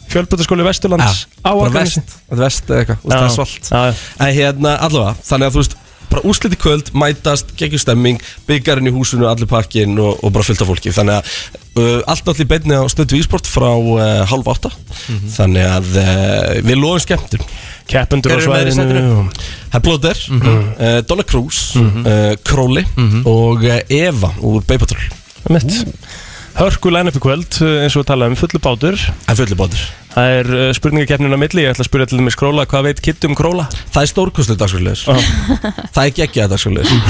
Speaker 4: Fjölbutaskóli Vesturlands á
Speaker 15: Bara
Speaker 4: Akranesi
Speaker 15: vest, þetta er vest eða eitthvað, þú veist,
Speaker 4: Já.
Speaker 15: það er svolt En hérna, allavega, þannig að þú veist bara úrslit í kvöld, mætast, geggjur stemming byggjarinn í húsinu, allir pakkin og, og bara fullt af fólki, þannig að uh, allt náttúrulega í beinni á stöðu ísport frá uh, halv átta, þannig að uh, við lofum skemmtum
Speaker 4: Keppendur á
Speaker 15: Hver eru með þér í
Speaker 4: svæðinu
Speaker 15: settinu? Herr Blóter, uh, Donna Cruz uh, Crowley og uh, Eva úr Bay Patrol
Speaker 4: Mitt Hörku line-up í kvöld, uh, eins og við talaðum, fullu bátur
Speaker 15: En fullu bátur
Speaker 4: Það er uh, spurningakeppnin á milli, ég ætla að spyrja til dæmis Króla, hvað veit Kitty um Króla?
Speaker 15: Það er stórkostlega dagsfjörlegur Það er geggja dagsfjörlegur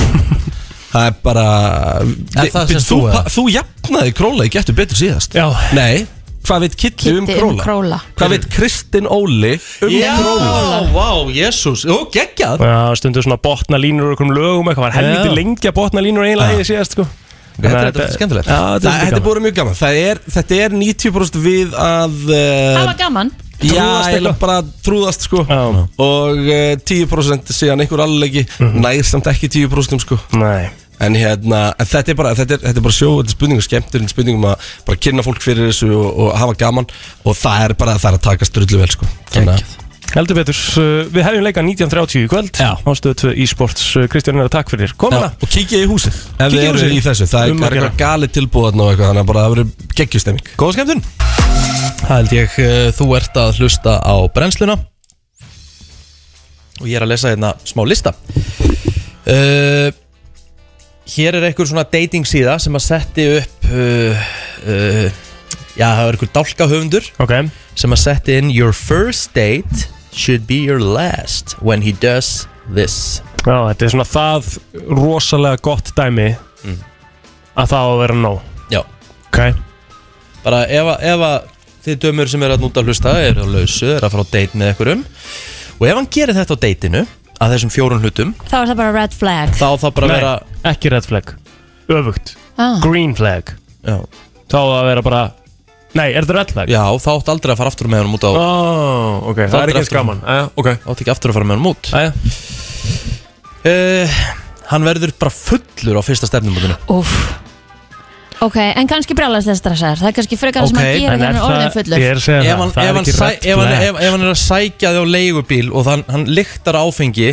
Speaker 15: Það er bara
Speaker 2: Er það sem
Speaker 15: Við-
Speaker 2: þú
Speaker 15: pa-
Speaker 2: er?
Speaker 15: þú jafnaði Króla í getur betur síðast
Speaker 4: Já
Speaker 15: Nei, hvað veit Kitty um
Speaker 3: Kitty um
Speaker 15: Króla?
Speaker 3: Króla.
Speaker 15: Hvað veit Kristinn Óli um
Speaker 2: Já,
Speaker 15: Króla?
Speaker 2: vá, jésús, ó, geggjað
Speaker 4: Já, stundu svona botna línur úr einhverjum lögum eitthvað, var helviti
Speaker 2: Já.
Speaker 4: lengi að botna línur einlega í síðast sko
Speaker 2: Þetta er- þetta er skemmtilegt.
Speaker 4: Já, þetta
Speaker 15: Það,
Speaker 4: er
Speaker 15: þetta er
Speaker 4: svolítið gaman.
Speaker 15: búin mjög gaman Það er, Þetta er 90% við að uh,
Speaker 3: Það var gaman
Speaker 15: Já,
Speaker 4: Trúðast
Speaker 15: eiginlega
Speaker 4: eitthvað?
Speaker 15: bara trúðast sko Og uh, 10% síðan einhver allegi
Speaker 4: Mhm.
Speaker 15: Nær samt ekki 10% sko
Speaker 4: Nei
Speaker 15: En hérna, en þetta er bara, þetta er, þetta er bara sjó, þetta er spurning um skemmtur, þetta er spurning um að bara kynna fólk fyrir þessu og, og hafa gaman og það er bara, það er að taka strullu vel sko. Þannig að-
Speaker 4: Heldur betur, uh, við hefum leika 19.30 í kvöld Já. á stöðu 2 e-sports Eh, Kristján er að takk fyrir, komina
Speaker 15: Já, og kíkja í húsið, ef þið
Speaker 4: Kíkja í
Speaker 15: eru
Speaker 4: húsið.
Speaker 15: í þessu, það er,
Speaker 4: Um
Speaker 15: það
Speaker 4: að
Speaker 15: er
Speaker 4: gera.
Speaker 15: eitthvað gali tilbúðan og eitthvað, þannig að bara það verður geggjustemming.
Speaker 2: Góða skemmtun Það held ég, uh, þú ert að hlusta á brennsluna Og ég er að lesa hérna smá lista uh, Hér er einhver svona dating síða sem að setti upp uh, uh, Já, það er einhver dálkahöfundur
Speaker 4: okay.
Speaker 2: Sem að setti inn Your first date should be your last when he does this
Speaker 4: Já, þetta er svona það rosalega gott dæmi að það á að vera nóg
Speaker 2: Já
Speaker 4: Ok
Speaker 2: bara ef, að- ef að þið dömur sem eru að núta að hlusta eru að lausu, eru að fara á date með einhverjum og ef hann gerir þetta á dateinu að þessum fjórun hlutum
Speaker 3: Þá er það bara red flag
Speaker 2: þá það bara að
Speaker 4: Nei,
Speaker 2: vera
Speaker 4: ekki red flag, öfugt
Speaker 3: Ah.
Speaker 4: green flag
Speaker 2: Já.
Speaker 4: þá á að vera bara Nei, er þetta red flag?
Speaker 2: já, þá átt aldrei að fara aftur með honum út á
Speaker 4: oh, okay. Það er ekki eins gaman Æja, ok
Speaker 2: átt ekki aftur að fara með honum út
Speaker 4: Æja
Speaker 2: uh, hann verður bara fullur á fyrsta stefnumotinu
Speaker 3: Úf Ok, en kannski brjálast þess stressar Það er kannski frekar sem að gera þegar
Speaker 4: en er
Speaker 3: hann er orðin
Speaker 4: það-
Speaker 3: fullur
Speaker 4: Ég er að segja
Speaker 2: ef
Speaker 4: það,
Speaker 2: hann,
Speaker 4: það
Speaker 2: ef,
Speaker 4: er
Speaker 2: hann
Speaker 4: ekki
Speaker 2: sæ, ef,
Speaker 4: red
Speaker 2: hann,
Speaker 4: flag.
Speaker 2: ef, ef hann er að sækja þig á leigubíl og hann, hann lyktar áfengi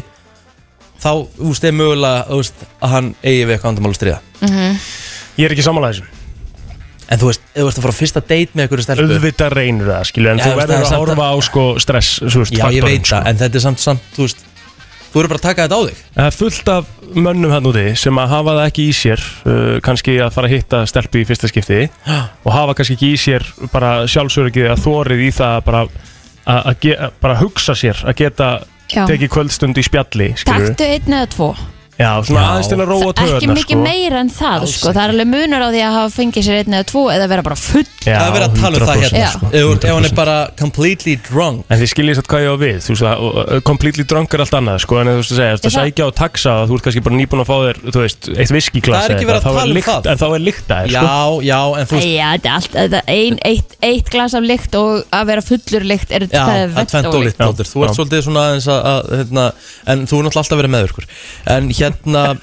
Speaker 2: þá, þú veist, er mögulega þú veist, að hann eigi við eitthvað andamál að stríða
Speaker 4: Ég er ekki sammála þessum
Speaker 2: en þú veist, ef þú veist að fara á fyrsta date með einhverju stelpu
Speaker 4: Auðvitað reynir það, skilju En
Speaker 2: Já,
Speaker 4: þú
Speaker 2: þú veist,
Speaker 4: verður
Speaker 2: það er
Speaker 4: að
Speaker 2: samt
Speaker 4: horfa á sko stress svo veist, um, sko.
Speaker 2: Já, ég
Speaker 4: faktorinn,
Speaker 2: veit það, en þetta er samt, samt, þú veist Þú eru bara að taka þetta á þig
Speaker 4: Það er fullt af mönnum hann úti sem að hafa það ekki í sér uh, kannski að fara að hitta stelpu í fyrsta skipti og hafa kannski ekki í sér bara sjálfsöryggið að þórið í það bara að að ge- að bara hugsa sér að geta
Speaker 3: Já.
Speaker 4: tekið kvöldstund í spjalli skilurðu.
Speaker 3: Taktu einn eða tvo
Speaker 4: Já, svona aðeins til að róa sko.
Speaker 3: Það- Ekki
Speaker 4: töðunar
Speaker 3: mikið meira en það sko. Það er alveg munur á því að hafa fengið sér einn eða tvo eða vera bara full
Speaker 4: Já,
Speaker 2: Það er verið að tala um það
Speaker 4: 100%
Speaker 2: hérna sko.
Speaker 4: sko.
Speaker 2: ef, ef hann er bara completely drunk
Speaker 4: En þið skiljið satt hvað ég á við, þú veist að og, og, completely drunk er allt annað, sko, en þú veist að segja, þú veist að
Speaker 2: Ég það-
Speaker 4: sækja og taxa og þú ert kannski bara nýbúin að fá þér, þú veist, eitt viskiklasa
Speaker 2: Það er ekki verið að tala um það.
Speaker 4: En þá er lykt að þér,
Speaker 2: Já,
Speaker 4: sko
Speaker 2: já, en þú
Speaker 3: Æja, þetta er allt þetta er ein, eitt, eitt glas af lykt og að vera fullur lykt er
Speaker 2: Já,
Speaker 3: það er
Speaker 2: það er tvent
Speaker 3: ólíkt.
Speaker 2: ólíkt plótur Þú ert
Speaker 4: Já.
Speaker 2: svolítið svona eins að, að hérna, En þú er náttúrulega alltaf verið með ykkur En hérna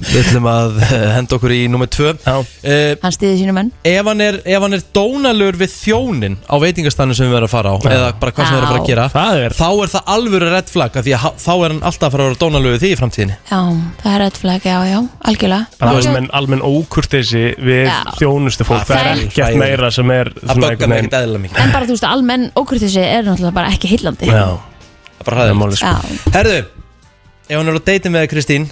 Speaker 2: Við ætlum að eh, henda okkur í nummer tvö uh,
Speaker 3: Hann stiði sínum enn
Speaker 2: ef, hann er, ef hann er dónalur við þjónin Á veitingastanum sem við verðum að fara á Eða bara hvað sem við verðum að fara að gera er. Þá er það alvöru redd flagg af Því að ha- þá er hann alltaf að fara að vera dónalur við því í framtíðinni
Speaker 3: Já, það er rétt flag, já, já, algjörlega
Speaker 4: Bara almenn, almenn ókurtesi við
Speaker 3: Já.
Speaker 4: þjónustu fólk,
Speaker 2: Það
Speaker 4: það er
Speaker 2: er-
Speaker 4: ekkert meira sem er
Speaker 2: Það böggar mig ekkert
Speaker 4: eðla
Speaker 2: mikið
Speaker 3: En bara þú veist, almenn ókurtisi er náttúrulega bara ekki heillandi
Speaker 2: Það er bara hræðilegt
Speaker 3: Já.
Speaker 2: sko. Herðu, ef hann er á deiti með Kristín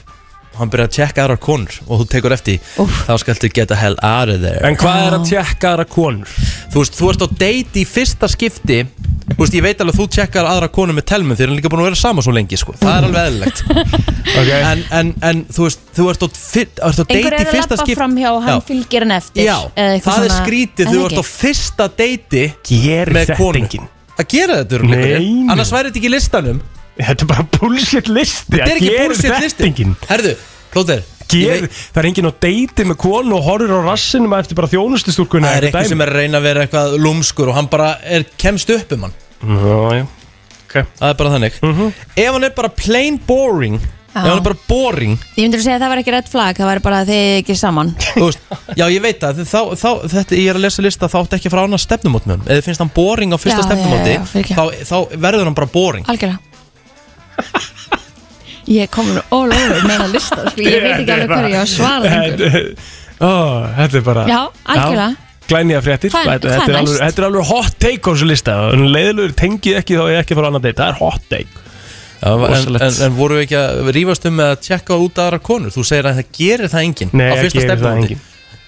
Speaker 2: og hann byrjar að tjekka aðra konur og þú tekur eftir Úf. þá skaltu geta hell out of there
Speaker 4: En hvað er að tjekka aðra konur?
Speaker 2: Þú veist, þú ert á deiti í fyrsta skipti Þú veist, ég veit alveg að þú tjekkar aðra konur með telmum þegar hann líka búin að vera saman svo lengi sko. það er alveg
Speaker 4: *laughs*
Speaker 2: eðlilegt okay. en, en, en þú veist, þú ert á, fyr, ert á
Speaker 3: Einhver
Speaker 2: deiti í
Speaker 3: er að
Speaker 2: fyrsta
Speaker 3: labba
Speaker 2: skipti
Speaker 3: fram hjá og hann
Speaker 2: Já.
Speaker 3: fylgir hann eftir
Speaker 2: Já,
Speaker 3: eða eitthvað
Speaker 2: það er
Speaker 3: svona-
Speaker 2: skrítið
Speaker 3: Er
Speaker 2: þú
Speaker 3: það
Speaker 2: ert á
Speaker 3: ekki?
Speaker 2: fyrsta deiti
Speaker 4: Gerir
Speaker 2: með
Speaker 4: þetta
Speaker 2: konu.
Speaker 4: enginn?
Speaker 2: Það gera þetta örugglega
Speaker 4: Nei,
Speaker 2: einhverjir.
Speaker 4: nei.
Speaker 2: Annars væri þetta ekki í listanum
Speaker 4: Þetta er bara bullshit listi
Speaker 2: Þetta er ekki
Speaker 4: gerir
Speaker 2: bullshit
Speaker 4: þetta
Speaker 2: listi.
Speaker 4: enginn?
Speaker 2: Herðu, Plóter
Speaker 4: Ger, það er enginn á deiti með konu og horfir á rassinum eftir bara þjónustustúrkunni
Speaker 2: Það er eitthvað sem er að reyna að vera eitthvað lúmskur og hann bara er, kemst upp um hann
Speaker 4: Já, já okay.
Speaker 2: Það er bara þannig
Speaker 4: Mhm.
Speaker 2: Ef hann er bara plain boring
Speaker 3: Já.
Speaker 2: Ef hann er bara boring
Speaker 3: Ég myndir að segja að það var ekki rétt flag, það var bara að þið eigið ekki saman
Speaker 2: þú
Speaker 4: *laughs*
Speaker 2: veist, Já, ég veit það þá, þá, þetta, Ég er að lesa lista, þá átt ekki að fara á annað stefnumót með hann Ef þið finnst hann boring á fyrsta
Speaker 3: Já, já, já,
Speaker 2: stefnumóti
Speaker 3: já, fyrirgefðu.
Speaker 2: þá, þá verður hann bara boring
Speaker 3: Algjörlega Ég kom nú all over meina lista sko. Ég veit ekki alveg hverju ég á að svara lengur.
Speaker 4: Ó, þetta er bara
Speaker 3: Já, algjörlega.
Speaker 4: Glænýja fréttir
Speaker 3: Hvað er-
Speaker 4: þetta,
Speaker 3: hvað er
Speaker 4: þetta, er alveg,
Speaker 3: næst?
Speaker 4: þetta er alveg hot take á þessu lista Leðilegur tengið ekki þá ég ekki að fara á annan date Það er hot take
Speaker 2: Já, en, en, en voru við ekki að rífast um með að tjekka út aðra konur Þú segir að það gerir það enginn
Speaker 4: Nei,
Speaker 2: á
Speaker 4: það
Speaker 2: fyrsta
Speaker 4: gerir það
Speaker 2: stefnumóti.
Speaker 4: enginn.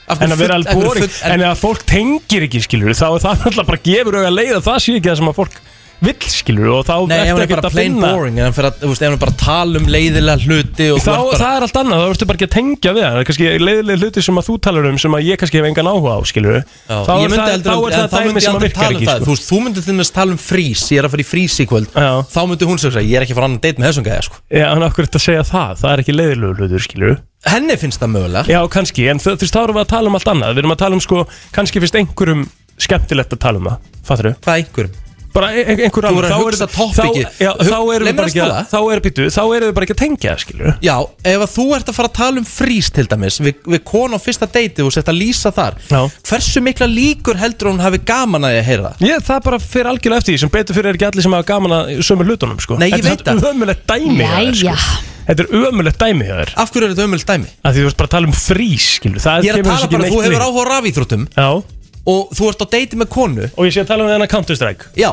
Speaker 2: Af hverju
Speaker 4: En að vera
Speaker 2: full- af
Speaker 4: alveg
Speaker 2: hverju
Speaker 4: boring
Speaker 2: full-
Speaker 4: En að fólk tengir ekki skilur Þá er það alltaf bara gefur auðvitað leið að Það sé ekki það sem að fólk vill skilur Og þá
Speaker 2: Nei, ef
Speaker 4: ertu
Speaker 2: hann er
Speaker 4: ekkert
Speaker 2: bara
Speaker 4: að
Speaker 2: plain
Speaker 4: finna
Speaker 2: boring en hann fer að, þú veist, Ef hann er bara að tala um leiðilega hluti og
Speaker 4: Þá,
Speaker 2: þú ert bara,
Speaker 4: það er allt annað, þá ertu bara ekki að tengja við það Það er kannski leiðilega hluti sem að þú talar um sem að ég kannski hef engan áhuga á, skilur Þá
Speaker 2: Ég
Speaker 4: er
Speaker 2: myndi
Speaker 4: það,
Speaker 2: heldur
Speaker 4: þá
Speaker 2: að-
Speaker 4: er
Speaker 2: en
Speaker 4: það dæmi
Speaker 2: myndi ég
Speaker 4: sem að
Speaker 2: aldrei
Speaker 4: virkar
Speaker 2: tala um
Speaker 4: ekki
Speaker 2: það. Þú
Speaker 4: sko.
Speaker 2: veist, þú myndi til dæmis tala um frís Ég er að fara í frís í kvöld Já. Þá myndi hún segja, ég er ekki að fara annan date með þessum gæja sko.
Speaker 4: Já, en af hverju ertu að segja það? Það er ekki leiðilegu hlutur, skilur
Speaker 2: Henni finnst það mögulega
Speaker 4: Já, kannski, en þú þú veist, þá erum við að tala um allt annað Við erum að tala um, sko, kannski finnst einhverjum skemmtilegt að tala um það, fattur þau?
Speaker 2: Hvað einhverjum?
Speaker 4: Bara e- e- einhver
Speaker 2: Þú
Speaker 4: annar
Speaker 2: er að
Speaker 4: Þá
Speaker 2: hugsa
Speaker 4: er-
Speaker 2: toppiki.
Speaker 4: þá- Já, þá
Speaker 2: Hug- Leyf
Speaker 4: erum við
Speaker 2: mér
Speaker 4: bara
Speaker 2: að
Speaker 4: ekki að
Speaker 2: skoða.
Speaker 4: Þá erum býtu, þá erum við bara ekki að tengja það, skilur
Speaker 2: Já, ef að þú ert að fara að tala um frís til dæmis við, við konu á fyrsta deiti og sett að lýsa þar Já. Hversu mikla líkur heldur hún hafi gaman að ég að heyra það?
Speaker 4: Ég, það bara fyrir algjörlega eftir því sem betur fyrir er ekki allir sem hafa gaman að sömu hlutunum sko.
Speaker 2: Nei, ég veit
Speaker 4: Þetta er
Speaker 2: það.
Speaker 4: ömulegt dæmi hjá þér,
Speaker 3: Jæja.
Speaker 4: sko. Þetta er ömulegt dæmi hjá þér
Speaker 2: Af hverju er þetta ömulegt dæmi?
Speaker 4: Af því þú ert bara að tala um frís skilur. Það
Speaker 2: Ég er að
Speaker 4: kemur þessu
Speaker 2: tala
Speaker 4: ekki
Speaker 2: bara,
Speaker 4: neitt
Speaker 2: þú hefur
Speaker 4: við.
Speaker 2: áhuga á rafíþróttum
Speaker 4: Já
Speaker 2: Og þú ert á deiti með konu
Speaker 4: Og ég sé að tala um þennan Counter Strike
Speaker 2: Já,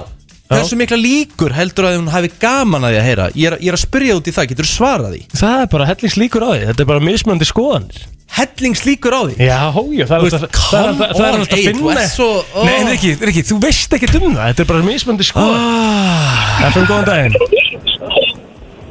Speaker 2: hversu mikla líkur heldur að hún hafi gaman að ég að heyra? Ég er, ég er að spyrja út í það, getur svarað því?
Speaker 4: Það er bara hellingslíkur á því, þetta er bara mismunandi skoðanir
Speaker 2: Hellingslíkur á því?
Speaker 4: Já, já, það er
Speaker 2: Þú veist,
Speaker 4: alltaf það
Speaker 2: come
Speaker 4: er alltaf- það er
Speaker 2: on,
Speaker 4: alltaf að
Speaker 2: Egill, þú
Speaker 4: finna
Speaker 2: ert svo- ó.
Speaker 4: Nei, en ekki, ekki, þú veist ekki um það, þetta er bara mismunandi skoðanir
Speaker 2: Ah.
Speaker 4: Það fyrir góðan daginn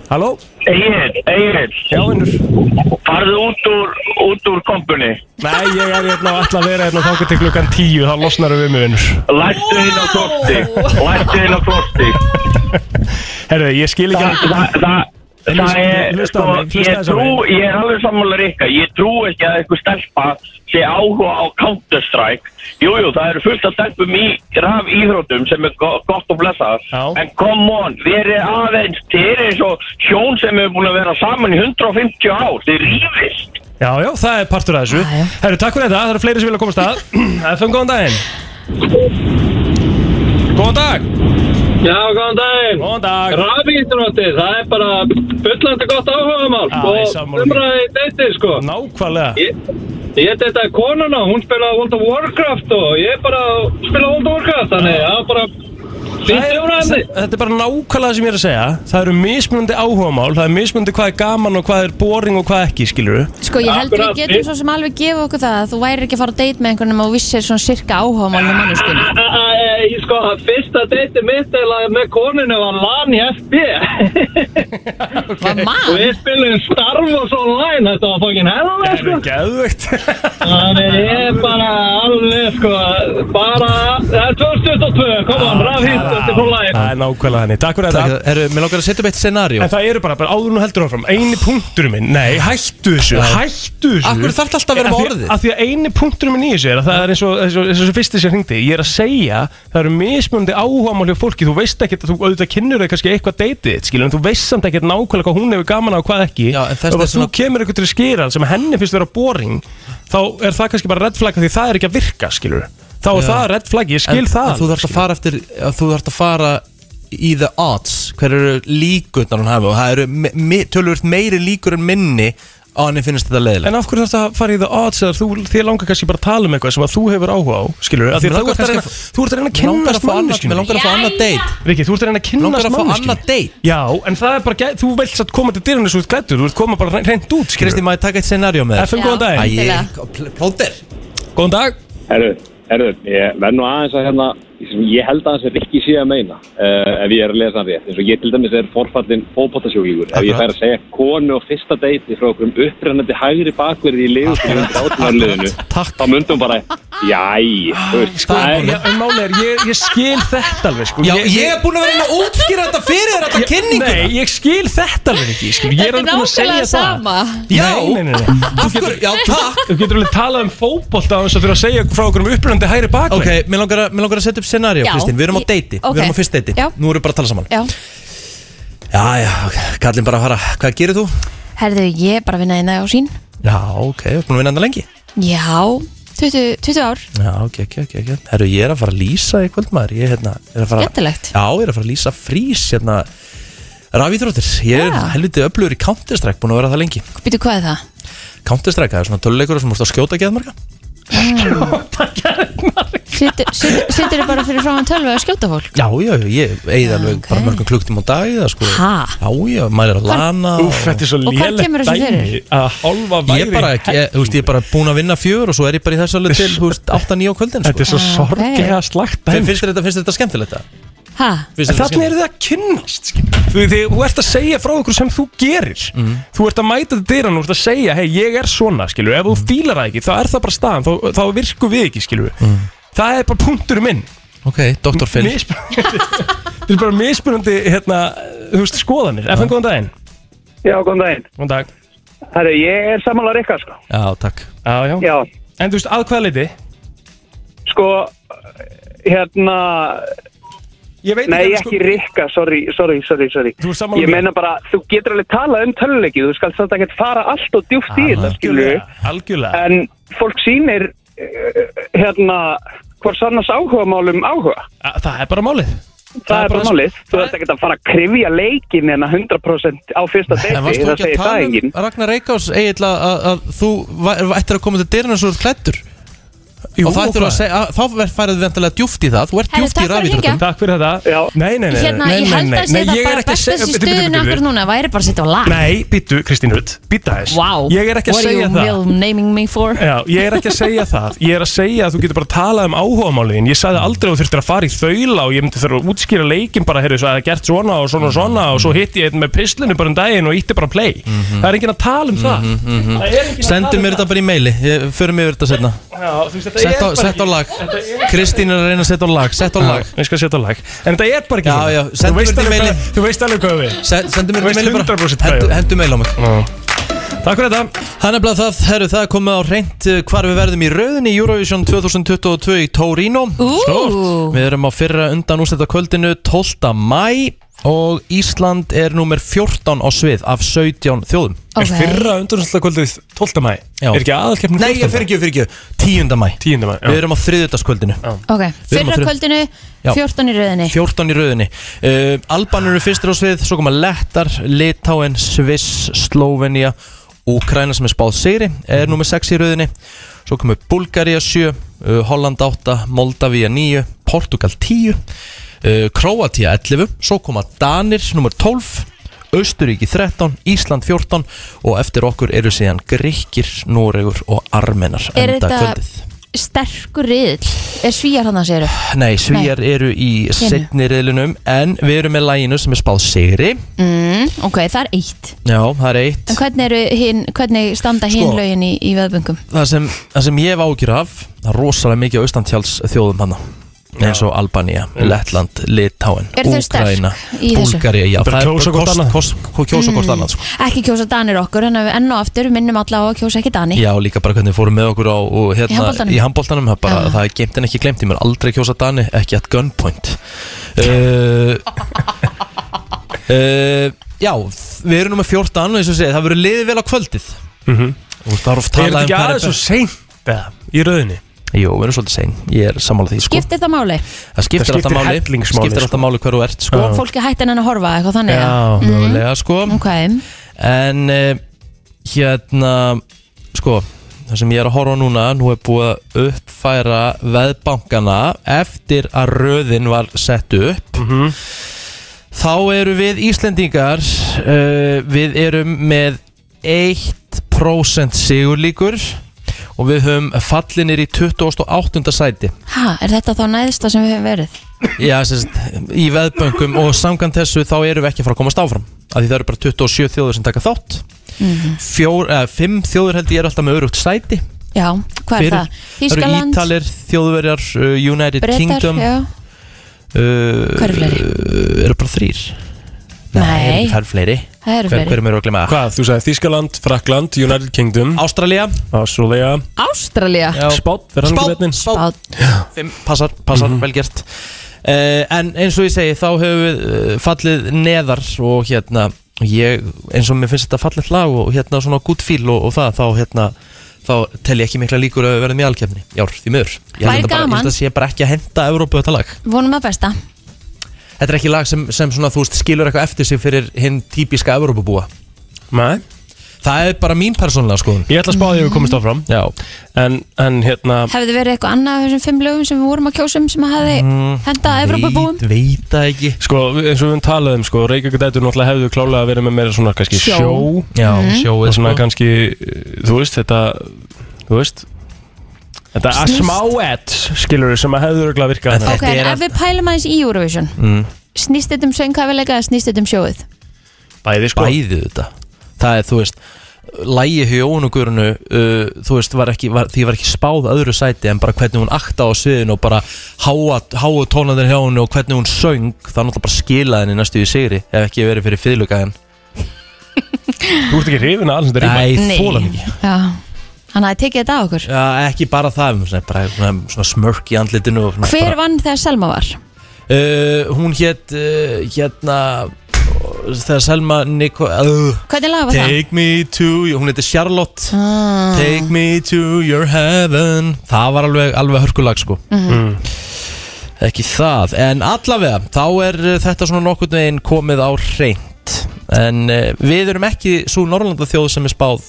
Speaker 4: Halló?
Speaker 16: Egil, Egil
Speaker 4: Já, vinnur
Speaker 16: Farðu út úr, út úr kompunni
Speaker 4: Nei, ég er hérna og ætla að vera hérna og þáka til klukkan tíu, þá losnar við mig vinnur
Speaker 16: Lættu inn á korti Lættu inn á korti
Speaker 4: Herðu, ég skil ekki
Speaker 16: Það- það- það- Það er, sko, ég trú, ég er alveg sammála rikka, ég trú ekki að eitthvað stelpa sé áhuga á Counter-Strike. Jújú, jú, það eru fullt af stelpum í raf íþrótum sem er go- gott og blessað, en come on, verið aðeins, þið er eins og hjón sem hefur búin að vera saman í 150 ár, þið rífist.
Speaker 4: Já, já, það er partur af þessu Herru, takk fyrir þetta, það eru fleiri sem vilja komast að FM, góðan daginn Góðan dag
Speaker 17: Já, góðan daginn
Speaker 4: Góðan dag
Speaker 17: Rafíþrótti, það er bara fullandi gott áhugamál
Speaker 4: Já, ég er sammála
Speaker 17: og umræði deytið sko
Speaker 4: Nákvæmlega
Speaker 17: Ég, ég deytaði konuna, hún spilaði World of Warcraft og ég bara spilaði World of Warcraft þannig, það var bara
Speaker 4: Þetta er bara nákvæmlega það sem ég er að segja Það eru mismunandi áhugamál Það er mismunandi hvað er gaman og hvað er boring og hvað ekki skilur
Speaker 3: Sko ég held við getum svo sem alveg gefa okkur það að þú væri ekki að fara að deyta með einhvernum og vissir svona sirka áhugamálum manneskunni
Speaker 17: Ég sko, það fyrsta deyti mitt eiginlega með koninu var LAN í FB
Speaker 3: Var mann?
Speaker 17: Og ég spilaði Star Wars online, þetta var fokkin helga sko
Speaker 4: Það er geðvögt
Speaker 17: Þannig ég er bara alveg sko, bara, það er 2022, koma, rafhýtt, þetta er fór læg
Speaker 4: Það er nákvæmlega henni, takk fyrir þetta
Speaker 2: Herru, mér langar að setja upp eitt scenario
Speaker 4: En það eru bara, bara áður nú heldur áfram Einu punkturinn minn, nei, hættu þessu
Speaker 2: Já.
Speaker 4: Hættu þessu
Speaker 2: Af hverju þarf þetta alltaf að vera
Speaker 4: Af
Speaker 2: með
Speaker 4: því-
Speaker 2: orðið?
Speaker 4: Af því að eini punkturinn minn í þessu er að það er eins og eins og- eins og þessu fyrsti sem hringdi Ég er að segja, það eru mismunandi áhugamál hjá fólki Þú veist ekkert að þú auðvitað kynnur þau kannski eitthvað deytið þitt, skilur En þú veist samt ekkert nákvæmlega hvað hún hefur gaman á og hvað ekki Já, en
Speaker 2: þess
Speaker 4: þess Þú kemur eitthvað til skýran sem henni finnst vera boring Þá er það kannski bara red flag af því það er ekki að virka, skilur Þá er
Speaker 2: Já.
Speaker 4: það red flag, ég skil
Speaker 2: en,
Speaker 4: það
Speaker 2: en þú þarfst að fara eftir að þú þarfst að fara í the odds hver eru líkurnar hún hafi og það eru me, me, tölvöld meiri líkur en minni á henni finnst þetta leiðilegt
Speaker 4: En af hverju þarfst að fara í the odds eða þú, þér langar kannski bara að tala um eitthvað sem að þú hefur áhuga á, skilur
Speaker 2: Mér
Speaker 4: við Þú
Speaker 2: langar
Speaker 4: ert
Speaker 2: kannski
Speaker 4: að reyna-
Speaker 2: að-
Speaker 4: þú ert að reyna að
Speaker 2: Mér langar að
Speaker 4: kynnast
Speaker 2: fá annað-
Speaker 4: manneskinu
Speaker 2: mér langar að fá annað date.
Speaker 4: Rikki, þú ert að reyna
Speaker 2: Langar
Speaker 4: að kynnast
Speaker 2: að fá
Speaker 4: manneskinu
Speaker 2: annað date.
Speaker 4: Já, en það er bara, gæ- þú vilt satt koma til dyrunni svo þú ert glættur, þú ert koma bara reynd út, skilur
Speaker 2: Kristi, maður taka eitt scenario með
Speaker 4: FM, góðan dag
Speaker 2: Æ, plóter
Speaker 4: Góðan dag
Speaker 18: Herru, herru, ég verð nú aðeins að hérna, sem ég held aðeins að Rikki sé að meina uh, ef ég er að lesa hann rétt, eins og ég til dæmis er forfallin fótbóttasjókíkur, ef ég fær að segja konu á fyrsta deiti frá okkur um upprennandi hægri bakverði í liðu sem
Speaker 15: Ah,
Speaker 18: við grátum að liðinu, þá myndum bara jæ, þú veist,
Speaker 4: Sko,
Speaker 18: það
Speaker 4: ég-
Speaker 18: er
Speaker 4: en máli er, ég, ég skil þetta alveg sko.
Speaker 2: Já, ég er búinn að vera að útskýra þetta fyrir þér, alla
Speaker 4: Ég-
Speaker 2: kynninguna.
Speaker 4: Nei, ég skil þetta alveg ekki sko. Ég er
Speaker 3: Þetta er
Speaker 4: alveg búinn að segja
Speaker 3: nákvæmlega
Speaker 4: það
Speaker 3: sama
Speaker 4: Já, nei, nei, nei. Þú getur,
Speaker 2: já, takk
Speaker 4: Þú getur alveg talað um fótbolta á þess að þurfa að segja frá okkur um upplöndi hægri bakveg
Speaker 2: Ok, mér langar, að- mig langar að setja upp scenario,
Speaker 3: Já,
Speaker 2: Kristín, við erum á
Speaker 3: ég-
Speaker 2: deiti,
Speaker 3: ok.
Speaker 2: við erum á fyrst deiti
Speaker 3: Já.
Speaker 2: Nú erum við bara að tala saman
Speaker 3: Já,
Speaker 2: Já, já, ok, kallinn bara að fara, hvað gerir þú?
Speaker 3: herðu ég er bara að vinna einna á sín
Speaker 2: Já, ok, við erum búin að vinna enda lengi
Speaker 3: Já, 20, 20 ár
Speaker 2: Já, ok, ok, ok, ok Herru, ég er að fara að lýsa í kvöld maður Ég hérna, er að fara
Speaker 3: Skemmtilegt.
Speaker 2: Já, ég er að fara að lýsa frís hérna Rafíþróttir, ég er helviti öflugur í Counter-Strike Búin að vera það lengi
Speaker 3: Býtu hvað er það?
Speaker 2: Counter-Strike, það er svona töluleikur sem múst að skjóta geðmarga
Speaker 3: Sittir þið bara fyrir frá hann tölvu að skjóta fólk?
Speaker 2: Já, já, já, ég eigið alveg bara mörgum klukktum á dag það sko
Speaker 3: Ha?
Speaker 2: Já, já, maður er að lana
Speaker 4: Úff, þetta er svo
Speaker 3: Og hvar kemur þessu fyrir?
Speaker 4: Að hálfa væri
Speaker 2: Ég er bara, ég, þú veist, ég er bara búin að vinna fjör og svo er ég bara í þessu alveg til, þú veist, 8-9 á kvöldin sko.
Speaker 4: Þetta
Speaker 3: Ah,
Speaker 4: er svo sorglega slagt dæmi.
Speaker 2: Finnst þér þetta, finnst þér þetta skemmtilegt það?
Speaker 3: Ha?
Speaker 2: Finnst þér þetta
Speaker 4: Þannig eru þið að kynnast skilur. Þú veist, þið- þú ert að segja frá okkur sem þú gerir
Speaker 2: Mhm.
Speaker 4: Þú ert að mæta til dyrann og þú ert að segja Hei, ég er svona, skilur Ef þú
Speaker 2: Mhm.
Speaker 4: fílar það ekki, þá er það bara staðan Þá, þá virkum við ekki, skilur
Speaker 2: Mhm.
Speaker 4: Það er bara punkturinn minn
Speaker 2: Ok, Dr. Phil
Speaker 4: Mismunandi *laughs* Þetta er bara mismunandi, hérna, þú veist, skoðanir FN, góðan daginn
Speaker 19: Já, góðan daginn
Speaker 4: Góðan dag
Speaker 19: Herru, ég er sammála Rikka, sko
Speaker 2: Já, takk
Speaker 4: Já, já,
Speaker 19: Já,
Speaker 4: En þú veist, að hvaða leiti?
Speaker 19: sko, hérna
Speaker 4: Ég veit
Speaker 19: Nei,
Speaker 4: ekki,
Speaker 19: ekki Rikka, sorry, sorry, sorry, sorry
Speaker 4: sko- Þú er sammála
Speaker 19: Ég
Speaker 4: mér.
Speaker 19: meina bara, þú getur alveg talað um töluleiki Þú skal þetta ekki fara allt og djúft í þetta, skilu
Speaker 4: Algjörlega
Speaker 19: En fólk sýnir, eh, hérna, hvort sannast áhugamálum áhuga
Speaker 4: Að- Það er bara málið
Speaker 19: Það, er bara málið, þú ert ekki að fara að krifja leikin en 100% á fyrsta
Speaker 2: En
Speaker 19: degi,
Speaker 2: varst þú
Speaker 19: það
Speaker 2: ekki
Speaker 19: segir
Speaker 2: að
Speaker 19: það
Speaker 2: tala
Speaker 19: enginn
Speaker 2: um Ragnar Reykjás eiginlega að, að þú væ- ættir að koma til dyrinu svo þú ert klættur Jú, og það ættir
Speaker 4: og
Speaker 2: að
Speaker 4: hvað?
Speaker 2: segja, að, þá verð- færðu við endalega djúft í það þú ert
Speaker 3: Herri,
Speaker 2: djúft í
Speaker 3: takk fyrir að
Speaker 2: rafíþróttum
Speaker 4: Takk fyrir þetta Já. Nei, nei, nei, nei,
Speaker 3: Hérna,
Speaker 4: Eh, nei,
Speaker 3: ég
Speaker 4: nei,
Speaker 3: held
Speaker 4: nei,
Speaker 3: að sé
Speaker 4: nei,
Speaker 3: það
Speaker 4: ég er
Speaker 3: bara
Speaker 4: ekki að
Speaker 3: best
Speaker 4: segja-
Speaker 3: þessi
Speaker 4: Bíddu, bíddu,
Speaker 3: stöðun
Speaker 4: bíddu,
Speaker 3: akkur
Speaker 4: bíddu.
Speaker 3: núna væri bara að sitja á lag
Speaker 4: Nei, býttu Kristín Rutt, býtta þess
Speaker 3: Wow,
Speaker 4: Ég er ekki að
Speaker 3: what
Speaker 4: segja
Speaker 3: are you
Speaker 4: það Eh,
Speaker 3: real naming me for?
Speaker 4: Já, ég er ekki að segja það Ég er að segja að þú getur bara að tala um áhugamáliðin Ég sagði aldrei að þú þurftir að fara í þaula og ég myndi þurfa að útskýra leikin bara heyrðu, svo að það er gert svona og svona og svona og svo hitti ég einn með pislinu bara um daginn og ítti bara play Það er enginn að tala um það Það er enginn að tala
Speaker 2: sendu
Speaker 4: um
Speaker 2: mér þetta bara í meili, Ég- förum yfir þetta setna
Speaker 4: Já, þú veist, þetta
Speaker 2: sett á,
Speaker 4: er bara
Speaker 2: sett á
Speaker 4: ekki-
Speaker 2: lag,
Speaker 4: Þetta er-
Speaker 2: Kristín er að reyna að setja á lag sett á
Speaker 4: Já,
Speaker 2: lag
Speaker 4: Ég skal setja á lag En þetta er bara ekki
Speaker 15: hérna.
Speaker 2: Já, já,
Speaker 4: Þú
Speaker 2: sendu mér
Speaker 4: veist
Speaker 2: þetta í
Speaker 4: alveg
Speaker 2: meili
Speaker 4: hvað- Þú veist alveg hvað við
Speaker 2: Se- Sendu mér þetta
Speaker 4: Þú
Speaker 2: í
Speaker 4: veist
Speaker 2: meili bara
Speaker 4: 100% hvað
Speaker 2: Hentu-
Speaker 4: við.
Speaker 2: Hentu meili á mig
Speaker 4: Takk fyrir þetta
Speaker 2: Það er nefnilega það, herru, það er komið á reynd hvar við verðum í rauðinni í Eurovision 2022 í Torino Stort. Við erum á fyrra undan úrstætta kvöldinu 12. mæ og Ísland er númer 14 á svið af 17 þjóðum
Speaker 4: Er fyrra undurnastakvöldið 12. mæ?
Speaker 2: Já.
Speaker 4: Er ekki aðalkeppni
Speaker 2: Nei, ég fyrir ekki, fyrir ekki, 10. mæ
Speaker 4: 10. mæ, já.
Speaker 2: Við erum á þriðutaskvöldinu
Speaker 3: Ok,
Speaker 2: Við erum
Speaker 3: fyrra
Speaker 2: á þriðju-
Speaker 3: kvöldinu,
Speaker 2: Já.
Speaker 3: 14 í rauðinni
Speaker 2: 14 í rauðinni uh, Albanur eru fyrstir á svið, svo koma Lettar, Litáen, Sviss, Slovenia Úkraina sem er spáð sigri er nummer 6 í rauðinni svo eh, koma Bulgaria 7, uh, Holland 8 Moldavia 9, Portugal 10 uh, uh, Kroatia 11 Svo koma Danir nummer 12 Austuríki 13, Ísland 14 og eftir okkur eru síðan Grikkir, Noregur og Armenar
Speaker 3: Er
Speaker 2: enda
Speaker 3: þetta
Speaker 2: kvöldið.
Speaker 3: sterkur riðl? Er svíjar hann að segja?
Speaker 2: Nei, svíjar eru í
Speaker 3: Hinu.
Speaker 2: setni riðlunum en við erum með læginu sem er spáð sigri
Speaker 3: Mm,
Speaker 4: Hm?
Speaker 3: ok, það er eitt.
Speaker 2: Já, það er eitt
Speaker 3: En hvernig, eru hin, hvernig standa hinn
Speaker 2: Sko.
Speaker 3: lögin í, í veðböngum?
Speaker 2: það sem, það sem ég hef ágjur af það er rosalega mikið á austantjáls þjóðum hann eins og Albanía, Lettland, Litáin,
Speaker 3: Eru þau sterk
Speaker 2: Úkraina
Speaker 3: í þessu?
Speaker 2: Búlgaria, já,
Speaker 15: Bara kjósa hvort annað.
Speaker 2: kjósa hvort
Speaker 3: Mm.
Speaker 2: annað sko.
Speaker 3: Ekki kjósa danir okkur, en enn og aftur minnum alla á að kjósa ekki dani.
Speaker 2: *laughs* Já, líka bara hvernig við fórum með okkur á og, hérna,
Speaker 3: Í handboltanum.
Speaker 2: í handbóltanum það, bara, það er geimt en ekki glemt, ég mér aldrei kjósa Dani ekki at gunpoint *laughs* uh, uh, Já, við erum nummer 14 eins og ég segi, það verður liðið vel á kvöldið
Speaker 15: Mhm.
Speaker 2: Þú veist, það er oft
Speaker 15: Er þetta
Speaker 2: talað um
Speaker 15: ekki
Speaker 2: hvað
Speaker 15: aðeins svo
Speaker 2: best.
Speaker 15: seint eða, í rauðinni?
Speaker 2: Jú, við erum svolítið sein, ég er sammála því sko.
Speaker 3: Skiptir það máli?
Speaker 2: Það skiptir,
Speaker 15: Það skiptir
Speaker 2: alltaf máli,
Speaker 15: hellingsmáli,
Speaker 2: skiptir
Speaker 15: sko.
Speaker 2: alltaf máli hver þú ert sko.
Speaker 3: Og fólki hættin enn að horfa eitthvað þannig.
Speaker 2: Já,
Speaker 3: Mm,
Speaker 2: mögulega sko
Speaker 3: Ok,
Speaker 2: En uh, hérna Sko, það sem ég er að horfa á núna Nú er búið að uppfæra veðbankana Eftir að röðin var sett upp Þá eru við Íslendingar uh, Við erum með 1% sigurlíkur Og við höfum fallinir í 28. sæti
Speaker 3: ha, er þetta þá næðista sem við höfum verið?
Speaker 2: Já, sérst, í veðböngum og samkvæmt þessu þá erum við ekki að fara að komast áfram af því það eru bara 27 þjóður sem taka þátt
Speaker 3: Mhm.
Speaker 2: Fjór, eða, Fimm þjóður held ég eru alltaf með örugt sæti
Speaker 3: Já, hvað er
Speaker 2: Fyrir-
Speaker 3: það?
Speaker 2: Það eru
Speaker 3: Þískaland,
Speaker 2: Ítalir, þjóðverjar, uh, United
Speaker 3: Bretar,
Speaker 2: Kingdom
Speaker 3: já.
Speaker 2: uh,
Speaker 3: Hvað eru fleiri?
Speaker 2: Uh, eru bara þrýr
Speaker 3: Nei,
Speaker 2: Það eru fleiri
Speaker 3: það eru
Speaker 2: Hver-
Speaker 3: fleiri.
Speaker 2: Hverjum eru að glemma?
Speaker 15: Hvað, þú sagði Þískaland, Frakland, United Kingdom
Speaker 2: Ástralía
Speaker 15: Ástralía
Speaker 3: Ástralía.
Speaker 15: Spátt, fyrir hann ekki
Speaker 2: hérna
Speaker 15: betnin
Speaker 2: Spátt Fimm, passar, passar, vel gert uh, En eins og ég segi, þá höfum við uh, fallið neðar og hérna ég, eins og mér finnst þetta fallið lag og hérna svona gút fíl og, og það þá hérna, þá tel ég ekki mikla líkur að við verðum í alkefni, jár, því miður Ég
Speaker 3: Væri
Speaker 2: held að bara, ég
Speaker 3: gaman.
Speaker 2: held að sé bara ekki að henda Evrópu þetta lag
Speaker 3: Vonum að besta.
Speaker 2: Þetta er ekki lag sem, sem svona, þú veist, skilur eitthvað eftir sig fyrir hinn típiska Evrópubúa
Speaker 15: Nei
Speaker 2: Það er bara mín persónulega skoðun
Speaker 15: Ég ætla að spáði að við komist áfram
Speaker 2: Já
Speaker 15: En, en hérna
Speaker 3: Hefði verið eitthvað annað af þessum fimm lögum sem við vorum að kjósa um sem að hefði
Speaker 15: Mm,
Speaker 3: hendað Evrópabúum?
Speaker 2: Veit það ekki
Speaker 15: Sko, við- eins og við höfum talað um, sko, Reykjavík dætur náttúrulega hefðu klálega að vera með meira svona kannski
Speaker 3: Sjó.
Speaker 15: sjó,
Speaker 2: Já, Mhm. sjóið,
Speaker 15: Og svona
Speaker 2: sko.
Speaker 15: kannski, eh, þú veist, þetta, þú veist Þetta er
Speaker 3: Snýst.
Speaker 15: smá edds, skilur við, sem að hefðu örgulega virkað
Speaker 3: Ok, en ef við pælum aðeins í Eurovision,
Speaker 15: mm.
Speaker 3: snýst þetta um sönghafilega eða snýst þetta um sjóið?
Speaker 15: Bæði
Speaker 2: sko Bæði þetta Það er þú veist Lægi hjónugurinu uh, Þú veist var ekki, var, Því var ekki spáð öðru sæti En bara hvernig hún akta á sviðinu Og bara háa, háa tónandir hjá henni Og hvernig hún söng Það er náttúrulega bara skilaði henni næstu í sigri Ef ekki verið fyrir fyrirlukaðin
Speaker 15: Þú ert ekki hrifin að alls þetta ríma
Speaker 2: Nei, þóla mikið
Speaker 3: Já, hann hafði tekið þetta á okkur.
Speaker 2: Já, ekki bara það um, svona, bara, svona, svona smörk í andlitinu og svona
Speaker 3: Hver
Speaker 2: bara,
Speaker 3: vann þegar Selma var?
Speaker 2: uh, Hún hét uh, Hérna Þegar Selma Nikko uh,
Speaker 3: Hvernig lag var það?
Speaker 2: Take me to Hún heiti Charlotte
Speaker 3: Ah.
Speaker 2: Take me to your heaven Það var alveg, alveg hörkulag sko
Speaker 3: Mhm. Mm.
Speaker 2: Ekki það En allavega, þá er uh, þetta svona nokkurn veginn komið á reynd En uh, við erum ekki svo Norrlanda þjóð sem er spáð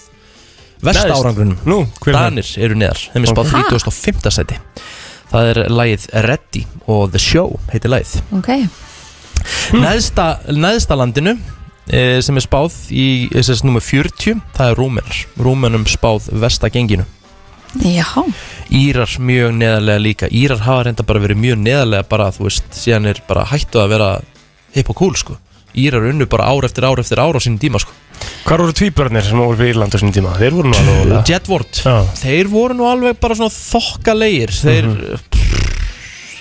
Speaker 2: Vest
Speaker 15: Neðst.
Speaker 2: árangrunum
Speaker 15: Nú, hver er það?
Speaker 2: Danir eru neðar, þeim er spáð
Speaker 15: Ok.
Speaker 2: 35. sæti Það er lagið Ready og The Show heitir lagið
Speaker 3: Ok,
Speaker 2: Hmm. Neðsta, neðsta landinu e, sem er spáð í e, SS nummer 40 það er Rúmenar Rúmenum spáð vesta genginu
Speaker 3: já,
Speaker 2: Írar mjög neðarlega líka Írar hafa reynda bara verið mjög neðarlega bara þú veist, síðan er bara hættu að vera hip og cool sko Írar unnu bara ár eftir ár eftir ár á sínum tíma sko
Speaker 15: Hvar voru tvíbörnir sem voru fyrir Írland á sinni tíma? Þeir voru nú alveg ólega
Speaker 2: Jedward, þeir voru nú alveg bara svona þokkalegir þeir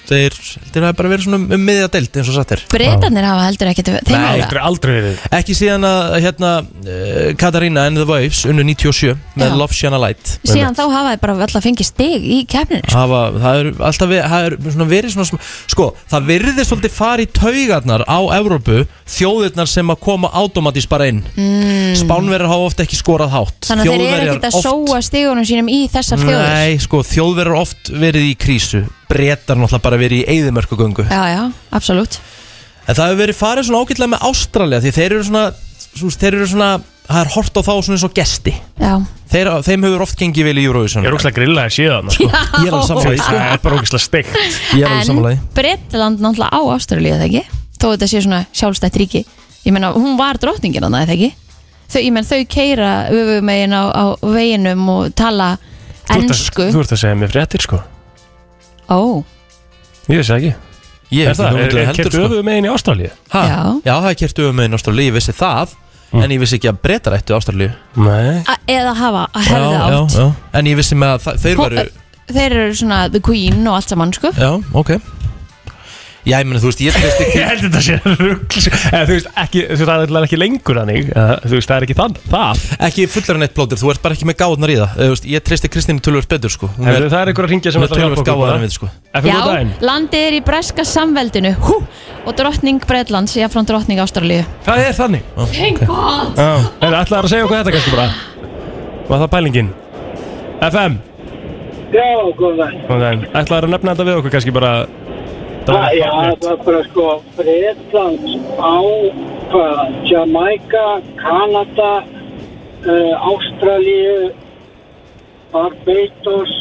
Speaker 2: þeir, þeir hafa bara verið svona um- um miðja deild eins og satt er
Speaker 3: breytanir hafa heldur ekkert þeim
Speaker 2: Nei,
Speaker 3: ára.
Speaker 15: aldrei verið
Speaker 2: Ekki síðan að hérna uh, Katarina and the Waves unnu 97 með
Speaker 3: Já.
Speaker 2: Love Shana Light
Speaker 3: Síðan þá hafa þeir bara alltaf fengið stig í sko. keppninu.
Speaker 2: Hafa, það er alltaf verið, það er svona verið svona, sm- sko, það virðist svolítið farið í taugarnar á Evrópu þjóðirnar sem að koma automatís bara inn
Speaker 3: Mm.
Speaker 2: Spánverjar hafa ofta ekki skorað hátt
Speaker 3: Þannig að þeir eru
Speaker 2: Þjóðverjar
Speaker 3: ekkert að
Speaker 2: oft-
Speaker 3: sóa stigunum sínum í þessar þjóður.
Speaker 2: Nei, sko, þjóðverjar oft verið í krísu Bretar náttúrulega bara verið í eyðimörkugöngu
Speaker 3: Já, já, absolutt. Eh.
Speaker 2: En það hefur verið farið svona ágætlega með Ástralja Því þeir eru svona, svo, þeir eru svona Það er hort á þá svona eins og gesti
Speaker 3: Já,
Speaker 2: Þeir, þeim hefur oft gengið vel í Eurovision
Speaker 4: Ég er ógæslega grilla að séða þarna sko.
Speaker 3: Já.
Speaker 4: Ég er alveg sammála því, sko. Það er bara ógæslega steikt Ég
Speaker 3: en Bretland náttúrulega á Ástralíu það ekki þó þetta sé svona sjálfstætt ríki ég meina hún var drottningin hann það ekki þau, ég meina þau keira öfumegin á, á veginum og tala
Speaker 4: Þú ert að-
Speaker 3: ennsku
Speaker 4: Þú ert að segja mér fréttir sko
Speaker 3: ó,
Speaker 4: Ég veist það ekki
Speaker 2: Ég
Speaker 4: Er það, er, er
Speaker 2: sko.
Speaker 4: kert öfuðu megin í Ástralíu?
Speaker 2: Ha?
Speaker 3: Já.
Speaker 2: Já, það er kert öfum megin í Ástralíu, ég vissi það
Speaker 4: Mm.
Speaker 2: En ég vissi ekki að breytar ættu Ástralíu
Speaker 4: Nei
Speaker 3: a- eða hafa að hefða
Speaker 2: já,
Speaker 3: átt eh.
Speaker 2: já. En ég vissi með að það, þeir veru
Speaker 3: þeir eru svona the queen og allt saman sko
Speaker 2: Já, ok Já, ég meni, þú veist, ég veist ekki
Speaker 4: Ég held þetta sé rugl Eða, Þú veist, ekki, þú veist, það er alltaf ekki lengur hannig Eða, Þú veist, það er ekki þann, það
Speaker 2: Ekki fullar en eitt blótir, þú ert bara ekki með gáðnar í það Eða, þú veist, Ég treysti Kristínu tölvöld betur sko Hún
Speaker 4: Heyrðu, það er einhver að hringja sem
Speaker 2: hún er
Speaker 4: ætlar að hjálpa
Speaker 2: tölvöld
Speaker 4: okkur bara.
Speaker 2: gáðar en við sko
Speaker 4: FM
Speaker 3: já,
Speaker 4: góðan daginn.
Speaker 3: landið er í breska samveldinu hú, og drottning Bretlands ég frá drottning Ástralíu
Speaker 4: Það er þannig
Speaker 3: Thank God.
Speaker 4: Það er alltaf að segja okkur þetta kannski bara Var það pælingin? FM,
Speaker 17: Já, góðan daginn.
Speaker 4: ætlaður að nefna þetta við okkur kannski bara Það var-
Speaker 17: Ah, Já, það er bara sko Bretlands á hvað, Jamaica, Kanada, uh, Ástralíu, Barbados,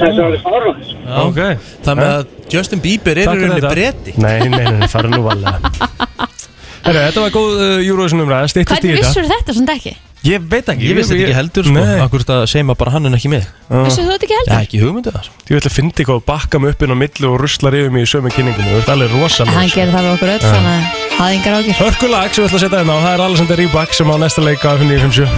Speaker 17: þessi var í forvæðs.
Speaker 2: Já. Það með að Justin Bieber er í
Speaker 4: Takk fyrir
Speaker 2: rauninni
Speaker 4: þetta.
Speaker 2: breyti
Speaker 4: Nei, nei, nei, nei, fara nú varlega Herra, þetta var góð uh, Eurovision umræða, stýttist í
Speaker 3: hvernig
Speaker 4: þetta
Speaker 3: vissur þetta svona ekki?
Speaker 4: Ég veit ekki
Speaker 2: Ég vissi þetta ekki heldur sko
Speaker 4: Nei. Ah.
Speaker 2: Akkur þetta segir maður bara hann en ekki mig
Speaker 3: Vissir þú þetta ekki heldur?
Speaker 2: Já, ekki hugmyndu það sko.
Speaker 4: Ég ætla að fyndi hvað bakka mig upp inn á milli og ruslar yfir mig í sömu kynninginu Þú ert alveg
Speaker 3: En hann
Speaker 4: rosalega
Speaker 3: gerir það við okkur öll
Speaker 4: Já.
Speaker 3: þannig að það engar ágjör
Speaker 4: Hörkulag sem við ætla að setja hérna á, það er Alexander Rybak sem á næsta leik á F957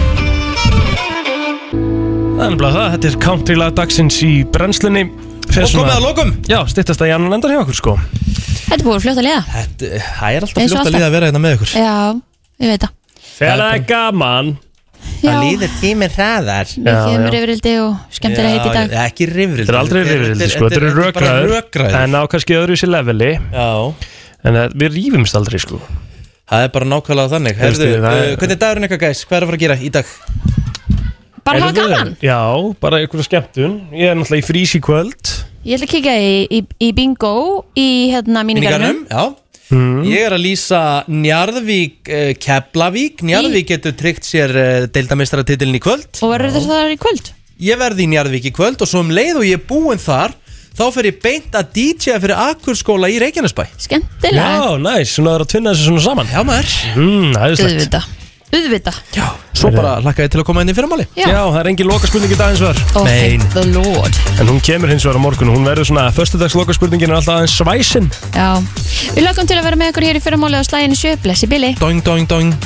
Speaker 4: Það er bara það, þetta er country lag dagsins í brennslunni Fer
Speaker 2: Og komið að lokum.
Speaker 4: Já, styttast að Jannan endar hjá okkur sko
Speaker 3: Þetta er búið að fljóta að liða
Speaker 2: Það er alltaf
Speaker 3: Eins og
Speaker 2: fljótt að
Speaker 3: alltaf.
Speaker 2: liða að vera hérna með ykkur
Speaker 3: Já, ég veit það
Speaker 4: Þegar það er gaman
Speaker 3: Já.
Speaker 2: Það líður tíminn hraðar
Speaker 3: Við kemur yfirildi og skemmtilega heiti í dag
Speaker 2: Já, Ekki rifrildi
Speaker 4: Þetta er aldrei rifrildi sko, þetta eru
Speaker 2: bara
Speaker 4: rökraður
Speaker 2: rökræður.
Speaker 4: En á kannski öðru sér leveli
Speaker 2: Já
Speaker 4: En það- við rýfumst aldrei sko
Speaker 2: Það er bara nákvæmlega þannig
Speaker 4: Veistu,
Speaker 2: Herðu,
Speaker 4: það er-
Speaker 2: uh, hvernig er dagurinn eitthvað gæs? Hvað er að fara að gera í dag?
Speaker 3: Bara hafa
Speaker 4: Heyrðu,
Speaker 3: gaman
Speaker 4: Já, bara einhverja skemmtun Ég er náttúrulega í frís í kvöld
Speaker 3: Ég ætla að kíkja í, í, í bingo í hérna mínigarnum
Speaker 2: já Ég er að lýsa Njarðvík uh, Keflavík Njarðvík getur tryggt sér uh, deildameistratitilin í kvöld
Speaker 3: Og verður þess að það er í kvöld
Speaker 2: Ég verði í Njarðvík í kvöld og svo um leið og ég er búinn þar þá fer ég beint að DJ fyrir Akurskóla í Reykjanesbæ
Speaker 3: Skemmtilega
Speaker 4: Já, næs, svona það er að tvinna þessu svona saman
Speaker 2: Já maður
Speaker 4: mm, æðislegt.
Speaker 3: Uðvita Uðvita Já,
Speaker 2: Svo bara hlakka ég til að koma inn í fyrramali
Speaker 3: Já.
Speaker 4: Já, það er engin lokaspurning í dag hins vegar
Speaker 3: Oh, thank the lord
Speaker 4: En hún kemur hins vegar á morgun og Hún verður svona, föstudags lokaspurningin er alltaf aðeins svæsin
Speaker 3: Já Við lögum til að vera með ykkur hér í fyrramáli á slæginu sjö Blessi Billy
Speaker 2: Doing, doing, doing